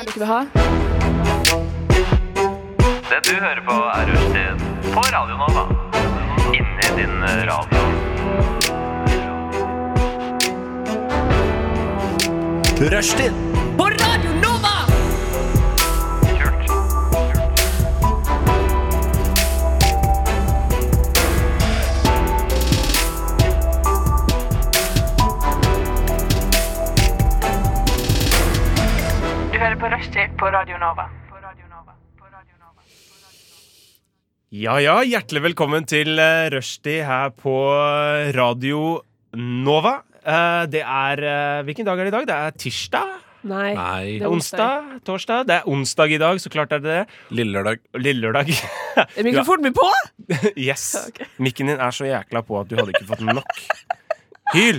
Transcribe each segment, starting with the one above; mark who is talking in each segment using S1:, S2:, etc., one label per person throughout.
S1: du ikke vil ha.
S2: Det du hører på er Rushtid på Radio Nova. Inni din radio.
S3: Rushtid
S2: Kult.
S4: Du hører på Rushtid på Radio Nova.
S3: Ja ja, hjertelig velkommen til eh, Rushdie her på eh, Radio Nova. Eh, Det er eh, Hvilken dag er det i dag? Det er tirsdag?
S1: Nei.
S5: Nei,
S1: Det er
S3: Onsdag? Torsdag? Det er onsdag i dag, så klart er det det.
S5: lille lørdag.
S3: Lillelørdag.
S1: Er mikrofonen min på?
S3: Yes. Mikken din er så jækla på at du hadde ikke fått nok. Hyl!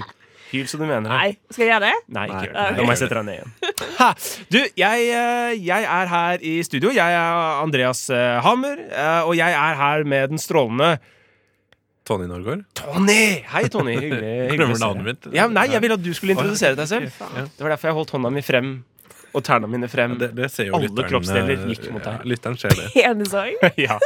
S3: Hyl så du mener. det.
S1: Nei. Skal jeg gjøre det?
S3: Nei, ikke
S5: Nei,
S3: gjør
S5: nei,
S3: det. Nå må jeg sette deg ned igjen. Ha! Du, jeg, eh, jeg er her i studio. Jeg er Andreas eh, Hammer, eh, og jeg er her med den strålende
S5: Tony Norgård.
S3: Tony! Hei, Tony. Hyggelig. hyggelig
S5: Glemmer
S3: å se deg.
S5: navnet mitt.
S3: Ja, nei, jeg ville at du skulle introdusere deg selv.
S5: Ja.
S3: Det var derfor jeg holdt hånda mi frem, og tærne mine frem.
S5: Det, det ser jo
S3: Alle
S5: lytteren,
S3: kroppsdeler
S5: eh,
S3: gikk mot deg.
S5: ja, Lytteren ser det.
S1: Ene sang.
S3: Ja.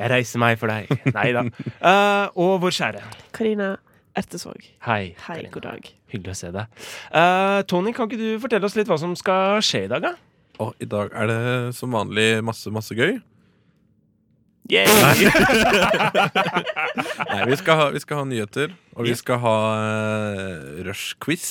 S3: Jeg reiser meg for deg. Nei da. Eh, og vår kjære.
S1: Karina Ertesvåg.
S3: Hei.
S1: Hei,
S3: Karina.
S1: god dag.
S3: Hyggelig å se deg. Eh, Tony, kan ikke du fortelle oss litt hva som skal skje i dag, da?
S5: Og i dag er det som vanlig masse, masse gøy.
S3: Nei.
S5: Nei, vi skal ha, vi skal ha nyheter, og vi skal ha eh, rush-quiz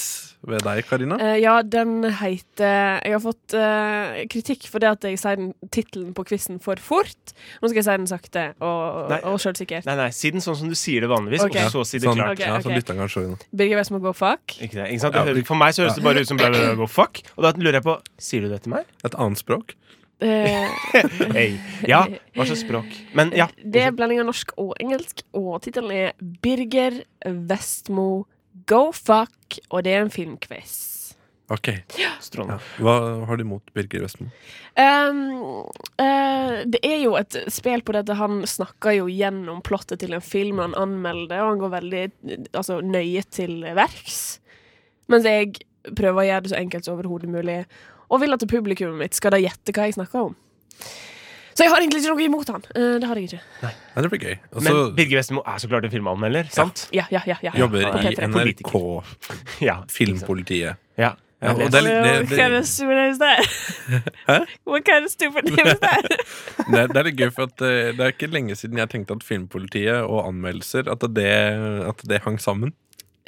S5: ved deg, Karina.
S1: Eh, ja, den heter Jeg har fått eh, kritikk for det at jeg sier den tittelen på quizen for fort. Nå skal jeg si den sakte og,
S3: Nei.
S1: og sjølsikkert.
S3: Nei, nei, si den sånn som du sier det vanligvis,
S1: Ok.
S3: og så si det
S5: sånn,
S3: klart.
S1: Ok,
S5: ja, sånn
S1: ok.
S5: lytteren kan se inn.
S1: Birger Westmo go fuck.
S3: Ikke det? Ikke sant?
S5: Ja.
S3: Det høres- For meg så høres det bare ut som bla, bla, bla, bla, fuck, og da lurer jeg på Sier du det til meg?
S5: Et annet språk.
S1: Eh,
S3: Hey. Ja, hva slags språk? Men ja.
S1: det er blanding av norsk og engelsk, og tittelen er Birger Westmo go fuck, og det er en filmquiz.
S5: Ok,
S3: Strålende.
S5: ja. Hva har du imot Birger Westmo?
S1: Ehm, eh, det er jo et spel på dette. Han snakker jo gjennom plottet til en film, han anmelder det, og han går veldig altså, nøye til verks. Mens jeg prøver å gjøre det så enkelt som overhodet mulig, og vil at publikummet mitt skal da gjette hva jeg snakker om. Så jeg har egentlig ikke noe imot han. Eh, det har jeg ikke.
S5: Nei, det blir gøy. Og så
S3: Men Birger Westmo er så klart en filmanmelder, sant?
S1: Altså- Ja, ja, ja, ja.
S5: jobber
S1: På
S5: i
S1: P3.
S5: NRK,
S3: Ja.
S5: Filmpolitiet.
S3: ja.
S5: Ja, og
S3: Jeg
S5: det er
S3: leser.
S5: litt-
S1: What
S5: det- det-
S1: kind of stupid is that? What kind of stupid is that?
S5: Det, er- det er litt gøy, for at eh, det er ikke lenge siden jeg tenkte at filmpolitiet og anmeldelser At det, at det hang sammen.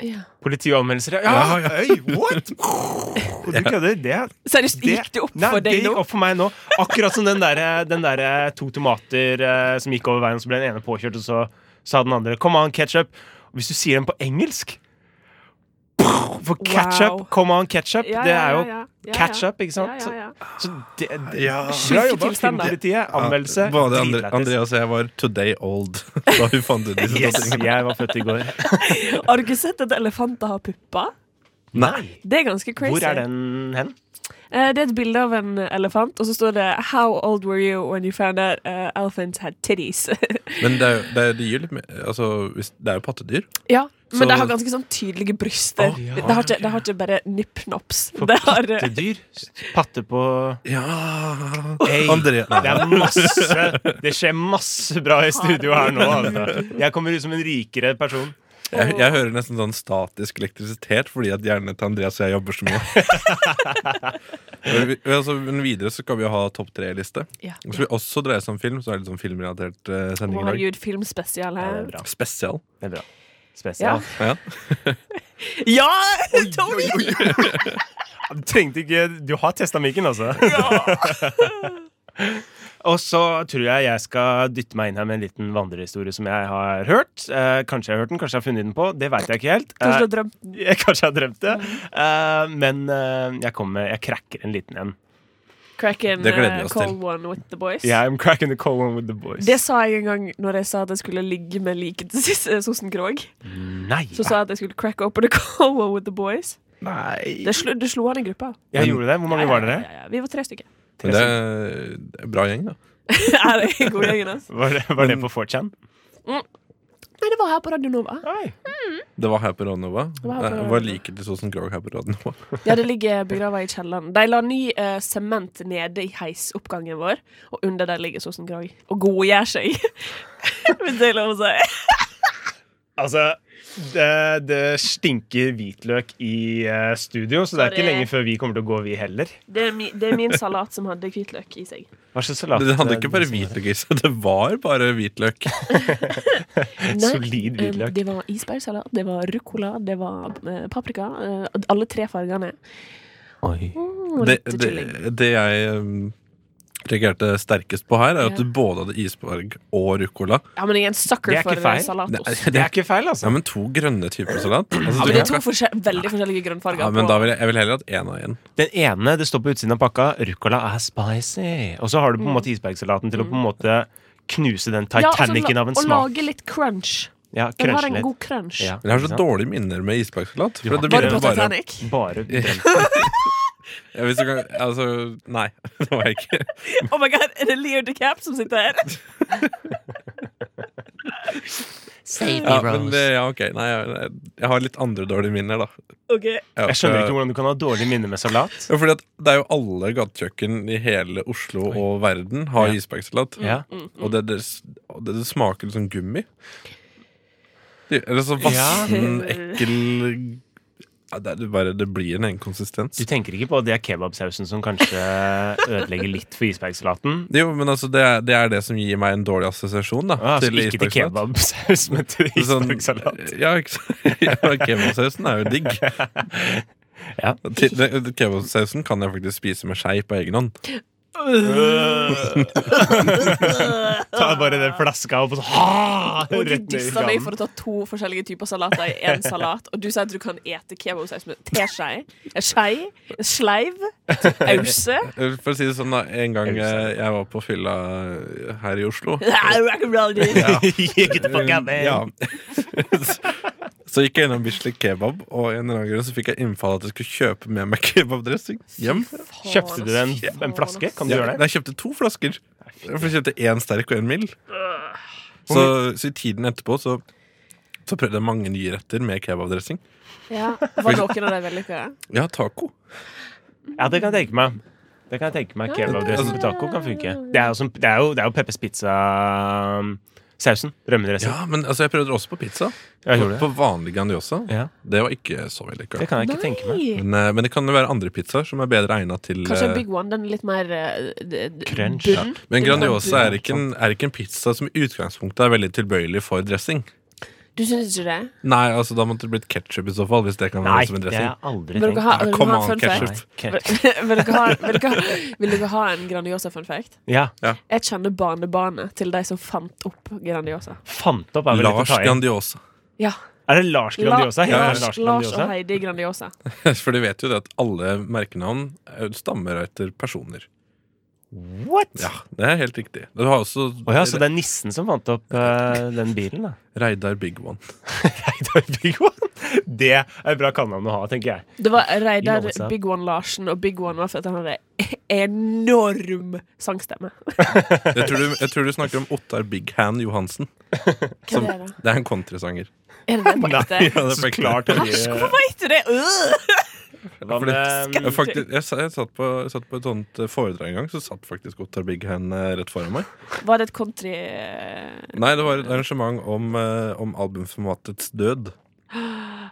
S1: ja.
S3: Politi og anmeldelser, ja.
S5: Ja, ja.
S3: Øy, what? Og du kødder? Det,
S1: Seriøst,
S3: det,
S1: gikk det opp
S3: nei,
S1: for
S3: det
S1: deg
S3: gikk
S1: nå?
S3: opp for meg nå. Akkurat som den derre der, to tomater eh, som gikk over veien, og så ble den ene påkjørt, og så sa den andre 'come on, ketchup'. Hvis du sier den på engelsk For ketchup,
S1: Wow.
S3: 'come on, ketchup',
S1: Ja,
S3: det
S1: ja,
S3: er jo
S1: ja, ja, ja.
S3: ketchup, ikke sant?
S1: Ja, ja, ja.
S3: Så det, det
S5: Ja.
S3: Bra
S1: Sjuke
S3: jobba,
S1: tilstander.
S3: filmpolitiet. Anmeldelse.
S5: Både Andre,
S3: dritlættis.
S5: Andreas og jeg var today old da vi fant ut disse
S3: Yes,
S5: tingene.
S3: jeg var født i går.
S1: Har du ikke sett at elefanter har pupper?
S3: Nei!
S1: Det er ganske crazy.
S3: Hvor er den hen?
S1: Eh, det er et bilde av en elefant, og så står det 'How old were you when you found out eh, elephants had titties?'
S5: Men det er, jo- det er, det gir litt mer altså, hvis, Det er jo pattedyr.
S1: ja, men
S5: Så-
S1: de har ganske sånn tydelige bryster.
S5: Å, ja.
S1: de, har ikke, de har ikke bare nippnops.
S3: For
S1: De har, eh,
S3: pattedyr? Patte på
S5: Ja
S3: Hey.
S5: André, nei,
S3: Det er masse Det skjer masse bra i studio her nå. Altså. Jeg kommer ut som en rikere person.
S5: jeg, jeg hører nesten sånn statisk elektrisitet fordi at hjernen til Andreas og jeg jobber så mye. Men vi- altså, men videre så skal vi jo ha topp tre-liste.
S1: ja.
S5: Og så vil vi også dreie seg om film, så er det litt sånn filmrelatert eh, sending i
S1: Herregud, filmspesial
S3: Ja, det er
S1: her.
S3: bra.
S5: dag. Spesial.
S3: Det er bra. Spesial.
S5: Ja.
S1: Ja! Tony!
S3: Du Trengte ikke Du har testa mikken, altså. Og så tror jeg jeg skal dytte meg inn her med en liten vandrehistorie som jeg har hørt. Eh, kanskje jeg har hørt den, kanskje jeg har funnet den på. Det veit jeg ikke helt.
S1: Kanskje du
S3: Eh,
S1: har drømt den?
S3: Jeg, kanskje jeg har drømt det. Eh, men eh, jeg kommer Jeg cracker en liten en.
S1: Cracking
S5: Det gleder vi
S1: eh,
S5: oss
S1: cold one with the boys.
S3: Yeah, I'm cracking the cold one with the boys.
S1: Det sa jeg en gang når jeg sa at jeg skulle ligge med liket til Sis- eh, Sosen Krog.
S3: Nei!
S1: Så sa jeg at jeg skulle crack open the cold one with the boys.
S3: Nei.
S1: Det slo, det slo han i gruppa.
S3: Jeg gjorde det. Hvor mange var dere?
S1: Ja, ja, ja. Vi var tre stykker.
S5: Men det er- det er en bra gjeng, da.
S1: er det god gjengen, altså?
S3: Var det, var det på 4chan?
S1: Nei, det var her på Radio Nova.
S3: Oi.
S5: Det var her på Rådnova.
S1: var her på
S5: Eh,
S1: Radio
S5: Hva
S1: Nova.
S5: liker de sånn Grog her på Rådnova?
S1: Ja, det ligger begrava i kjelleren. De la ny eh, sement nede i heisoppgangen vår, og under der ligger Sosen Krog. Og godgjør seg, hvis det er lov å si.
S3: Altså, det, det stinker hvitløk i eh, studio, så det er ikke
S1: Sorry.
S3: lenge før vi kommer til å gå, vi heller.
S1: Det er, mi, det er min salat som hadde hvitløk i seg.
S3: Hva slags salat? eh,
S5: Det hadde ikke
S3: er
S5: bare
S3: det som er?
S5: hvitløk i seg, det var bare hvitløk.
S3: Solid hvitløk.
S1: eh, det var isbergsalat, det var ruccola, det var eh, paprika. eh, alle tre fargene. Mm, og
S5: Det,
S1: litt
S5: det,
S1: chili.
S5: det jeg um, reagerte sterkest på her, er at
S1: Ja.
S5: du både hadde isberg og ruccola.
S1: Ja, men jeg er en
S3: Det
S1: sucker
S3: er ikke
S1: for eh,
S3: feil.
S1: salatost.
S5: Nei,
S3: Det er ikke feil, altså.
S5: Ja, men to grønne typer salat. Altså,
S1: Men det
S5: du
S1: er
S5: kan
S1: to
S5: ikke-
S1: forskjell, veldig forskjellige grønnfarger.
S5: ja, men
S1: på-
S5: da vil jeg, jeg vil heller hatt én av én.
S3: Den ene, det står på utsiden av pakka, ruccola er spicy. Og så har du på en måte isbergsalaten til å på en måte knuse
S1: Mm.
S3: den
S1: Ja, og så la-
S3: Titanicen av en
S1: Og
S3: smak.
S1: lage litt crunch.
S3: Ja,
S1: Den har
S3: crunche
S1: en
S3: litt.
S1: god crunch.
S3: Ja,
S5: Men jeg har
S3: ikke
S5: så
S3: sant?
S5: dårlige minner med isbergsalat. For det
S1: Var det
S5: begynner
S1: på
S5: bare
S1: Titanic?
S3: Bare
S5: ja, hvis du kan, altså, Nei, det var jeg ikke.
S1: Oh my god, er det Leo DeCap som sitter her?
S5: Ja, men, det- ja, ok, nei, jeg, jeg har litt andre dårlige minner, da.
S1: Ok
S5: Ja,
S3: Jeg skjønner
S5: for-
S3: ikke hvordan du kan ha dårlig minne med salat.
S5: Ja, fordi at det er jo alle gatekjøkken i hele Oslo og verden har
S3: Ja.
S5: isbergsalat.
S3: Ja.
S5: Og det, det, og det, det smaker litt sånn gummi. Det, eller så vassen,
S1: Ja.
S5: ekkel ja, det, er det bare, det blir en egen konsistens.
S3: Du tenker ikke på at det er kebabsausen som kanskje ødelegger litt for isbergsalaten?
S5: Jo, men altså, det er, det er det som gir meg en dårlig assosiasjon da,
S3: Ah, altså,
S5: til
S3: ikke til
S5: isbergsalat.
S3: kebabsaus, men til
S5: Sånn-
S3: isbergsalat.
S5: ja, ikke sant? Ja, kebabsausen er jo digg.
S3: Ja.
S5: Til- det- Kebabsausen kan jeg faktisk spise med skei på egen hånd.
S3: Ta bare den flaska opp og så ha,
S1: Og du
S3: rett ned i
S1: dissa meg
S3: kranen.
S1: for å ta to forskjellige typer salater i én salat, og du sa at du kan ete kebabsaus med teskei, en skei, en sleiv, ause
S5: For å si det sånn, da, en gang eh, jeg var på fylla eh, her i Oslo
S1: Ja,
S3: You get the fuck out, man.
S5: Ja. Så gikk jeg innom Bislett Kebab, og en eller annen grunn så fikk jeg innfall at jeg skulle kjøpe med meg kebabdressing hjem.
S3: Kjøpte du en, en flaske? Kan du
S5: Ja,
S3: gjøre det?
S5: nei, jeg kjøpte to flasker. For jeg kjøpte én sterk og én mild. Så, så i tiden etterpå så, så prøvde jeg mange nye retter med kebabdressing.
S1: Ja. Var noen av dem vellykka?
S5: Ja, taco.
S3: Ja, det kan jeg tenke meg. Det kan jeg tenke meg Kebabdressen på taco kan funke. Det er jo, som, det er jo, det er jo Peppers um, Pizza-sausen. Rømmedressen.
S5: Ja, men altså, jeg prøvde det også på pizza.
S3: Ja,
S5: På,
S3: gjorde du
S5: på vanlig Grandiosa.
S3: det? Ja,
S5: Det var ikke så vellykka.
S3: det kan jeg ikke tenke meg.
S1: Nei.
S5: Men, eh, men det kan jo være andre pizzaer som er bedre egna til
S1: Kanskje en
S5: eh,
S1: Big One. Den er litt mer eh, d- d-
S3: Crunch.
S1: bunn.
S5: Men
S1: Den er
S5: Grandiosa
S1: bunn.
S5: er ikke, en, er ikke en pizza som i utgangspunktet er veldig tilbøyelig for dressing.
S1: Du syns ikke det?
S5: Nei, altså da måtte det blitt ketsjup i så fall, hvis det kan
S3: Nei,
S5: være som en
S3: det har
S5: dressing.
S3: jeg aldri
S1: Vil dere
S3: tenkt.
S1: ha,
S5: Ja,
S1: vil dere
S5: come
S1: ha
S5: on,
S1: en fun fact?
S5: ketchup.
S3: Nei, ke-
S1: vil, dere ha, vil, dere ha, vil dere ha en Grandiosa-fun fact?
S3: Ja,
S1: Jeg kjenner barnebarnet til de som fant opp Grandiosa.
S3: fant opp er vel litt å
S5: Lars
S3: ta i.
S5: Grandiosa.
S1: Ja.
S3: Er det Lars Grandiosa? Heter
S1: Lars,
S3: han Lars
S1: Lars
S3: Grandiosa?
S1: og Heidi Grandiosa.
S5: For de vet jo det at alle merkenavn eh, stammer etter personer.
S3: What?
S5: Ja, det er helt riktig. Du har også
S3: Å ja, så det er nissen som fant opp eh, den bilen, da.
S5: Reidar Big One.
S3: Reidar Big One. Det er et bra kallenavn å ha, tenker jeg.
S1: Det var
S3: You know what's
S1: Reidar
S3: up.
S1: Big One Larsen, og Big One var fordi han hadde enorm sangstemme.
S5: Jeg tror, du, jeg tror du snakker om Ottar Big Hand Johansen.
S1: Hvem er det?
S5: Det er en countrysanger.
S1: Er det det på ekte?
S5: Ja, det er
S3: Så
S5: på ekte.
S3: klart det eh, blir-
S1: Æsj, hvorfor vet du det? Øh!
S3: Hva
S5: Fordi-
S3: med,
S5: Jeg, faktisk, jeg, sa- jeg, satt på, jeg satt på et sånt eh, foredrag en gang, så satt faktisk Ottar Big Hand eh, rett foran meg.
S1: Var det et country... eh,
S5: Nei, det var et arrangement om, eh, om albumformatets død.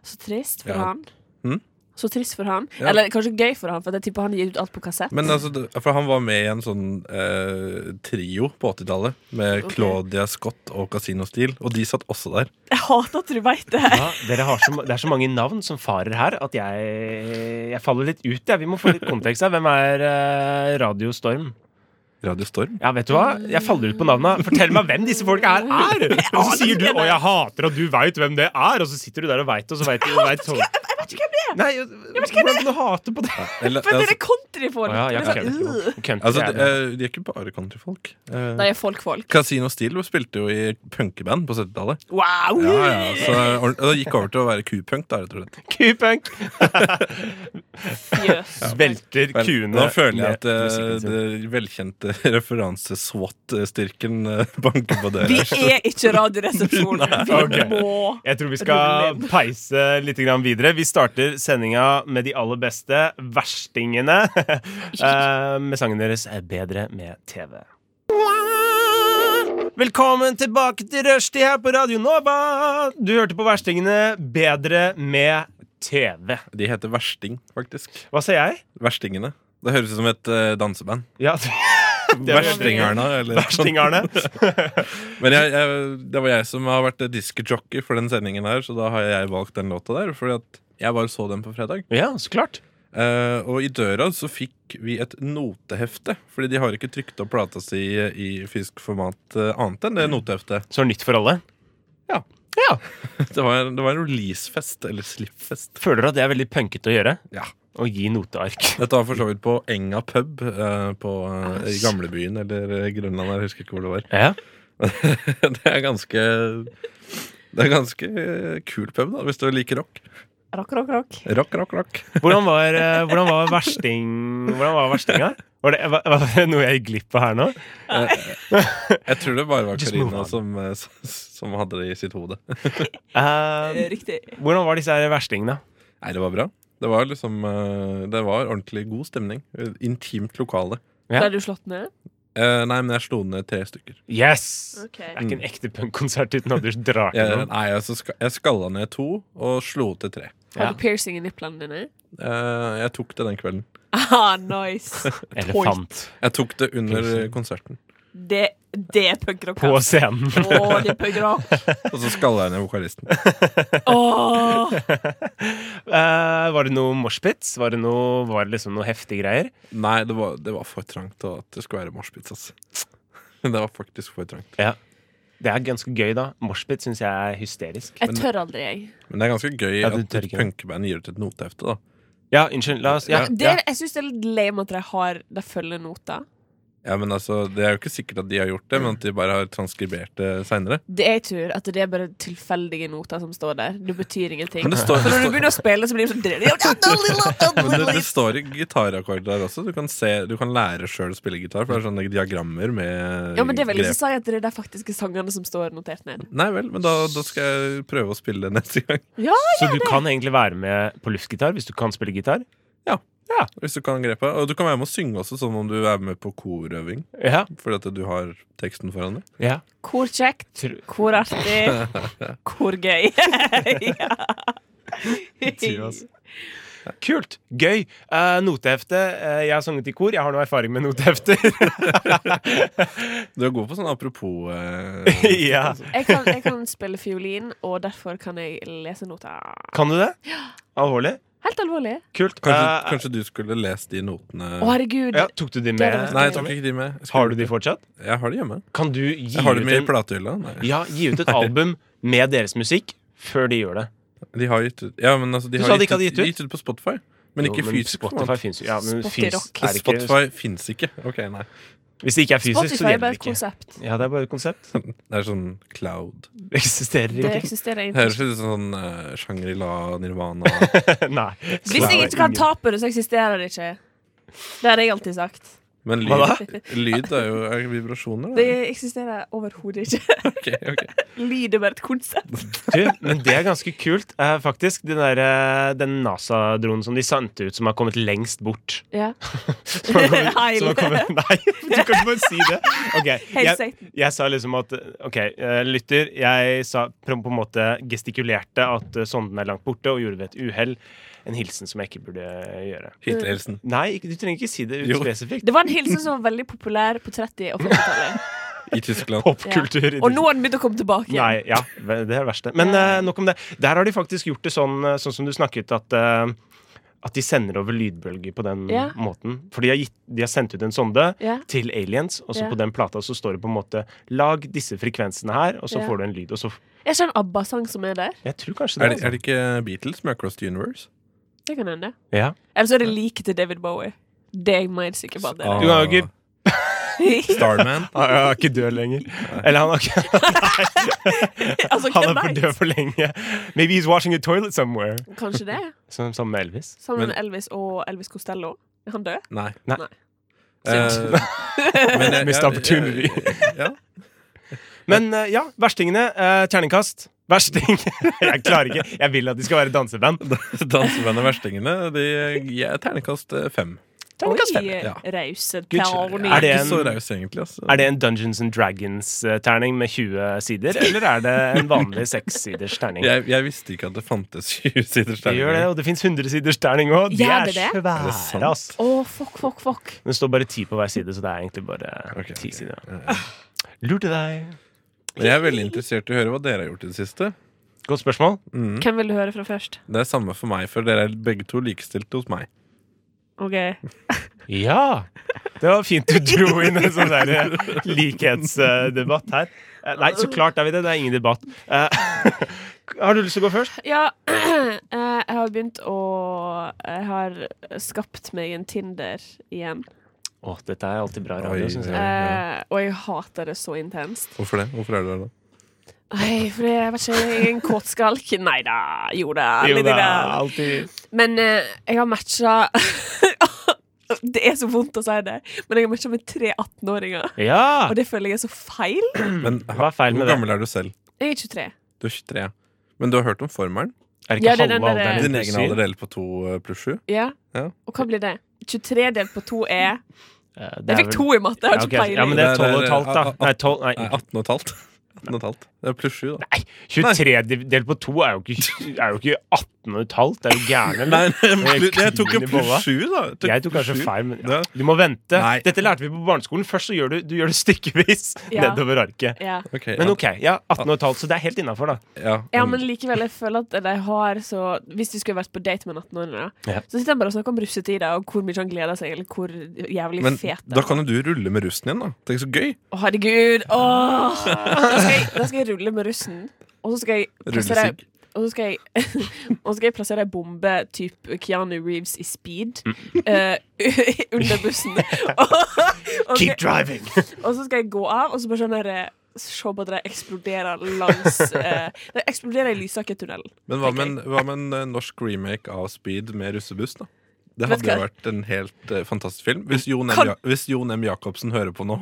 S1: Så trist for
S5: Ja.
S1: han.
S5: Mm.
S1: Så trist for han.
S5: Ja.
S1: Eller kanskje gøy for han, for jeg tipper han gir ut alt på kassett.
S5: Men altså, det- for han var med i en sånn eh, trio på 80-tallet med
S1: Ok.
S5: Claudia Scott og Casino Steel, og de satt også der.
S1: Jeg hater at du veit det.
S3: Ja, dere har så, ma- det er så mange navn som farer her at jeg, jeg faller litt ut. Jeg. Vi må få litt kontekst her. Hvem er eh, Radio Storm?
S5: Radio Storm.
S3: Ja, vet du hva? Jeg faller ut på navna. Fortell meg hvem disse folka her er! Og så sier du 'Å, jeg hater at du veit hvem det er', og så sitter du der og veit, og så veit du veit sånn.
S1: vet ikke hvem det er!
S3: Nei, hvordan kan du hate på det?
S5: Eller,
S1: For det
S5: altså,
S1: er countryfolk!
S3: Å ja, jeg
S1: Det er
S3: kan
S1: sånn,
S3: ikke.
S1: øh.
S3: Country
S5: altså,
S3: er
S5: de,
S3: det.
S5: eh, de er ikke bare countryfolk.
S1: Nei,
S5: Eh,
S1: jeg er folk-folk.
S5: Casino Steel spilte jo i punkeband på 70-tallet.
S1: Wow!
S5: Ja, altså. ja, så og det gikk over til å være kupunk, da, rett og slett.
S3: Kupunk
S1: Jøs.
S3: velter
S5: Vel,
S3: kuene.
S5: Nå føler jeg
S3: med
S5: at eh,
S3: musikken sin.
S5: det velkjente referanse-SWAT-styrken eh, banker på
S1: Vi
S5: dere.
S1: er ikke Radioresepsjonen. Vi
S3: Ok.
S1: må
S3: Jeg tror vi skal
S1: Rulle inn.
S3: peise litt grann videre. Vi starter sendinga med de aller beste verstingene. eh, med sangen deres er bedre med TV. Velkommen tilbake til Rushdie her på Radio Nova. Du hørte på verstingene Bedre med TV.
S5: De heter Versting, faktisk.
S3: Hva sier jeg?
S5: Verstingene. Det høres ut som et eh, danseband.
S3: Ja, det er-
S5: Verstingarna. Eller
S3: Verstingarne.
S5: Men jeg, jeg, det var jeg som har vært diskjockey for den sendingen her, så da har jeg valgt den låta der. Fordi at jeg bare så den på fredag.
S3: Ja, så klart.
S5: Eh, og i døra så fikk vi et notehefte. Fordi de har ikke trykt opp plata si i fysisk format eh, annet enn det noteheftet.
S3: Så nytt for alle.
S5: Ja.
S3: ja.
S5: Det var, det var en releasefest, eller slippfest.
S3: Føler du at det er veldig punkete å gjøre?
S5: Ja.
S3: Å gi noteark.
S5: Dette var for så vidt på Enga pub eh, på, eh, i gamlebyen eller eh, Grønland. Jeg husker ikke hvor det var.
S3: Ja.
S5: det er ganske Det er ganske kul pub, da, hvis du liker rock.
S1: Rock, rock, rock.
S5: Rock, rock, rock.
S3: Hvordan var, eh, hvordan var versting Hvordan var verstinga? Var det, var, var det noe jeg gikk glipp av her nå?
S5: Jeg tror det bare var
S3: Just move
S5: Karina
S3: on.
S5: som, eh, s- som hadde det i sitt hode.
S1: Eh,
S3: Eh,
S1: Riktig.
S3: hvordan var disse her verstingene?
S5: Nei, det var bra. Det var liksom eh, Det var ordentlig god stemning. Intimt lokale.
S3: Ja.
S1: Ble du slått ned?
S5: Eh, nei, men jeg slo ned tre stykker.
S3: Yes!
S1: Ok.
S3: Det er ikke en ekte punkkonsert uten at du drar til
S5: Jeg,
S3: noen.
S5: nei, altså, ska- jeg skalla ned to og slo til tre.
S3: Ja.
S1: Har du piercing i nipplene dine?
S5: Eh, jeg tok det den kvelden.
S1: Ah, nice!
S3: Elefant
S5: Jeg tok det under konserten.
S1: Det, det er punkrock.
S3: på
S1: ass.
S3: scenen.
S1: Å, det er punkrock.
S5: Og så skalla jeg ned vokalisten.
S1: Åh.
S3: Eh, var det noe moshpits? Var det noe, var det liksom noe heftige greier?
S5: Nei, det var, det var for trangt og at det skulle være moshpits. Altså. Det var faktisk for trangt.
S3: Det er ganske gøy, da. Moshpit syns jeg er hysterisk.
S1: Jeg tør aldri, jeg.
S5: Men det er ganske gøy
S3: Ja, du
S5: at
S3: tør
S5: et
S3: ikke.
S5: punkeband gir ut et notehefte. da
S3: Ja, unnskyld. La oss ja,
S1: Det,
S3: ja.
S1: Jeg syns det er litt lame at de har De følger nota.
S5: Ja, men altså, Det er jo ikke sikkert at de har gjort det, men at de bare har transkribert det seinere.
S1: Det jeg tror, at det er bare tilfeldige noter som står der. Det betyr ingenting.
S5: Men det står-
S1: For
S5: det
S1: når du
S5: står-
S1: begynner å spille, så blir det
S5: Men det, det
S1: sånn
S5: står i gitarakkorder der også. Du kan, se, du kan lære sjøl å spille gitar. For det er sånne diagrammer med
S1: Ja, men det vil ikke
S5: grep.
S1: si at det er de faktiske sangene som står notert ned.
S5: Nei vel, men da, da skal jeg prøve å spille det neste gang.
S3: Så du kan egentlig være med på luftgitar hvis du kan spille gitar?
S5: Hvis du kan grepet. Og du kan være med å synge også, som om du er med på korøving.
S3: Ja.
S5: Fordi at du har teksten foran deg.
S3: ja.
S1: Hvor kjekt,
S3: Tror-
S1: hvor artig, hvor gøy. ja.
S5: altså-
S3: Kult. Gøy. Eh, notehefte. Eh, jeg har sunget i kor. Jeg har noe erfaring med notehefter.
S5: Du er god på sånn apropos eh,
S3: ja.
S1: Jeg kan, jeg kan spille fiolin, og derfor kan jeg lese noter.
S3: Kan du det? Alvorlig?
S1: Helt alvorlig.
S3: Kult.
S5: Kanskje,
S3: Eh,
S5: kanskje du skulle lest de notene
S1: Å, herregud.
S3: ja, tok du de
S1: Det hadde
S3: med?
S1: vært
S5: Nei, jeg tok ikke de med. Jeg skulle-
S3: Har du de fortsatt?
S5: Jeg har de hjemme.
S3: Kan du gi
S5: Jeg har de
S3: ut,
S5: med i
S3: en,
S5: platehylla. Nei.
S3: ja, gi ut et album med deres musikk før de gjør det?
S5: De har gitt ut Ja, men altså, de
S3: Du
S5: har
S3: sa de
S5: gitt,
S3: ikke hadde gitt ut?
S5: gitt ut på Spotify. Men ikke
S3: Jo,
S5: fysisk. på en
S3: Spotify
S5: måte.
S3: finnes jo. Ja, men
S1: Spotify
S3: fys-
S1: rock.
S3: er det ikke-
S5: Spotify fins ikke. Ok, nei.
S3: Hvis det ikke er fysisk, så
S1: Spotify er
S3: gjelder
S1: bare
S3: det
S1: et
S3: ikke.
S1: konsept.
S3: Ja, det er bare et konsept.
S5: Det er sånn cloud.
S3: Det eksisterer
S1: Det
S3: ikke.
S1: eksisterer
S5: Det
S1: ikke.
S5: Høres ut som sånn eh, Shangri-La, Nirvana
S3: Nei.
S1: Hvis jeg ikke kan ta på det, så eksisterer det ikke. Det har jeg alltid sagt.
S5: Men
S3: Hva
S5: lyd, lyd er jo er vibrasjoner.
S1: Det
S5: da.
S1: eksisterer overhodet ikke.
S5: Ok, ok.
S1: Lyd er bare et konsept.
S3: Du, men det er ganske kult, eh, faktisk. Den, der, eh, den NASA-dronen som de sendte ut, som har kommet lengst bort.
S1: Ja.
S3: Som har kommet,
S1: Heil.
S3: som har kommet, nei, du kan ikke bare si det. Ok,
S1: Helt
S3: jeg,
S1: Satan.
S3: jeg sa liksom at OK, eh, lytter. Jeg sa på på en måte gestikulerte at eh, sonden er langt borte, og gjorde ved et uhell en hilsen som jeg ikke burde gjøre.
S5: Hitlerhilsen.
S3: Nei, ikke, du trenger ikke si det ut
S5: Jo.
S3: spesifikt.
S1: Det var en hilsen som var veldig populær på 30- og 40-tallet.
S5: I Tyskland.
S3: Popkultur. i
S1: Og nå har den begynt å komme tilbake.
S3: Nei, ja, det er det verste. Men
S1: Ja.
S3: eh, nok om det. Der har de faktisk gjort det sånn, eh, sånn som du snakket, at, eh, at de sender over lydbølger på den
S1: Ja.
S3: måten. For de har, gitt, de har sendt ut en sonde
S1: Ja.
S3: til aliens, og så
S1: Ja.
S3: på den plata så står det på en måte Lag disse frekvensene her, og så
S1: Ja.
S3: får du en lyd. Og så
S1: Er ikke en ABBA-sang som er der?
S3: Jeg tror kanskje det.
S5: Er det, er
S3: altså.
S5: det ikke Beatles med Across the Universe?
S1: Det kan hende.
S3: Ja.
S1: Eller så er det liket til David Bowie. Det er jeg mer sikker på at det er.
S5: Ah,
S3: Du kan jo ikke- Ah.
S5: Starman.
S3: Han er ikke død lenger. Eller han er, ikke,
S1: altså,
S3: han
S1: hvem
S3: er for
S1: vet?
S3: død for lenge. Maybe he's washing a toilet somewhere.
S1: Kanskje det.
S3: Som, som med Elvis.
S1: Sammen
S5: Men-
S1: med Elvis og Elvis Costello. Er han død?
S5: Nei.
S3: Nei.
S1: Nei.
S5: Eh, men jeg-
S3: Missed
S5: jeg-
S3: opportunity.
S5: jeg- Ja.
S3: Men eh, ja, verstingene. eh, terningkast. Versting. Jeg klarer ikke. Jeg vil at de skal være danseband.
S5: Dansebandet Verstingene de gir ternekast eh, fem.
S3: Terningkast fem.
S1: Oi,
S5: ja.
S1: rause
S3: Gud,
S1: terning.
S3: er det
S5: Ikke
S3: en-
S5: så raus, egentlig. Altså.
S3: Er det en Dungeons and Dragons-terning med 20 sider, eller er det en vanlig sekssiders terning?
S5: Jeg, jeg visste ikke at det fantes 20-siders
S3: Det gjør det,
S5: terninger.
S3: og det fins 100-siders terning òg. De
S1: Gjør
S3: er
S1: det det?
S5: Er det sant?
S3: svære, ass.
S1: Å, fuck, fuck, fuck.
S3: Det står bare ti på hver side, så det er egentlig bare
S5: Ok,
S3: ti
S5: ok.
S3: sider.
S5: Ja, ja.
S3: Lurte deg.
S5: Men Jeg er veldig interessert i å høre hva dere har gjort i det siste.
S3: Godt spørsmål.
S5: Mm.
S1: Hvem vil du høre fra først?
S5: Det er samme for meg, for dere er begge to likestilte hos meg.
S1: OK.
S3: Ja! Det var fint du dro inn en sånn der eh, likhetsdebatt her. Eh, Nei, så klart er vi det. Det er ingen debatt. Eh, Har du lyst til å gå først?
S1: Ja, eh, jeg har begynt å Jeg har skapt meg en Tinder igjen.
S3: Å, dette er alltid bra
S5: Oi.
S3: radio, syns jeg.
S5: Ja.
S1: Eh, og jeg hater det så intenst.
S5: Hvorfor det? Hvorfor er du der da?
S1: Nei, for jeg vet ikke, jeg er en kåtskalk. Nei da, jo da.
S3: Jo
S1: litt
S3: da,
S1: grann.
S3: alltid.
S1: Men eh, jeg har matcha Det er så vondt å si det, men jeg har matcha med tre 18-åringer.
S3: Ja!
S1: Og det føler jeg er så feil.
S5: Men
S3: Mm. Hva er feil med
S5: hvor
S3: det?
S5: gammel er du selv?
S1: Jeg er 23.
S5: Du er 23. ja. Men du har hørt om formelen?
S3: Er det
S1: Ja,
S3: ikke
S1: det er den
S3: halve
S1: der- eh,
S3: alderen
S5: Din
S3: du
S5: egen
S3: sier?
S5: alder deler på to eh, pluss sju?
S1: Ja.
S5: Ja.
S1: Og hva blir det? 23 delt på 2 er
S3: Eh, det er
S1: Jeg fikk
S3: vel-
S1: to i matte, jeg
S3: Ja,
S1: har
S3: ok,
S1: ikke
S3: ja,
S1: peiling.
S3: men det er
S5: Det eh, ah, er-
S3: 12 og et halvt, da.
S5: a- a-
S3: Nei, 12, nei,
S5: Nei, 18 og et halvt. 18 og et halvt. Det er pluss sju, da.
S3: nei 23 delt på to er jo ikke, er jo ikke 18 og et halvt. Det er jo gærne. eller?
S5: jeg, jeg tok jo
S3: klin i bolla.
S5: pluss sju, da. Jeg
S3: Jeg tok kanskje
S5: pluss sju.
S3: feil, men ja.
S5: Det-
S3: du må vente.
S5: Nei.
S3: Dette lærte vi på barneskolen. Først så gjør du, du gjør det stykkevis
S1: Ja.
S3: nedover arket.
S1: Ja.
S5: Ok,
S3: Men
S5: ja,
S3: OK, ja, 18 og et halvt, så det er helt innafor, da.
S5: ja,
S1: ja, men likevel, jeg føler at de har så Hvis du skulle vært på date med en 18-åring, da,
S3: Ja.
S1: så sitter han bare og snakker om russetida og hvor mye han gleder seg, eller hvor jævlig
S5: Men
S1: fet
S5: da kan jo du rulle med russen igjen, da. Tenk så gøy.
S1: Å, herregud! Åh! Da, skal jeg, da skal jeg rulle med russen, og så skal jeg plassere
S5: Rullesigg.
S1: og så, skal jeg, og så skal jeg plassere ei bombe type Keanu Reeves i speed
S5: Mm.
S1: eh, under bussen. og, og, skal,
S3: Keep driving!
S1: og så skal jeg gå av, og så bare sånn der, eh, Se på at de eksploderer langs eh, De eksploderer i Lysakertunnelen.
S5: Men hva med, en- hva med en eh, norsk remake av Speed med russebuss, da?
S1: Vet
S5: Det hadde
S1: du
S5: jo
S1: hva?
S5: vært en helt eh, fantastisk film. Hvis Jon M.
S1: Kan-
S5: Ja, hvis Jon M. Jacobsen hører på nå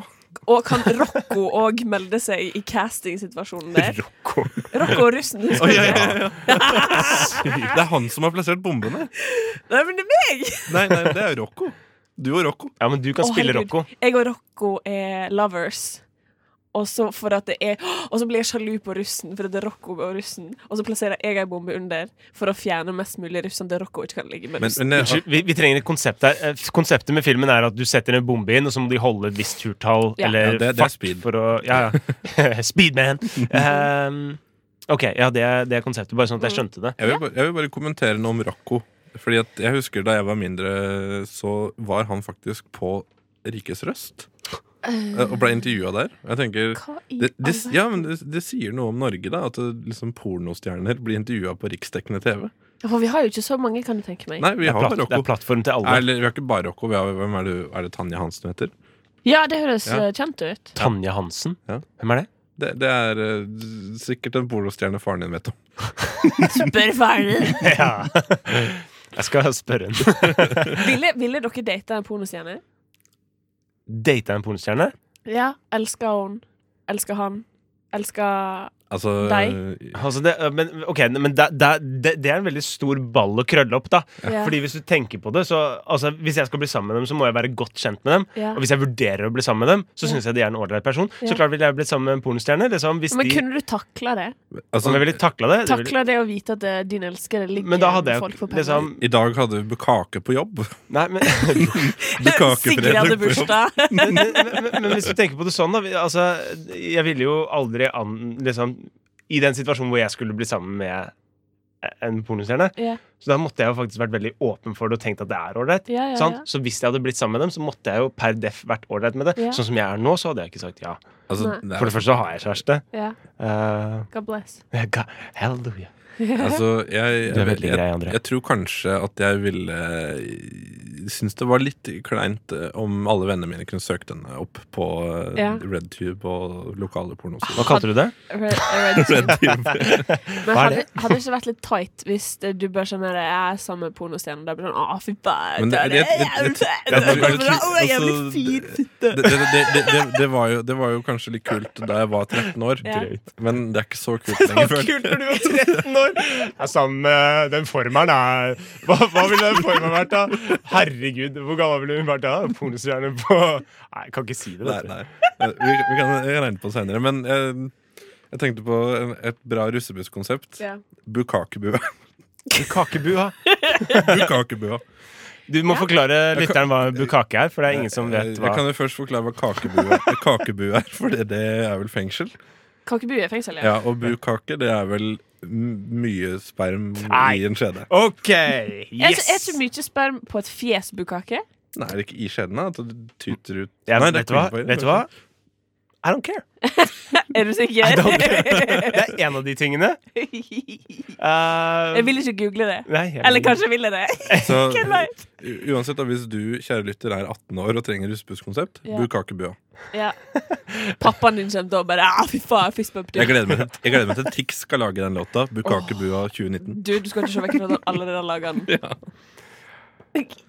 S1: Og kan Rocco òg melde seg i castingsituasjonen der?
S3: Rocco.
S1: Rocco og russen. husker du det?
S5: Det er han som har plassert bombene!
S1: Nei, men det er meg!
S5: Nei, nei, det er Rocco. Du og Rocco.
S3: Ja, men du kan
S1: Å,
S3: spille
S1: herregud.
S3: Rocco.
S1: Jeg og Rocco er lovers. Og så, for at det er, og så blir jeg sjalu på russen, for at det er Rocco og russen. Og så plasserer jeg ei bombe under for å fjerne mest mulig russen til Rocco ikke kan ligge med
S5: Men,
S1: russen.
S5: men eh,
S3: Unnskyld, vi, vi trenger et konsept her. Eh, Konseptet med filmen er at du setter en bombe inn, og så må de holde et visst turtall
S1: Ja.
S3: eller
S5: Ja, det- det er
S3: fart
S5: speed.
S3: for å Ja, ja. Speedman! Ehm, OK, ja, det er, det er konseptet. Bare sånn at jeg
S1: Mm.
S3: skjønte det.
S5: Jeg vil, bare, jeg vil bare kommentere noe om Rocco. Fordi at jeg husker Da jeg var mindre, så var han faktisk på Rikes Røst. eh, Og ble intervjua der. Og Jeg tenker
S1: Hva i
S5: det, det,
S1: all
S5: ja, men det, det sier noe om Norge, da. At det, liksom pornostjerner blir intervjua på riksdekkende TV.
S1: verden? For vi har jo ikke så mange, kan du tenke meg.
S5: Nei, vi
S3: Det er,
S5: har
S3: platt,
S5: bare
S3: det er
S5: Rocco.
S3: plattform til alle.
S5: Eller, vi har ikke bare Rocco. Vi har, hvem er det, er det Tanja Hansen heter?
S1: Ja, det høres
S5: Ja.
S1: eh, kjent ut.
S3: Tanja Hansen.
S5: Ja.
S3: Hvem er det?
S5: Det, det er eh, sikkert en pornostjerne faren din vet om.
S1: Spør ferdig!
S3: Ja. Jeg skal spørre henne.
S1: ville, ville dere data en pornostjerne?
S3: Data en pornostjerne?
S1: Ja. Elsker hun? Elsker han? Elsker
S5: Altså,
S1: Deg?
S3: Altså det, men ok, men det, det, det, det er en veldig stor ball å krølle opp, da.
S1: Ja.
S3: Fordi hvis du tenker på det, så altså, Hvis jeg skal bli sammen med dem, så må jeg være godt kjent med dem.
S1: Ja.
S3: Og hvis jeg vurderer å bli sammen med dem, så syns jeg de er en ålreit person.
S1: Ja.
S3: Så klart ville jeg blitt sammen med en pornostjerne. Liksom, hvis
S1: Men
S3: de,
S1: kunne du takla det?
S5: altså,
S3: om jeg ville takla det, det ville,
S1: Takla det å vite at eh, din elskede ligger
S3: Men da hadde
S1: med
S3: jeg
S1: folk for penger?
S3: liksom
S5: I dag hadde vi kake på jobb.
S3: Nei, men
S5: Bukakefredag
S1: Sigrid hadde
S5: på jobb.
S1: bursdag.
S3: men, men, men, men hvis du tenker på det sånn, da vi- altså, Jeg ville jo aldri an, liksom, I den situasjonen hvor jeg skulle bli sammen med en pornostjerne.
S1: Ja.
S3: Så da måtte jeg jo faktisk vært veldig åpen for det og tenkt at det er ålreit.
S1: Ja, ja,
S3: sant?
S1: ja.
S3: Så hvis jeg hadde blitt sammen med dem, så måtte jeg jo per def vært ålreit med det.
S1: Ja.
S3: Sånn som jeg er nå, så hadde jeg ikke sagt ja.
S5: Altså,
S1: Nei.
S5: det er-
S3: For det første så har jeg kjæreste.
S1: Ja.
S3: Eh,
S1: God bless.
S3: jeg ga- Halleluja.
S5: Altså, jeg,
S3: Du er
S5: jeg,
S3: veldig
S5: jeg,
S3: grei, André.
S5: jeg tror kanskje at jeg ville eh, synes det var litt kleint eh, om alle vennene mine kunne søkt henne opp på eh,
S1: Ja.
S5: RedTube og lokale
S3: Hva
S5: pornosider.
S3: kalte du det?
S1: Red, eh, red tube.
S5: RedTube.
S1: Men
S3: Hva er
S1: hadde, hadde det ikke vært litt tight hvis det, du bare sånn her, Jeg er sammen med pornostjernen, og da blir det sånn Å, fy faen.
S5: Men det-
S1: Det,
S5: det- det-
S1: er
S5: det-
S1: bra, det er bra, å, det er jævlig
S5: altså,
S1: fin
S5: det-
S1: fitte.
S5: Det, det, det, det, det, det, var jo, det var jo kanskje litt kult da jeg var 13 år,
S1: Ja.
S5: men det er ikke så kult lenger. føler jeg.
S3: når du var 13 år! Ja, sammen med den formeren er hva, hva ville den formeren vært, da? Herregud, hvor gammel ville hun vært da? Pornostjerne på Nei, jeg kan ikke si det.
S5: Nei,
S3: vet du.
S5: nei. Eh, Vi, vi kan regne på det senere. Men eh, jeg tenkte på en- et bra russebusskonsept.
S1: Ja.
S5: Bukakebua.
S3: Kakebua.
S5: Bukakebua.
S3: Du må forklare lytteren hva bukake er, for det er ingen som vet
S5: Eh,
S3: hva
S5: Jeg kan jo først forklare hva kakebue, kakebue er, for det, det er vel fengsel.
S1: Kakebu er fengsel, ja.
S5: Ja, Og bukake, det er vel m- mye sperm
S3: Nei.
S5: i en skjede.
S3: OK!
S1: Er ikke- Er
S3: Yes!
S1: ikke mye sperm på et fjes, bukake?
S5: Nei, det er ikke i skjeden, da. At det tyter ut
S3: Jeg,
S5: Nei, det
S3: vet
S5: er
S3: du hva?
S5: ikke innenfor.
S3: Vet du hva? I don't care.
S1: Er du sikker?
S3: Det er en av de tingene. Eh,
S1: Jeg vil ikke google det.
S3: Nei, jeg-
S1: Eller kanskje vil jeg det.
S5: Så,
S1: Hvem vet?
S5: u- uansett, da, hvis du kjære lytter er 18 år og trenger russebusskonsept,
S1: Ja.
S5: bukakebua.
S1: Ja. Pappaen din kommer til å bare «Ah, Fy faen, fistbump. Du.
S5: Jeg gleder meg til, jeg gleder meg til Tix skal lage den låta. Bukakebua 2019.
S1: du, du skal ikke se vekk fra at han allerede har laga den.
S3: Ok,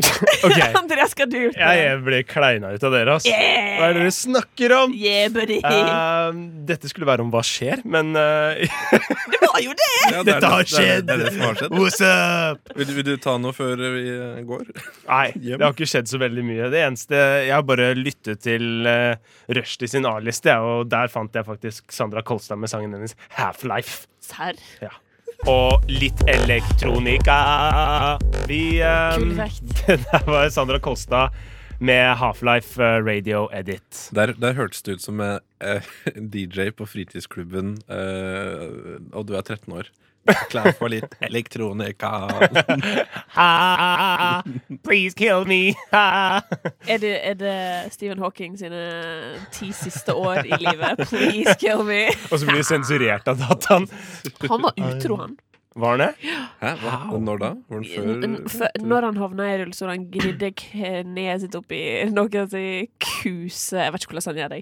S1: Andreas, hva har du gjort?
S3: Jeg, jeg ble kleina ut av dere, ass. Hva er det dere snakker om?
S1: Yeah, buddy.
S3: Eh, dette skulle være om hva skjer, men eh,
S1: det var jo det!
S5: Ja, det er
S3: Dette har
S5: det- det er- Det er det
S3: skjedd.
S5: som har skjedd.
S3: What's up?
S5: Vil, du- vil du ta noe før vi eh, går?
S3: Nei,
S5: Hjem.
S3: det har ikke skjedd så veldig mye. Det eneste, Jeg har bare lyttet til uh, Rushdie sin A-liste, jeg, og der fant jeg faktisk Sandra Kolstad med sangen hennes Half-Life.
S1: Serr.
S3: Ja. Og litt elektronika. Vi eh,
S1: Kul effekt.
S3: Det der var Sandra Kolstad med Half-Life eh, Radio Edit.
S5: Der, der hørtes det ut som eh, eh, DJ på fritidsklubben, eh, og du er 13 år. Klar for litt elektronika.
S3: Ah, please kill me. Ah.
S1: Er det, er det Stephen Hawking sine ti siste år i livet? Please kill me.
S3: Og så blir det sensurert av dataen.
S1: Han var utro, han.
S3: Var den det?
S5: Hæ? Hva? Når da? Var den
S1: N-
S5: før?
S1: før- Når han havna i rullestol, han gnidde kneet sitt oppi noe si kuse Jeg vet ikke hvordan han gjør det,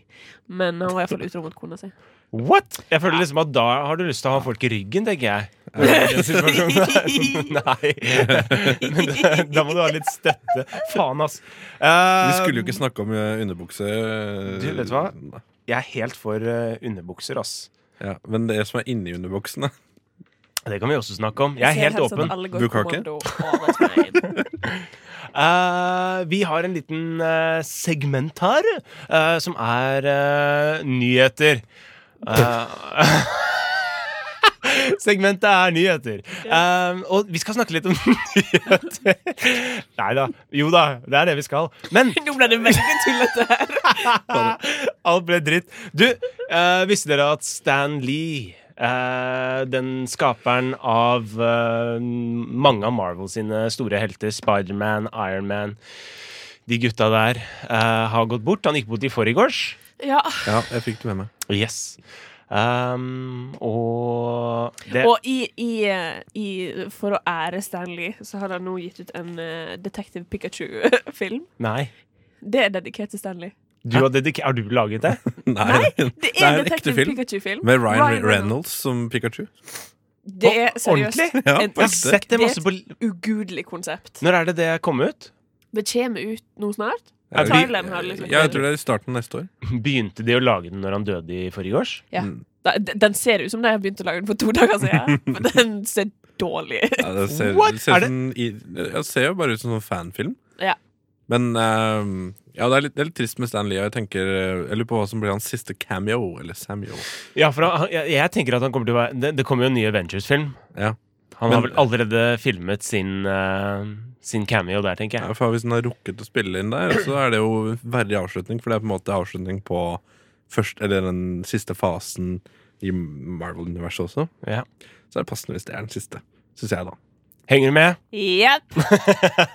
S1: men han var iallfall utro mot kona si.
S3: What? Jeg føler liksom at da har du lyst til å ha folk i ryggen, tenker jeg. I den situasjonen. Nei. Men da- da må du ha litt støtte. Faen, ass.
S5: Vi
S3: Eh,
S5: skulle jo ikke snakke om eh, underbukse. eh,
S3: Du, vet du hva? Jeg er helt for eh, underbukser, ass.
S5: eh, Ja, men det som er inni underbuksen, da.
S3: Det kan vi også snakke om. Jeg
S1: ser
S3: er helt
S1: helst at
S3: åpen.
S1: alle går
S5: Bukake?
S1: kommando over til meg.
S3: Eh, vi har en liten eh, segment her, eh, som er eh, nyheter. Eh, segmentet er nyheter. Eh, og vi skal snakke litt om nyheter. Nei da. Jo da, det er det vi skal. Men
S1: Nå ble det veldig tullete her.
S3: alt ble dritt. Du, eh, visste dere at Stan Lee eh, den skaperen av eh, mange av Marvel sine store helter, Spiderman, Ironman De gutta der eh, har gått bort. Han gikk bort i forgårs.
S1: Ja.
S5: Ja, jeg fikk det med meg.
S3: Yes. Um, og det,
S1: Og i, i, eh, i, for å ære Stanley, så har han nå gitt ut en eh, Detective Pikachu-film.
S3: Nei.
S1: Det er dedikert til Stanley.
S3: Du har, dediker- har du laget det?
S5: Nei,
S1: Det
S5: Det er
S1: er en
S5: en ekte
S1: Detective
S5: film.
S1: Pikachu-film.
S5: Med Ryan, Reynolds som Pikachu.
S1: Det er seriøst
S3: Ordentlig?
S5: Ja,
S1: en
S5: på
S3: Jeg har
S5: ekte.
S3: sett det masse på
S1: ugudelig konsept.
S3: Når er det det kom ut?
S1: Det kommer ut nå snart.
S5: Ja, vi-
S1: Thailand har liksom
S5: Ja, jeg tror det er i starten av neste år.
S3: Begynte de å lage den når han døde i forgårs?
S1: Ja. Da- d- Den ser ut som da jeg begynte å lage den for to dager siden. For den ser dårlig ut.
S5: Ja, det ser,
S3: What?
S5: det ser,
S3: Er det-
S5: sånn i, ja, det ser jo bare ut som en fanfilm.
S1: Ja.
S5: Men ehm, ja, det er, litt, det er litt trist med Stan Lee. og Jeg, tenker, eh, jeg lurer på hva som blir hans siste cameo. Eller Samuel.
S3: Ja, for han, jeg, jeg tenker at han kommer til å være Det, det kommer jo en ny Avengers-film.
S5: Ja.
S3: Han har
S5: Men-
S3: vel allerede filmet sin, eh, sin cameo der, tenker
S5: Ja,
S3: jeg.
S5: for hvis han har rukket å spille inn der, så er det jo verdig avslutning. For det er på en måte avslutning på først, eller den siste fasen i Marvel-universet også,
S3: Ja.
S5: så er det passende hvis det er den siste. Synes jeg, da.
S3: Henger du med?
S1: Jepp.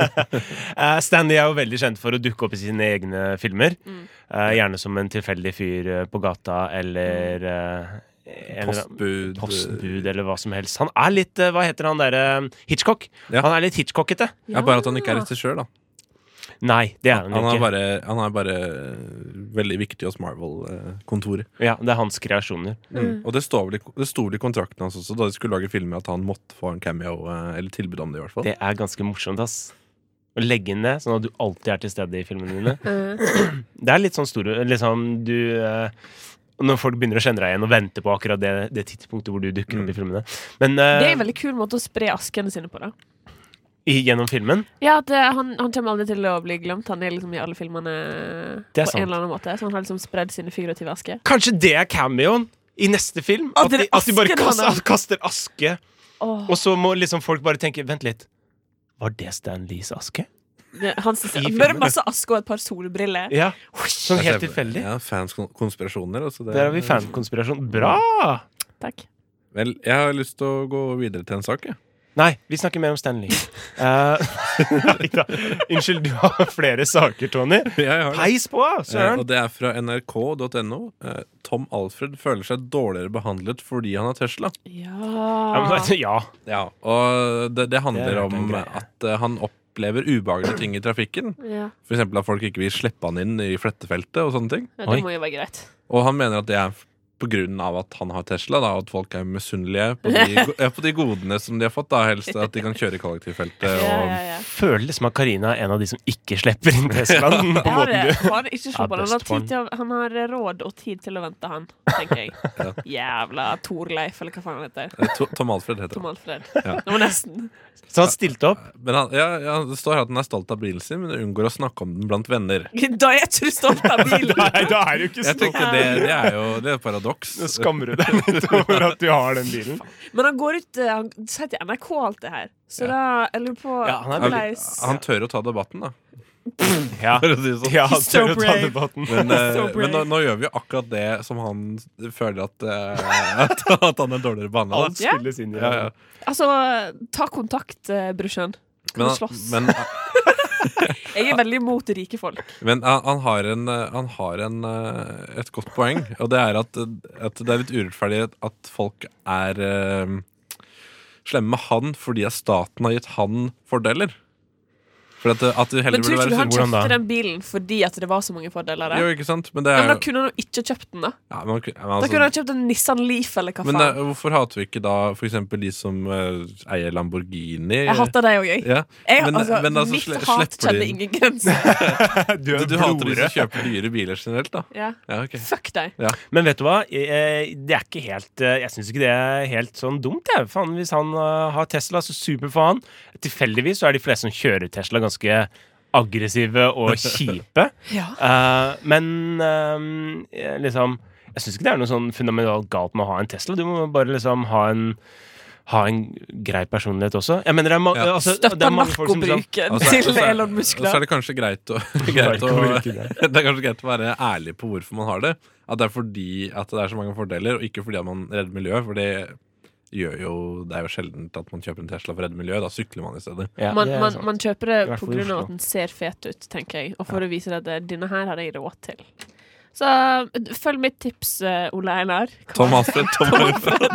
S3: Eh, Stan Lee er jo veldig kjent for å dukke opp i sine egne filmer. Eh, gjerne som en tilfeldig fyr eh, på gata eller eh, en eller annen-
S5: Postbud.
S3: Postbud eller hva som helst. Han er litt eh, Hva heter han derre Hitchcock?
S5: Ja.
S3: Han er litt Hitchcockete.
S5: Ja, bare at han ikke er regissør, da.
S3: Nei, det er han,
S5: Han er,
S3: ikke.
S5: bare, han er bare øh, veldig viktig hos Marvel-kontoret.
S3: Ja, det er hans kreasjoner.
S5: Og det, står vel i, det sto vel i kontrakten hans også, da de skulle lage filmer, at han måtte få en cameo, øh, eller tilbud om det, i hvert fall.
S3: Det er ganske morsomt, ass. Å legge inn det, sånn at du alltid er til stede i filmene dine. Det er litt sånn stor liksom, du, eh, Når folk begynner å kjenne deg igjen og venter på akkurat det, det tidspunktet hvor du dukker opp i filmene. Men eh,
S1: Det er en veldig kul måte å spre askene sine på, da.
S3: i, gjennom filmen
S1: Ja, at eh, han, han kommer aldri til å bli glemt. Han er liksom i alle filmene
S3: Det er
S1: på
S3: sant.
S1: en eller annen måte. Så han har liksom spredd sine figurative asker.
S3: Kanskje det er cameoen i neste film? At,
S1: At det
S3: de,
S1: er
S3: at de bare
S1: asken han
S3: kaster,
S1: har.
S3: kaster aske,
S1: Åh,
S3: og så må liksom folk bare tenke Vent litt. Var det Stan Lees aske?
S1: det- han synes,
S3: i
S1: bare
S3: filmen.
S1: masse aske og et par solbriller.
S3: Ja,
S1: Husk.
S3: Sånn helt
S5: Jeg ser-
S3: tilfeldig.
S5: Ja, fanskonspirasjoner. Altså det,
S3: Der har vi fankonspirasjon. Bra!
S1: Takk.
S5: Vel, jeg har lyst til å gå videre til en sak, jeg.
S3: Nei, vi snakker mer om Stan Lee. Eh, nei da. Unnskyld, du har flere saker, Tony.
S5: jeg har det.
S3: Peis på,
S5: Eh,
S3: søren!
S5: Og det er fra nrk.no. Eh, Tom Alfred føler seg dårligere behandlet fordi han har Tesla.
S3: Ja,
S1: Ja.
S3: men- altså, Ja.
S5: Ja, Og det, det handler
S3: Det er en
S5: om
S3: greie.
S5: at eh, han opplever ubehagelige ting i trafikken.
S1: ja.
S5: F.eks. at folk ikke vil slippe han inn i flettefeltet og sånne ting.
S1: Ja,
S3: Oi.
S1: det må jo være greit.
S5: Og han mener at det er på grunn av at han har Tesla, da, og at folk er misunnelige på de, go- ja, på de godene som de har fått. da, Helst at de kan kjøre i kollektivfeltet.
S1: Ja,
S5: Og,
S1: ja, ja.
S3: Føler liksom at Karina er en av de som ikke slipper inn Teslaen. på
S1: Jeg har,
S3: måten du
S1: jeg har ikke slå på det. han, har
S3: best barn.
S1: tid til å, han har råd og tid til å vente, han, tenker jeg. Jævla Torleif, eller hva faen han heter.
S5: eh, To- Tom Alfred heter
S1: Tom
S5: han.
S1: Alfred.
S5: Ja.
S1: Det var nesten.
S3: Så han stilte opp.
S5: Men han, ja, ja, det står her at han er stolt av bilen sin, men unngår å snakke om den blant venner.
S1: Da er jeg ikke stolt av bilen!
S3: Nei, da er du ikke
S5: Jeg tenker Det, det er jo det er et paradoks.
S3: Nå skammer du deg litt over at du har den bilen.
S1: Men han går ut eh, Han sier til NRK alt det her. Så da jeg lurer på
S3: Ja, han
S5: Ja,
S3: er
S1: hvordan-
S5: Han tør å ta debatten, da.
S3: Ja,
S5: For å si det sånn.
S3: ja
S1: He's so
S3: tør å ta
S1: brave.
S3: debatten.
S5: Men, eh,
S1: So brave.
S5: men nå, nå gjør vi jo akkurat det som han føler at, eh, at, at han er dårligere behandla.
S3: Alt spilles inn i
S5: Ja, ja.
S1: Altså, ta kontakt, eh, brorsan. Kan
S5: Men,
S1: du
S5: han-
S1: slåss?
S5: men,
S1: Jeg er veldig imot rike folk.
S5: men han, han har, en, eh, han har en, eh, et godt poeng, og det er at, eh, at det er litt urettferdig at- at folk er eh, slemme med han fordi at staten har gitt han fordeler. For at, det- at det heller
S1: Men tror
S5: burde
S1: ikke du
S5: være
S1: han
S5: hvordan da?
S1: kjøpte den bilen fordi at det var så mange fordeler der?
S5: Jo, ikke sant? Men det
S1: Ja,
S5: er
S1: men da
S5: jo
S1: kunne han jo ikke kjøpt den, da.
S5: ja, men, ok,
S1: Da
S5: men altså-
S1: kunne han kjøpt en Nissan Leaf, eller hva
S5: Men eh,
S1: faen.
S5: hvorfor hater vi ikke da for eksempel de som eh, eier Lamborghini?
S1: Jeg hater deg òg, jeg.
S5: ja.
S1: Jeg,
S5: Men-
S1: altså,
S5: men altså, sle-
S1: mitt hat
S5: slipper de
S1: kjenner
S5: inn?
S1: ingen grenser.
S3: Du,
S5: Du, du hater de som kjøper dyre biler generelt, da?
S1: Ja.
S5: Ja, ok.
S1: Fuck deg.
S3: Men vet du hva? Jeg- jeg- Det er ikke helt eh, Jeg syns ikke det er helt sånn dumt, jeg. Faen, hvis han eh, har Tesla, så super for han. Tilfeldigvis så er de fleste som kjører Tesla, ganske aggressive og kjipe.
S1: Ja.
S3: Eh, men eh, liksom Jeg syns ikke det er noe sånn fundamentalt galt med å ha en Tesla. Du må bare liksom ha en ha en grei personlighet også. Jeg mener det er, ma
S5: Ja.
S3: altså, det
S1: Støtta
S3: er mange folk som liksom
S1: narkobruken
S5: Altså,
S1: til
S5: altså,
S1: Elon
S5: Og så er
S1: Muskler.
S5: det kanskje greit å, greit å
S3: Narkobruken, ja.
S5: Det er kanskje greit å være ærlig på hvorfor man har det. At det er fordi at det er så mange fordeler, og ikke fordi at man redder miljøet. For det gjør jo Det er jo sjelden at man kjøper en Tesla for å redde miljøet. Da sykler man i stedet.
S3: ja,
S1: Man,
S3: det er
S1: man,
S3: sant.
S1: man kjøper det
S3: I hvert fall i
S1: pga.
S3: Oslo.
S1: at den ser fet ut, tenker jeg. Og for å vise deg at det- denne her har jeg råd til. Så følg mitt tips, eh, Ole Einar. Hva-
S5: Tom Alfred, Tom Alfred.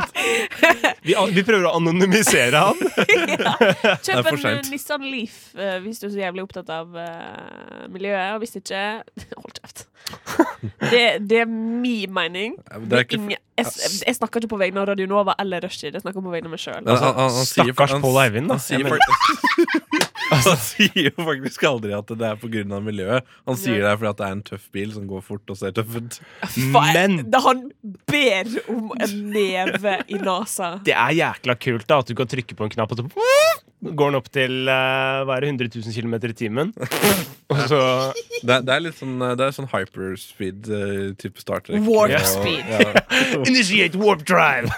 S3: vi, vi prøver å anonymisere han.
S5: er
S1: Kjøp
S5: for
S1: en eh,
S5: sent.
S1: Nissan Leaf eh, hvis du er så jævlig opptatt av eh, miljøet. Og hvis ikke, hold kjeft. Det, det er min mening.
S5: Det
S1: Det
S5: er
S1: er
S5: ikke,
S1: ingen, jeg, jeg snakker ikke på vegne av Radio Nova eller Rushdie. Jeg snakker på vegne av meg Altså, sjøl.
S5: han- han- han sier-
S3: Stakkars
S5: han-
S3: Pål Eivind, da.
S5: Han sier,
S3: Jeg mener-
S5: fak- han sier jo faktisk aldri at det er pga. miljøet. Han sier det er fordi at det er en tøff bil som går fort og ser tøff ut.
S3: men-
S1: Da han ber om en neve i nesa.
S3: det er jækla kult da at du kan trykke på en knapp, og så går den opp til eh, hva er det, 100 000 km i timen. Og så
S5: Det er, det er litt sånn, eh, det er sånn hyperspeed-type Star Trek.
S1: Warp
S5: Ja,
S1: speed.
S5: ja.
S3: Initiate warp drive!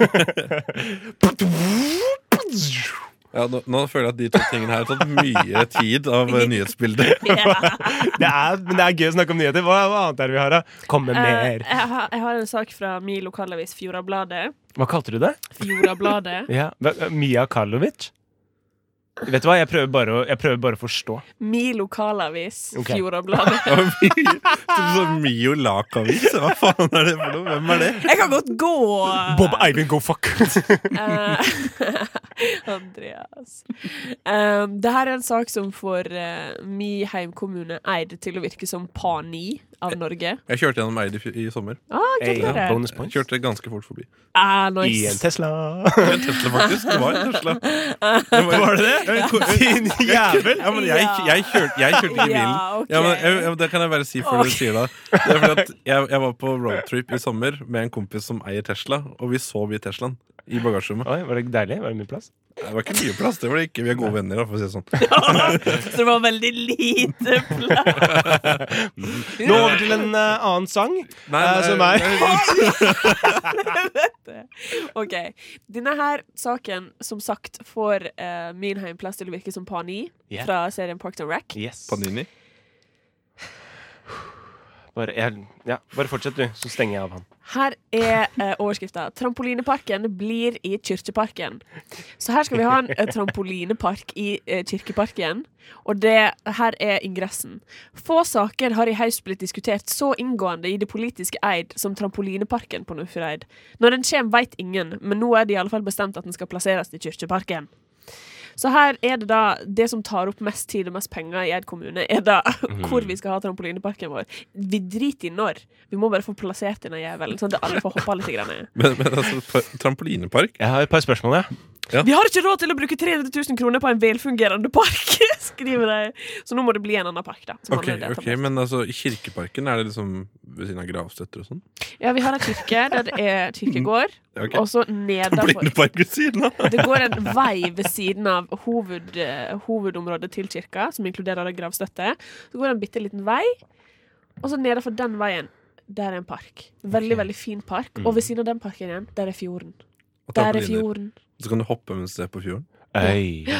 S5: Ja, nå, nå føler jeg at de to tingene her har tatt mye tid av eh, nyhetsbildet.
S3: Det er, men det er gøy å snakke om nyheter. Hva, hva annet er det vi har, da? Kom med
S1: Eh,
S3: mer.
S1: jeg, har, jeg har en sak fra min lokalavis Fjordabladet.
S3: Hva kalte du det?
S1: Fjordabladet.
S3: Ja. hva- eh, Mia Karlovic? Vet du hva, jeg prøver bare å, jeg prøver bare å forstå.
S1: Min lokalavis
S3: Ok.
S1: Fjordabladet.
S5: Av mi- til sånn Mio Lakavis? Hva faen er det for noe? Hvem er det?
S1: Jeg kan godt gå!
S3: Bob Eivind, go fuck!
S1: Eh, Andreas. Um, det her er en sak som får uh, min heimkommune Eid til å virke som pani av Norge.
S5: Jeg kjørte gjennom Eid i, fj- i sommer.
S1: Ah,
S3: Eh, Ja,
S1: gratulerer.
S3: bonus
S5: Jeg
S3: points.
S5: kjørte ganske fort forbi.
S1: Ah,
S3: I en
S1: nice.
S3: Tesla.
S5: En Tesla, faktisk. Det var en Tesla. Det var, det det?
S3: Din jævel!
S5: Ja, men jeg,
S1: Ja.
S5: jeg, kjørte, jeg kjørte ikke bilen.
S1: Ja, ok.
S5: Ja, men, jeg, jeg- det kan jeg bare si før
S1: Ok.
S5: du sier det. det er fordi at jeg, jeg var på roadtrip i sommer med en kompis som eier Tesla, og vi sov i Teslaen. I bagasjerommet.
S3: Oi, var det deilig? Var det mye plass?
S5: Det var ikke mye plass. det var det ikke Vi er gode venner, da, for å si det sånn.
S1: Så det var veldig lite plass.
S3: Nå over til en eh, annen sang.
S5: Nei,
S3: Eh,
S5: nei,
S3: som er
S5: nei,
S1: OK. Denne her saken, som sagt, får eh, min heimplass til å virke som pani
S3: Ja.
S1: fra serien Parked and Rack.
S3: Yes.
S5: Panini.
S3: Bare, jeg, ja, bare fortsett, du, så stenger jeg av han.
S1: Her er eh, overskrifta 'Trampolineparken blir i Kirkeparken'. Så her skal vi ha en eh, trampolinepark i eh, Kirkeparken. Og det her er ingressen. Få saker har i høst blitt diskutert så inngående i det politiske Eid som trampolineparken på Nordfjordeid. Når den kommer, veit ingen, men nå er det i alle fall bestemt at den skal plasseres i Kirkeparken. Så her er det da det som tar opp mest tid og mest penger i Eid kommune, er da
S5: Mhm.
S1: hvor vi skal ha trampolineparken vår. Vi driter i når. Vi må bare få plassert denne jævelen, sånn at alle får hoppa litt. Grann.
S5: Men, men altså, pa- trampolinepark?
S3: Jeg har et par spørsmål, jeg.
S1: Vi har ikke råd til å bruke 300 000 kroner på en velfungerende park, skriver de. Så nå må det bli en annen park, da. som
S5: Ok,
S1: allerede er
S5: ok, Men altså, i Kirkeparken er det liksom ved siden av gravstøtter og sånn?
S1: etablert. Ja, vi har en kirke der det er kirkegård,
S5: Mm, Ok.
S1: og så nedenfor.
S5: Trampolinepark ved siden av?
S1: Det går en vei ved siden av hoved, eh, hovedområdet til kirka, som inkluderer da gravstøtte. Så går det en bitte liten vei, og så nedenfor den veien, der er en park. Veldig, veldig fin park. Og ved siden av den parken igjen, der er fjorden.
S5: Og
S1: Der er
S5: trampoliner.
S1: fjorden.
S5: Så kan du hoppe mens du er på fjorden?
S3: Øy.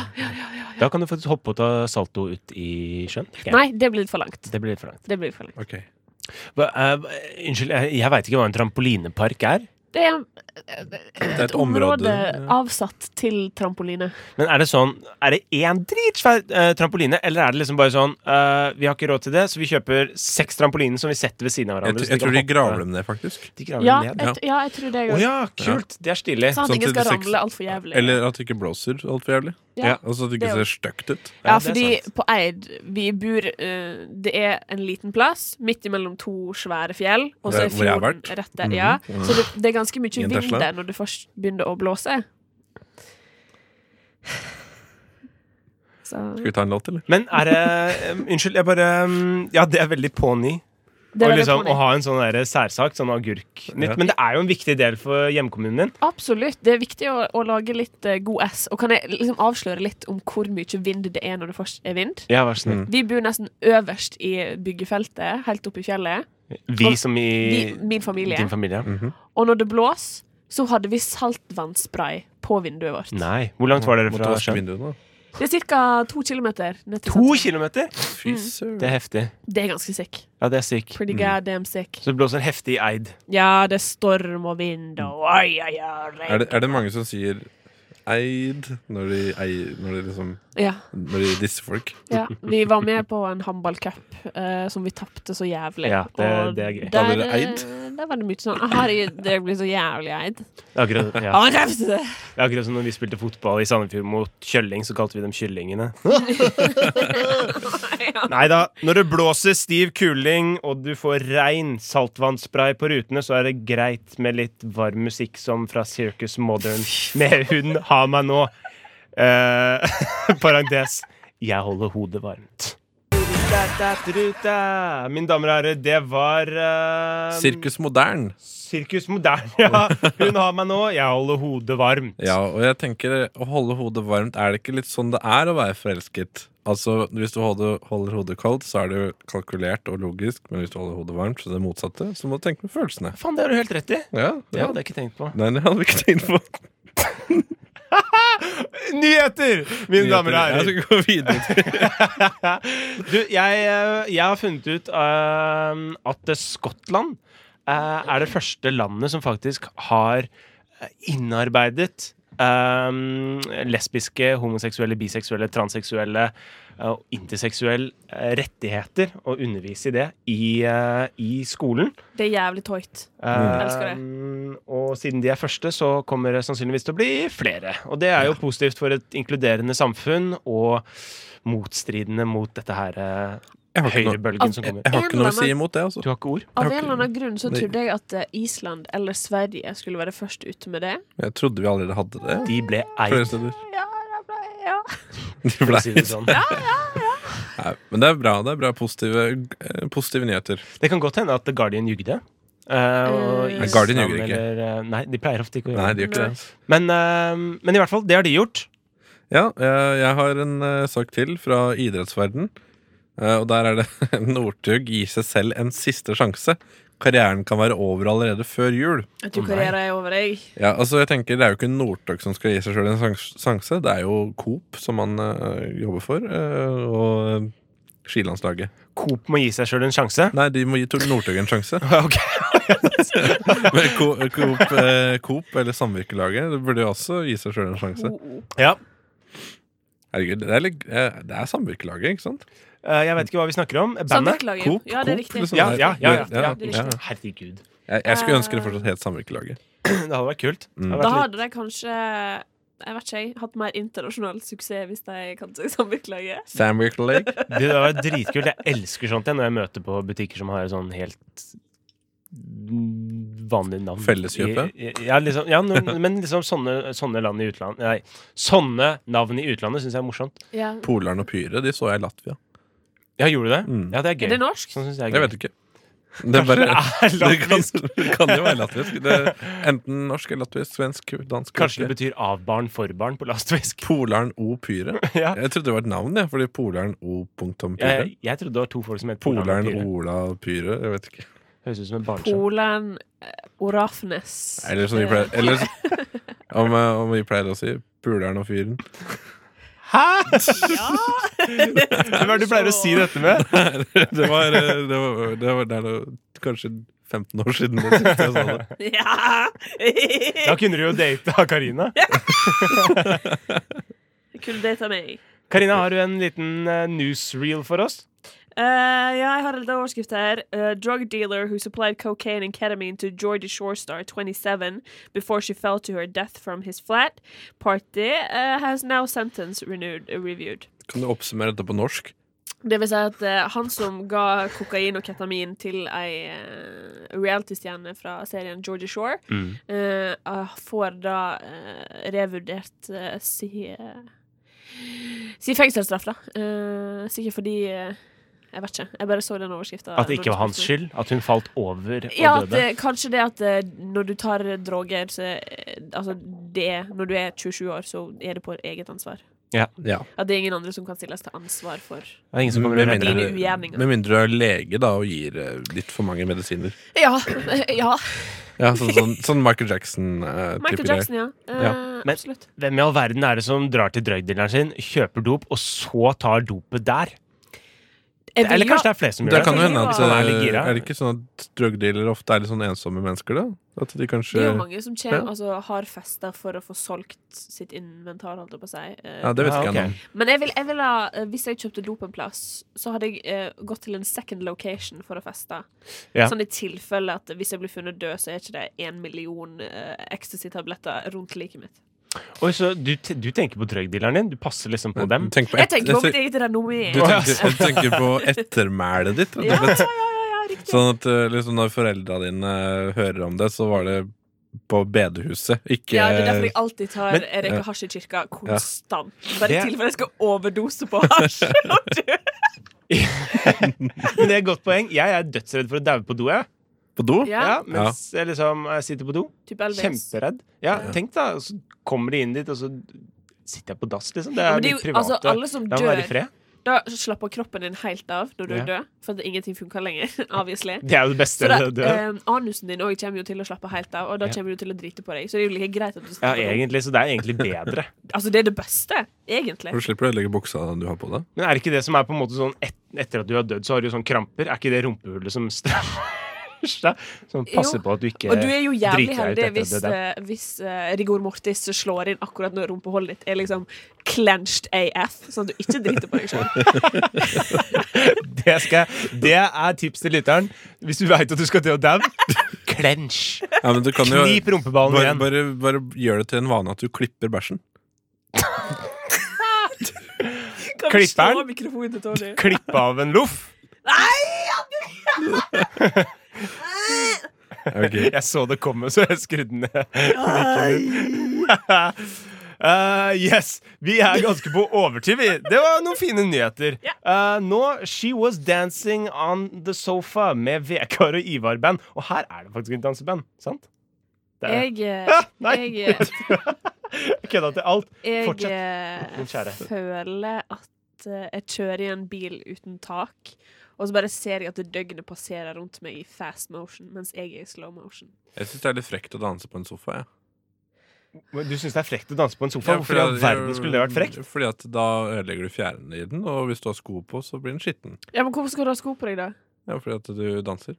S3: Da kan du faktisk hoppe og ta salto ut i sjøen. tenker jeg.
S1: Nei, det blir litt for langt.
S3: Det blir litt for langt.
S1: Det blir litt for langt.
S5: Ok
S3: Hva, eh, unnskyld, jeg, jeg veit ikke hva en trampolinepark er.
S1: Det er
S5: Det er
S1: et område
S5: ja.
S1: avsatt til trampoline.
S3: Men er det sånn Er det én dritsvær eh, trampoline, eller er det liksom bare sånn eh, Vi har ikke råd til det, så vi kjøper seks trampoliner som vi setter ved siden
S5: Jeg,
S3: av hverandre.
S5: tr-
S3: så
S5: jeg
S3: kan
S5: tror de
S3: hoppe.
S5: graver dem ned, faktisk.
S3: De graver
S1: Ja,
S3: dem ned.
S5: ja.
S1: et, ja, jeg tror det
S3: Å
S1: òg.
S3: ja, kult! Det er stilig.
S1: Sånn at ingen
S5: Samtidig
S1: skal
S5: seks-
S1: ramle altfor jævlig.
S5: Eller at det ikke blåser altfor jævlig.
S1: Ja. Ja.
S5: Altså at
S1: Det
S5: det ikke
S1: er jo- Mm.
S5: ser stygt ut.
S1: Ja,
S3: Ja, det er
S1: fordi på Eid vi bor eh, Det er en liten plass midt imellom to svære fjell. Og så
S5: Hvor-
S1: er
S5: hvor jeg har
S1: fjorden
S5: vært.
S1: rett der. Ja.
S5: Mhm.
S1: Så det, det er ganske mye
S5: I en
S1: vind
S5: Tesla.
S1: der når det først begynner å blåse. Så
S5: Skal vi ta en låt, eller?
S3: Men er det eh, Unnskyld, jeg bare mm, Ja, det er veldig påny.
S1: det
S3: å
S1: er veldig
S3: liksom,
S1: påny.
S3: å ha en sånn der særsak, sånn agurknytt.
S5: Ja.
S3: Men det er jo en viktig del for hjemkommunen din.
S1: Absolutt. Det er viktig å, å lage litt eh, god S. Og kan jeg liksom avsløre litt om hvor mye vind det er når det først er vind?
S3: Ja, vær så
S5: snill.
S1: Vi bor nesten øverst i byggefeltet, helt oppe i fjellet.
S3: Vi som i
S1: Vi, min familie.
S3: din familie.
S1: Og når det blåser, så hadde vi saltvannspray på vinduet vårt.
S3: Nei. Hvor langt var dere
S5: Måtte
S3: fra
S5: vaske
S3: sjøen?
S5: vinduene. da.
S1: Det er ca. to kilometer. ned til
S3: To
S1: sentrum.
S3: kilometer?
S1: Mm.
S5: Fy
S3: Det
S5: søren.
S3: er heftig.
S1: Det er ganske sick.
S3: Ja, det er sick.
S1: Pretty goddamn sick.
S3: Så det blåser heftig i Eid.
S1: Ja, det er storm og vind og oi, oi, oi, regn.
S5: Er, det- er det mange som sier eid når de, ei- når de liksom
S1: Ja,
S5: Når de disser folk?
S1: ja. Vi var med på en håndballcup eh, som vi tapte så jævlig.
S3: Ja, det-
S1: Og
S3: det er gøy.
S1: Der,
S5: Var dere
S1: eh,
S5: eid?
S1: der var det mye sånn Herregud, det blir så jævlig eid.
S3: Det er Akkurat, ja.
S1: Ja, men det er-
S3: Det er akkurat som når vi spilte fotball i Sandefjord mot Kjølling, så kalte vi dem Kyllingene. Nei da. Når det blåser stiv kuling, og du får rein saltvannspray på rutene, så er det greit med litt varm musikk som fra Circus Modern med Hun har meg nå. Eh, parentes. Jeg holder hodet varmt. Mine damer og herrer, det var eh,
S1: Um,
S5: Sirkus modern.
S3: Sirkus Modern, ja. Hun har meg nå. Jeg holder hodet varmt.
S5: Ja, og jeg tenker å holde hodet varmt, er det ikke litt sånn det er å være forelsket? Altså, Hvis du holder, holder hodet kaldt, så er det jo kalkulert og logisk, men hvis du holder hodet varmt, så er det motsatte. Så må du tenke med følelsene.
S3: Faen, det har du helt rett i.
S5: Ja,
S3: Det hadde jeg ikke tenkt på.
S5: Nei, det hadde vi ikke tenkt på.
S3: Nyheter, mine damer og
S5: Jeg
S3: herrer!
S5: skal gå videre til
S3: Du, jeg, eh, jeg har funnet ut eh, at Skottland eh, er det første landet som faktisk har eh, innarbeidet eh, lesbiske, homoseksuelle, biseksuelle, transseksuelle eh, og interseksuelle eh, rettigheter, og undervise i det i, eh, i skolen.
S1: Det er jævlig tøyt.
S5: Mm.
S3: Eh,
S1: Elsker
S3: og siden de er første, så kommer det sannsynligvis til å bli flere. Og det er jo positivt for et inkluderende samfunn, og motstridende mot dette her eh,
S5: Jeg har ikke noe,
S3: høyrebølgen som kommer.
S5: jeg har ikke noe å si imot det, altså.
S3: Du har ikke ord?
S1: Av
S5: Jeg har
S1: en
S5: ikke-
S1: eller annen grunn så
S5: Nei.
S1: trodde jeg at eh, Island eller Sverige skulle være først ute med det.
S5: Jeg trodde vi allerede hadde det.
S3: De ble
S5: Flere
S3: eid,
S5: steder.
S1: Ja, det ble, ja.
S5: De
S3: for å si
S5: ble.
S3: det sånn.
S5: Nei, men det er bra. Det er bra positive, eh, positive nyheter.
S3: Det kan godt hende at The Guardian jugde. Eh, og
S1: Eh,
S3: Island
S5: Guardian ljuger ikke.
S3: eller, eh, nei, de pleier ofte ikke å gjøre
S5: Nei,
S3: det.
S5: de gjør ikke det.
S3: Men, eh, men i hvert fall, det har de gjort.
S5: Ja, jeg, jeg har en eh, sak til fra idrettsverden. Eh, og der er det Northug gir seg selv en siste sjanse. Karrieren kan være over allerede før jul.
S1: Jeg tror karrieren er over, jeg.
S5: Ja, altså jeg tenker Det er jo ikke Northug som skal gi seg sjøl en sjans- sjanse. Det er jo Coop som han eh, jobber for, eh, og eh, skilandslaget.
S3: Coop må gi seg sjøl en sjanse.
S5: Nei, de må gi Tor- Northug en sjanse.
S3: Ok.
S5: Men Co- Coop, eh, Coop eller Samvirkelaget det burde jo også gi seg sjøl en sjanse.
S3: Ja.
S5: Herregud, det er, litt- eh, det er Samvirkelaget, ikke sant?
S3: Eh, jeg vet ikke hva vi snakker om. Eh, Bandet?
S1: Samvirkelaget.
S5: Coop,
S1: Ja, det er
S5: Coop,
S1: riktig.
S5: liksom.
S3: Ja, ja, ja, ja,
S1: Det er
S3: ja.
S1: riktig.
S3: Herregud.
S5: Jeg, jeg skulle ønske det fortsatt het Samvirkelaget.
S3: Det hadde vært kult. Det
S5: Mm.
S3: hadde
S1: Da
S3: vært litt-
S1: hadde de kanskje jeg vet ikke, jeg, hatt mer internasjonal suksess hvis de kan seg samvirkelage.
S5: Samvirkelag?
S3: Det hadde vært dritkult. Jeg elsker sånt jeg, når jeg møter på butikker som har sånn helt vanlig navn.
S5: Felleskjøpet?
S3: I- i- Ja, liksom, ja no, men liksom sånne, sånne land i utlandet Nei, sånne navn i utlandet syns jeg er morsomt.
S1: Ja.
S5: Polaren og Pyre, de så jeg i Latvia.
S3: Ja, gjorde du det?
S5: Mm.
S3: Ja, det er gøy.
S1: Er det norsk?
S3: Sånn synes jeg er gøy.
S5: Jeg vet ikke. Det, er bare,
S3: Kanskje det er
S5: det, kan,
S3: latvisk.
S5: det kan jo være latvisk. Det, er enten norsk, eller latvisk, svensk, dansk husker
S3: Kanskje det
S5: jeg.
S3: betyr av barn for barn på lastfisk.
S5: Polaren O. Pyre?
S3: Ja.
S5: Jeg trodde det var et navn, jeg. Fordi Polaren O. Punktum Pyre.
S3: Jeg, jeg trodde det var to folk som het Polan
S5: Polaren
S3: og Pyre.
S5: Ola Pyre. Jeg vet ikke.
S3: Høres ut som en barneskjønn.
S1: Polen eh, Orafnes.
S5: Eller som vi pleier
S1: Eh.
S5: eller, som- om, eh, om vi pleier å si Puleren og fyren.
S3: Hæ?!
S1: Eh, Ja!
S3: Hvem er det du pleier å si dette med?
S5: Det var, eh, det var, det var, det er noe- kanskje 15 år siden det siste jeg sa det.
S3: Da
S1: ja.
S3: kunne du jo data Karina.
S1: Kunne det ta meg?
S3: Karina, har du en liten eh, newsreel for oss?
S1: Eh, ja, jeg har en liten overskrift her. Eh, drug dealer who supplied cocaine and ketamine to Georgia Shorestar, 27, before she fell to her death from his flat party, eh, has now sentence renewed, uh, reviewed.
S5: Kan du oppsummere dette på norsk?
S1: Det vil si at eh, han som ga kokain og ketamin til ei eh, reality-stjerne fra serien Georgia Shore,
S3: Mm.
S1: eh, ah, får da eh, revurdert eh, si eh, Si fengselsstraff, da. Eh, sikkert fordi eh, Jeg vet ikke. Jeg bare så den overskrifta.
S3: At det ikke var hans skyld? At hun falt over og
S1: Ja, at,
S3: døde?
S1: eh, kanskje det at eh, når du tar droger, så eh, Altså, det Når du er 27 år, så er det på eget ansvar.
S5: Ja.
S1: At det er ingen andre som kan stilles til ansvar for
S3: Det er ingen som kommer
S5: Med
S3: og redder
S1: dine
S3: henne.
S5: mindre,
S1: ugjerninger.
S5: med mindre du er lege da og gir eh, litt for mange medisiner.
S1: Ja. ja.
S5: Ja, sånn, sånn, sånn Michael Jackson-type
S1: Michael Jackson, ja. Eh,
S5: Ja.
S3: Men-
S1: Absolutt.
S3: Hvem i all verden er det som drar til drugdealeren sin, kjøper dop, og så tar dopet der?
S1: Jeg vil
S3: Eller
S1: jo-
S3: kanskje det er flere som gjør
S5: Det
S3: det?
S5: kan jo hende at
S1: Ja.
S5: eh,
S3: Er litt gira.
S5: Er det ikke sånn at drugdealere ofte er litt sånn ensomme mennesker, da? At de
S1: det
S5: kanskje
S1: er jo mange som kjem,
S5: Ja.
S1: altså, har fester for å få solgt sitt inventar, holdt jeg på å si. Eh,
S5: Ja, det vet
S3: Ja,
S5: ikke jeg
S3: ok.
S5: noe om.
S1: Men jeg vil, jeg vil ha, eh, hvis jeg kjøpte dop en plass, så hadde jeg eh, gått til en second location for å feste.
S3: Ja.
S1: Sånn i tilfelle at hvis jeg blir funnet død, så er ikke det én million eh, ecstasy-tabletter rundt liket mitt.
S3: Oi, så du, te- du tenker på drugdealeren din? Du passer liksom på dem?
S5: Tenk på
S1: Jeg
S5: et,
S1: tenker på
S5: jeg
S1: mitt eget renommé.
S5: tenk- du
S1: Ja,
S5: tenker, jeg tenker på ettermælet ditt, rett
S1: ja,
S5: og
S1: ja,
S5: slett.
S1: ja, ja, riktig.
S5: Sånn at eh, liksom, når foreldra dine eh, hører om det, så var det på bedehuset, ikke
S1: Ja, det er derfor jeg alltid tar
S3: Men-
S1: Erika
S5: Ja.
S1: Hasj i kirka konstant. Bare i
S3: Det-
S1: tilfelle jeg skal overdose på hasj og dø.
S3: Men det er et godt poeng. Jeg er dødsredd for å daue på do, jeg.
S5: på do.
S1: Ja.
S3: Ja, mens jeg liksom eh, sitter på do.
S1: Typ Elvis.
S3: Kjemperedd. Ja, tenk da, og så kommer de inn dit, og så sitter jeg på dass, liksom. Det
S1: Ja,
S3: er
S1: men det er
S3: mitt
S1: jo- altså,
S3: private.
S1: alle som
S3: La meg være i
S1: dør
S3: fred.
S1: Da slapper kroppen din helt av når du
S3: Ja.
S1: er død, for at ingenting funker lenger. obviously.
S3: Det er jo det beste.
S1: Så da,
S3: det, det.
S1: eh, anusen din òg kommer jo til å slappe helt av, og da
S3: Ja.
S1: kommer du til å drite på deg. Så det er jo like greit at du
S3: Ja,
S1: slapper av.
S3: egentlig, så det er egentlig bedre.
S1: Altså, det er det beste, egentlig.
S5: For Du slipper å ødelegge buksa du har på deg.
S3: Men er det ikke det som er på en måte sånn et, Etter at du har dødd, så har du jo sånn kramper? Er ikke det rumpehullet som straffer deg? Som passer
S1: Jo.
S3: på at du ikke
S1: Og du er jo jævlig
S3: driter deg ut
S1: heldig
S3: etter
S1: hvis,
S3: at du er død.
S1: eh, hvis eh, rigor mortis slår inn akkurat når rumpehullet ditt er liksom clenched AF, sånn at du ikke driter på deg sjøl. eh,
S3: Det, skal, jeg- det er tips til lytteren. Hvis du veit at du skal til å daue, clench.
S5: Ja, men du kan jo
S3: Knip rumpeballen
S5: bare,
S3: igjen.
S5: bare, bare gjør det til en vane at du klipper bæsjen.
S3: Klipper'n?
S1: mikrofonen til Tony?
S3: Klippe av en loff.
S5: Okay.
S3: Jeg så det komme, så jeg skrudde ned. mikken min. Uh, yes, vi er ganske på overtid. vi. Det var noen fine nyheter. Uh, nå She Was Dancing On The Sofa med Vekar og Ivar-band. Og her er det faktisk et danseband, sant? Det er det.
S1: Jeg, eh,
S3: Ah, nei!
S1: jeg, eh,
S3: Jeg kødda til alt.
S1: jeg
S3: Fortsett,
S1: eh,
S3: min kjære.
S1: føler at eh, jeg kjører i en bil uten tak, og så bare ser jeg at døgnet passerer rundt meg i fast motion, mens jeg er i slow motion.
S5: Jeg syns det er litt frekt å danse på en sofa. Ja.
S3: Men Du syns det er frekt å danse på en sofa? Hvorfor i all verden skulle det vært frekt?
S5: Fordi at da ødelegger du fjærene i den, og hvis du har sko på, så blir den skitten.
S1: Ja, men Hvorfor skal du ha sko på deg, da?
S5: Ja, fordi at du danser.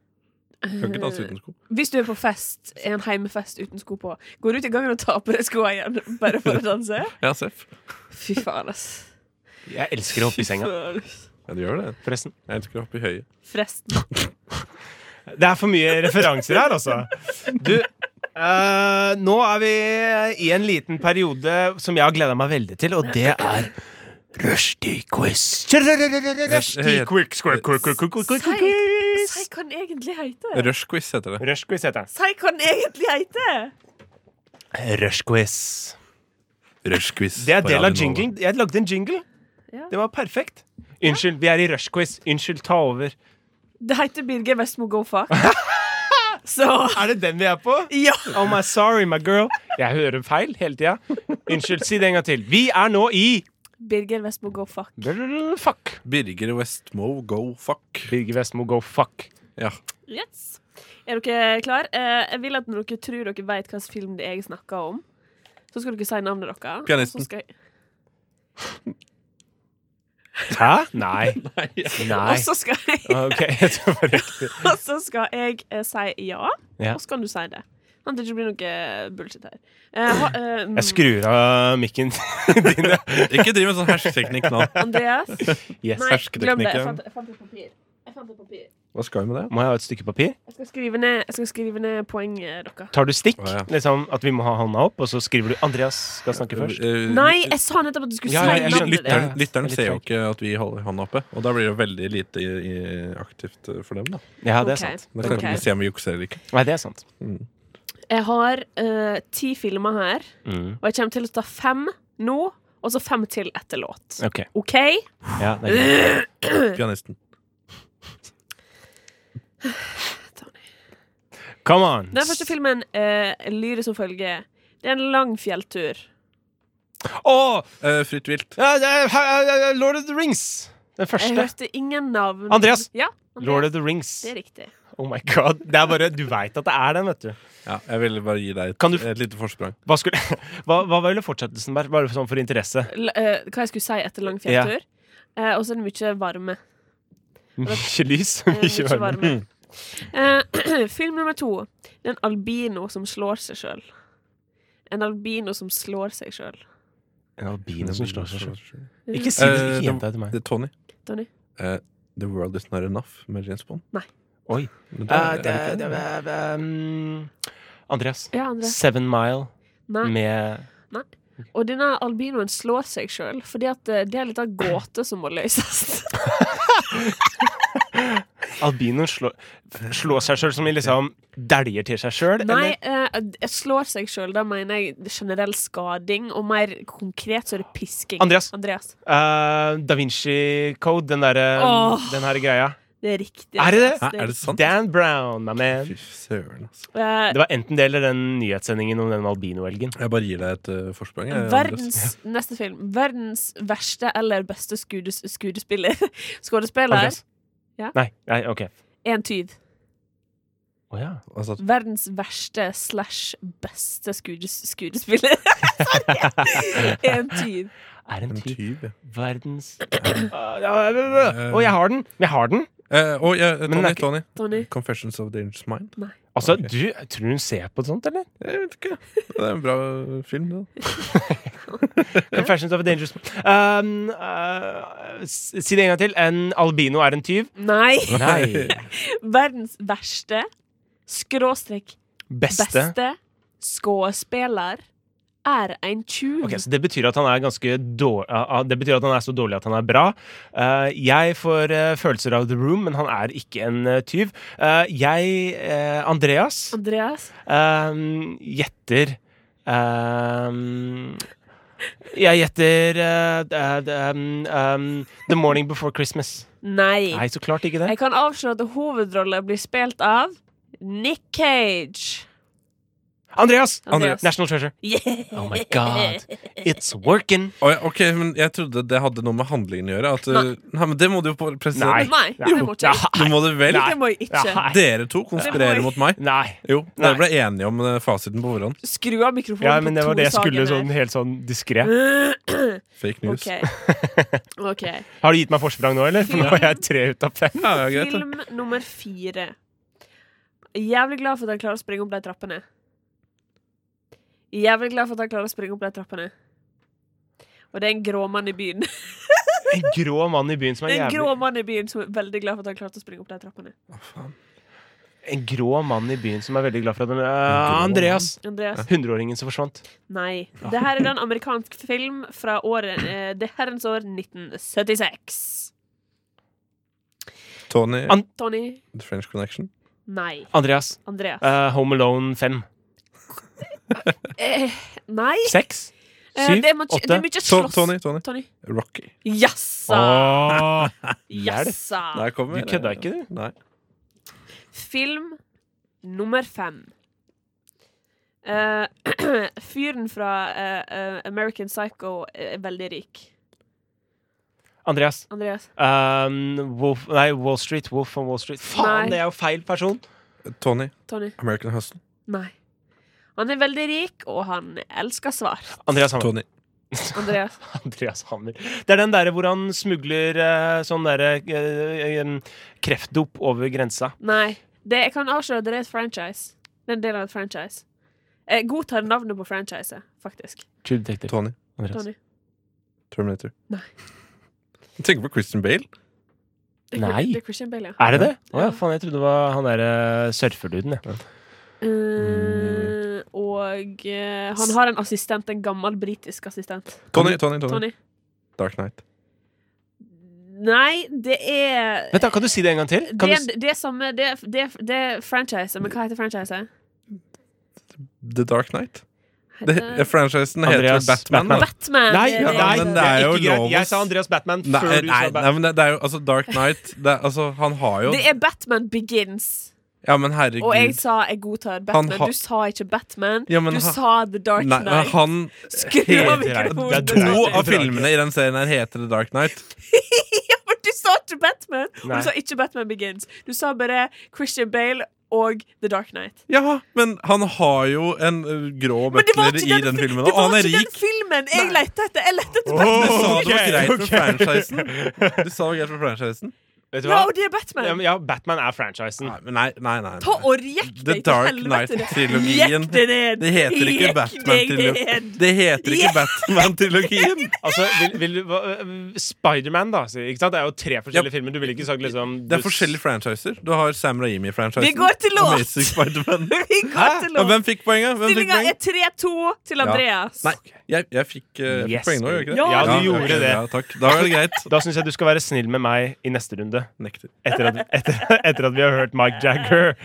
S5: Du kan ikke danse uten sko.
S1: Hvis du er på fest, en heimefest uten sko på, går du ut i gangen og tar på deg skoa igjen bare for å danse?
S5: Ja, seff.
S1: Fy faen, ass.
S3: Jeg elsker å hoppe i senga,
S1: Fy faen.
S5: Ja, du gjør det.
S3: forresten.
S5: Jeg elsker å hoppe i høyet.
S1: Forresten.
S3: Det er for mye referanser her, altså. Du, eh, nå er vi i en liten periode som jeg har gleda meg veldig til, og det er Rushdie-quiz.
S1: Si
S3: Rushdie-quiz.
S1: hva den egentlig heter.
S5: Rushquiz heter det.
S3: Rush-quiz heter den.
S1: Si hva den egentlig heter.
S3: Rush-quiz.
S5: Rushquiz.
S3: Det er del av
S5: jingling
S3: jingling. Jeg lagde en jingle.
S1: Ja.
S3: Det var perfekt. Unnskyld, vi er i rush-quiz. Unnskyld, ta over.
S1: Det heter Birger Vestmo Go Fuck. Så
S3: Er det den vi er på?
S1: ja.
S3: Oh my sorry, my girl. Jeg hører feil hele tida. Unnskyld, si det en gang til. Vi er nå i
S1: Birger Vestmo Go Fuck.
S3: Fuck.
S5: Birger Westmo, go fuck.
S3: Birger Vestmo, go fuck.
S5: Ja.
S1: Yes. Er dere klar? Eh, jeg vil at når dere tror dere vet hvilken film det er jeg snakker om, så skal dere si navnet deres.
S5: Pianisten.
S1: Så skal jeg-
S3: Hæ? Nei. Nei.
S1: Og så skal jeg
S3: Ok, jeg tror det var riktig.
S1: Og så skal jeg eh, si ja,
S3: Ja.
S1: og så kan du si det. Sånn at det ikke blir noe bullshit her. Eh, ha, eh,
S3: Jeg skrur av mikken din.
S5: Ikke driv med sånn hersketeknikk nå.
S1: Andreas? Nei, glem det.
S3: Yes.
S1: Jeg
S5: hersketeknikken.
S1: fant, jeg fant et papir. Jeg fant et papir.
S5: Hva skal vi med det?
S3: Må jeg ha et stykke papir?
S1: Jeg skal skrive ned, jeg skal skrive ned poenget eh, deres.
S3: Tar du stikk?
S5: Å, ja.
S3: Liksom At vi må ha hånda opp, og så skriver du Andreas skal snakke først.
S5: Eh,
S1: Nei, jeg sa nettopp at du skulle
S3: Ja,
S1: si
S3: ja, jeg
S5: Lyt-
S1: navnet
S3: skjønte
S1: ditt.
S5: Lytteren,
S3: det.
S5: lytteren
S3: Litt
S5: ser jo
S3: feil.
S5: ikke at vi holder hånda oppe, og da blir det veldig lite i, i aktivt eh, for dem. da
S3: Ja, det er
S1: Ok.
S3: sant.
S5: Da kan
S1: Ok.
S5: vi se om vi jukser eller ikke.
S3: Nei, det er sant.
S1: Jeg har eh, ti filmer her,
S3: Mm.
S1: og jeg kommer til å ta fem nå, og så fem til etter låt.
S3: Ok.
S1: OK?
S3: Ja, det er greit.
S5: Pianisten.
S3: Come on.
S1: Den første filmen uh, lyder som følger. Det er en lang fjelltur.
S3: Å!
S5: Eh, fritt vilt.
S3: Ja, det er- ha- ha- ha- Lord of the Rings. Den
S1: Jeg
S3: første.
S1: hørte ingen navn.
S3: Andreas!
S1: Ja, Andreas.
S3: Lord of the Rings.
S1: Det er riktig.
S3: Oh my god. Det er bare, Du veit at det er den, vet du.
S5: Ja, jeg ville bare gi deg et,
S3: Kan du-
S5: et lite forsprang.
S3: Hva, skulle, hva, hva ville fortsettelsen vært? Bare sånn for interesse.
S1: L eh, hva jeg skulle si etter lang fjelltur. Eh, og så er det mye varme.
S3: Mye lys,
S1: Eh,
S3: mye
S1: mye
S3: varme. Mm.
S1: varme. Eh, film nummer to. Det er en albino som slår seg sjøl. En albino som slår seg sjøl.
S3: En albino som slår seg selv.
S5: Eh,
S3: Ikke si det
S5: det-
S3: til jenta til meg.
S5: det er Tony.
S1: Tony?
S5: Eh, The World Is Not Enough med James Bond.
S1: Nei.
S3: Oi.
S5: Men det
S3: Eh,
S5: er-
S3: det,
S5: er det
S3: det,
S5: ikke det?
S3: det- um, Andreas.
S1: Ja, Andreas.
S3: Seven Mile
S1: Nei.
S3: med
S1: Og denne albinoen slår seg sjøl, fordi at eh, det er litt av en gåte som må løses.
S3: Albinoen slår slå seg sjøl som i liksom dæljer til seg sjøl?
S1: Nei, eh, jeg slår seg sjøl, da mener jeg generell skading, og mer konkret så er det pisking.
S3: Andreas.
S1: Andreas.
S3: da eh, Vinci Code, den derre
S1: Åh.
S3: den her greia.
S1: Det er riktig.
S3: Er det det?
S1: ass.
S5: Hæ, er det sant?
S3: Dan Brown, my man.
S5: Fy søren, altså.
S1: Eh,
S3: Det var enten det eller den nyhetssendingen om den albinoelgen.
S5: Jeg bare gir deg et eh, forsprang. jeg, Andres.
S1: Verdens neste film. Verdens verste eller beste skudes, skuespiller. Skuespiller.
S3: Andreas?
S1: Ja.
S3: Nei, nei, OK.
S1: En tyv.
S3: Å ja.
S5: Altså,
S1: Verdens verste slash beste skudes, skuespiller. Sorry! En tyv.
S3: Er en
S5: en
S3: tyv
S5: tyv, ja.
S3: verdens Ah, ja, ja, ja, ja. Å, jeg har den! Jeg har den!
S5: Eh, å, ja,
S3: Men den
S5: Tony,
S3: er ikke-
S5: Tony.
S1: Tony.
S5: Confessions of Dangerous Mind.
S3: Altså,
S5: Ok.
S3: du, Tror du hun ser på et sånt, eller?
S5: Jeg vet ikke. Det er en bra film, det.
S3: Confessions of a Dangerous um, uh, s- Si det en gang til. En albino er en tyv.
S1: Nei.
S3: Nei.
S1: Verdens verste skråstrek
S3: Beste.
S1: beste skuespiller er en tjuv.
S3: Ok, så Det betyr at han er ganske dårlig Det betyr at han er så dårlig at han er bra. Eh, jeg får eh, følelser av The Room, men han er ikke en eh, tyv. Eh, jeg, eh, Andreas,
S1: Andreas.
S3: eh, gjetter eh, Jeg gjetter eh, eh, eh, eh, The Morning Before Christmas.
S1: Nei.
S3: Nei, så klart ikke det.
S1: Jeg kan avsløre at hovedrollen blir spilt av Nick Cage.
S3: Andreas!
S1: Andreas.
S3: National Treasure.
S1: Yeah.
S3: Oh my god, it's working!
S5: Å, ja, ok, men jeg trodde det hadde noe med handlingen å gjøre. At, uh, nei, men det må du jo på- presisere.
S3: Nei.
S1: Nei, det må ikke jeg.
S5: Du må det vel.
S1: Det må jeg ikke.
S3: Nei.
S5: Dere to konspirerer
S1: Nei.
S5: mot meg.
S3: Nei.
S5: Jo,
S3: Nei.
S5: dere ble enige om eh, fasiten på forhånd.
S1: Skru av mikrofonen
S3: Ja, men det var
S1: på to
S3: det jeg skulle
S1: saker
S3: sånn
S1: her.
S3: helt sånn diskré.
S5: Fake news.
S1: OK. Ok.
S3: Har du gitt meg forsprang nå, eller? For nå er jeg tre ut av fem.
S5: Ja, ja, greit, det.
S1: Film nummer fire. Jævlig glad for at han klarer å springe opp de trappene. Jævlig glad for at han klarer å springe opp de trappene. Og det er en grå mann i byen.
S3: En grå mann i byen som
S1: Det er
S3: er
S1: en grå
S3: jævlig
S1: mann i byen som er veldig glad for at han klarte å springe opp de trappene.
S5: Å, faen.
S3: En grå mann i byen som er veldig glad for at han
S5: grå
S3: Andreas!
S1: Andreas?
S3: Hundreåringen som forsvant.
S1: Nei. Det her er en amerikansk film fra året eh, Det herrens år 1976.
S5: Tony,
S3: An-
S1: Tony?
S5: The French Connection.
S1: Nei.
S3: Andreas.
S1: Andreas?
S3: eh, Home Alone 5.
S1: Eh, nei.
S3: 6?
S1: Eh,
S3: 7?
S1: det, er mye, det
S3: 8?
S1: er mye
S5: To
S1: slåss.
S5: Tony, Tony.
S1: Tony.
S5: Rocky.
S1: Jassa!
S3: Åh,
S1: Jassa!
S5: Der kommer
S3: Du kødda ikke, du?
S5: Nei.
S1: Film nummer fem. Eh, fyren fra eh, eh, American Psycho er veldig rik.
S3: Andreas.
S1: Andreas?
S3: Um, Wolf, nei, Wall Street. Wolf on Wall Street. Faen,
S1: Nei.
S3: det er jo feil person!
S5: Tony,
S1: Tony?
S5: American Hustle.
S1: Nei. Han er veldig rik, og han elsker svart.
S3: Andreas Hammer.
S5: Tony.
S1: Andreas?
S3: Andreas Hammer. Det er den derre hvor han smugler eh, sånn derre eh, eh, kreftdop over grensa.
S1: Nei. Det, jeg kan avsløre at det er et franchise. Det er en del av et franchise. Jeg godtar navnet på franchiset, faktisk.
S3: True Detective.
S5: Tony.
S3: Andreas.
S1: Tony?
S5: Terminator.
S1: Nei.
S5: Jeg tenker på Christian Bale.
S1: Det er-
S3: Nei. Ah.
S1: Det er Christian Bale, ja.
S3: Er det det? Å ja, faen, jeg trodde det var han derre surferduden, jeg.
S1: Eh, og eh, han har en assistent, en gammel britisk assistent.
S5: Tony, Tony, Tony.
S1: Tony?
S5: Dark Knight.
S1: Nei, det er
S3: Vent da, Kan du si det en gang til?
S1: det,
S3: Kan du...
S1: er-
S3: s-
S1: det er samme Det, er- det, er- det er franchise, men hva heter franchise?
S5: The Dark Knight. Det,
S1: Heter-
S5: franchisen
S3: Andreas
S5: heter Batman.
S3: Batman.
S5: da.
S1: Batman!
S3: Nei,
S1: det er
S5: ja,
S1: det.
S3: nei,
S5: men
S3: det er
S5: jo
S3: ikke greit.
S5: lov å
S3: Jeg
S5: s-
S3: sa Andreas Batman
S5: Nei, nei,
S3: før du sa
S5: nei,
S3: Batman.
S5: men det, det er jo altså Dark Knight det, er- Altså, han har jo
S1: Det er Batman Begins.
S5: Ja, men
S1: Og jeg
S5: herregud.
S1: sa jeg godtar Batman.
S5: Han har-
S1: Du sa ikke Batman.
S5: Ja, men
S1: du
S5: han-
S1: sa The Dark
S5: Nei, men
S1: Knight.
S5: han
S1: Skru av
S3: Helt greit.
S1: mikrofonen!
S3: Det er
S5: To
S3: Drake.
S5: av filmene i den serien her heter The Dark Knight.
S1: Ja, men du sa ikke Batman! Og
S3: Nei.
S1: du sa ikke Batman Begins. Du sa bare Christian Bale og The Dark Knight.
S5: Ja, men han har jo en ø, grå
S1: Men det var
S5: butler
S1: ikke
S5: i
S1: den,
S5: den
S1: fi-
S5: filmen,
S1: det
S5: og
S1: var
S5: han er
S1: ikke den
S5: rik.
S1: filmen jeg lette etter! Jeg lette etter
S5: Du
S1: Batman!
S5: sa det var
S3: Ok,
S5: greit for
S3: ok.
S5: franchisen. Du sa det var greit for franchisen.
S3: Vet du hva?
S1: Ja, og det er Batman!
S3: Ja, men- Ja, Batman er franchisen.
S5: Nei, men nei, nei. nei,
S1: Ta
S5: nei.
S1: og rjekk deg
S5: The
S1: til
S5: Dark
S1: helvete ned.
S5: Knight-trilogien.
S1: Jekk deg ned.
S5: Det heter ikke
S1: Jekk deg
S5: Batman-trilogien.
S1: ned.
S5: Det heter ikke Batman-trilogien.
S3: Altså, vil, vil, du- hva- eh, Spiderman, da. sier- Ikke sant? Det er jo tre forskjellige filmer. Du ville ikke sagt liksom
S5: Det er
S3: du-
S5: forskjellige franchiser. Du har Sam Raimi-franchisen.
S1: Vi går til låt.
S5: Amazing Spider-Man.
S1: Vi går til
S5: Ja,
S1: lov.
S5: hvem fikk poenget? Hvem fikk
S1: Stillinga er
S5: poeng?
S1: 3-2 til Andreas.
S5: Nei, jeg, jeg fikk, ø, jeg fikk
S3: Yes,
S5: poeng nå, gjorde jeg ikke det?
S1: Ja, Ja,
S3: du gjorde
S5: ok,
S3: det.
S5: Ja, takk. Da var det greit.
S3: Da syns jeg du skal være snill med meg i neste runde.
S5: Nekter.
S3: Etter at, etter, etter at vi har hørt Mike Jagger.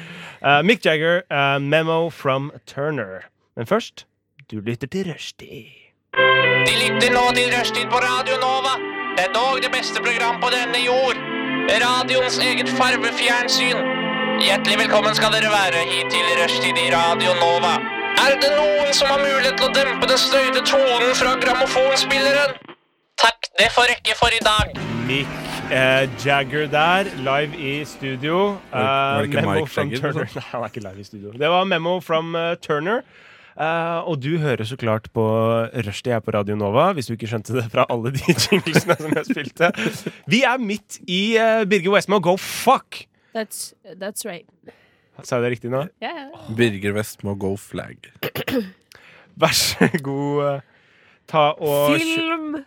S3: Eh, Mick Jagger, eh, 'Memo from Turner'. Men først du lytter til Rushdie.
S2: De lytter nå til Rushtid på Radio Nova. Det er dog det beste program på denne jord.
S6: Radions eget farvefjernsyn. Hjertelig velkommen skal dere være hit til Rushtid i Radio Nova. Er det noen som har mulighet til å dempe den støyte tonen fra grammofonspilleren? Takk, det får rekke for i dag.
S3: Mick eh, Jagger der, live i studio. Eh,
S5: var det ikke
S3: Memo
S5: Mike
S3: from
S5: Jagger,
S3: Turner.
S5: liksom?
S3: Nei, han er ikke live i studio. Det var Memo from eh, Turner. Eh, og du hører så klart på Rushdie her på Radio Nova, hvis du ikke skjønte det fra alle de jinglesene som jeg spilte. Vi er midt i eh, Birger Westmo Go Fuck!
S7: That's, that's right.
S3: Sa jeg det riktig nå?
S7: Ja, ja.
S5: Birger West må go flag.
S3: Vær så god. eh, ta og
S1: Film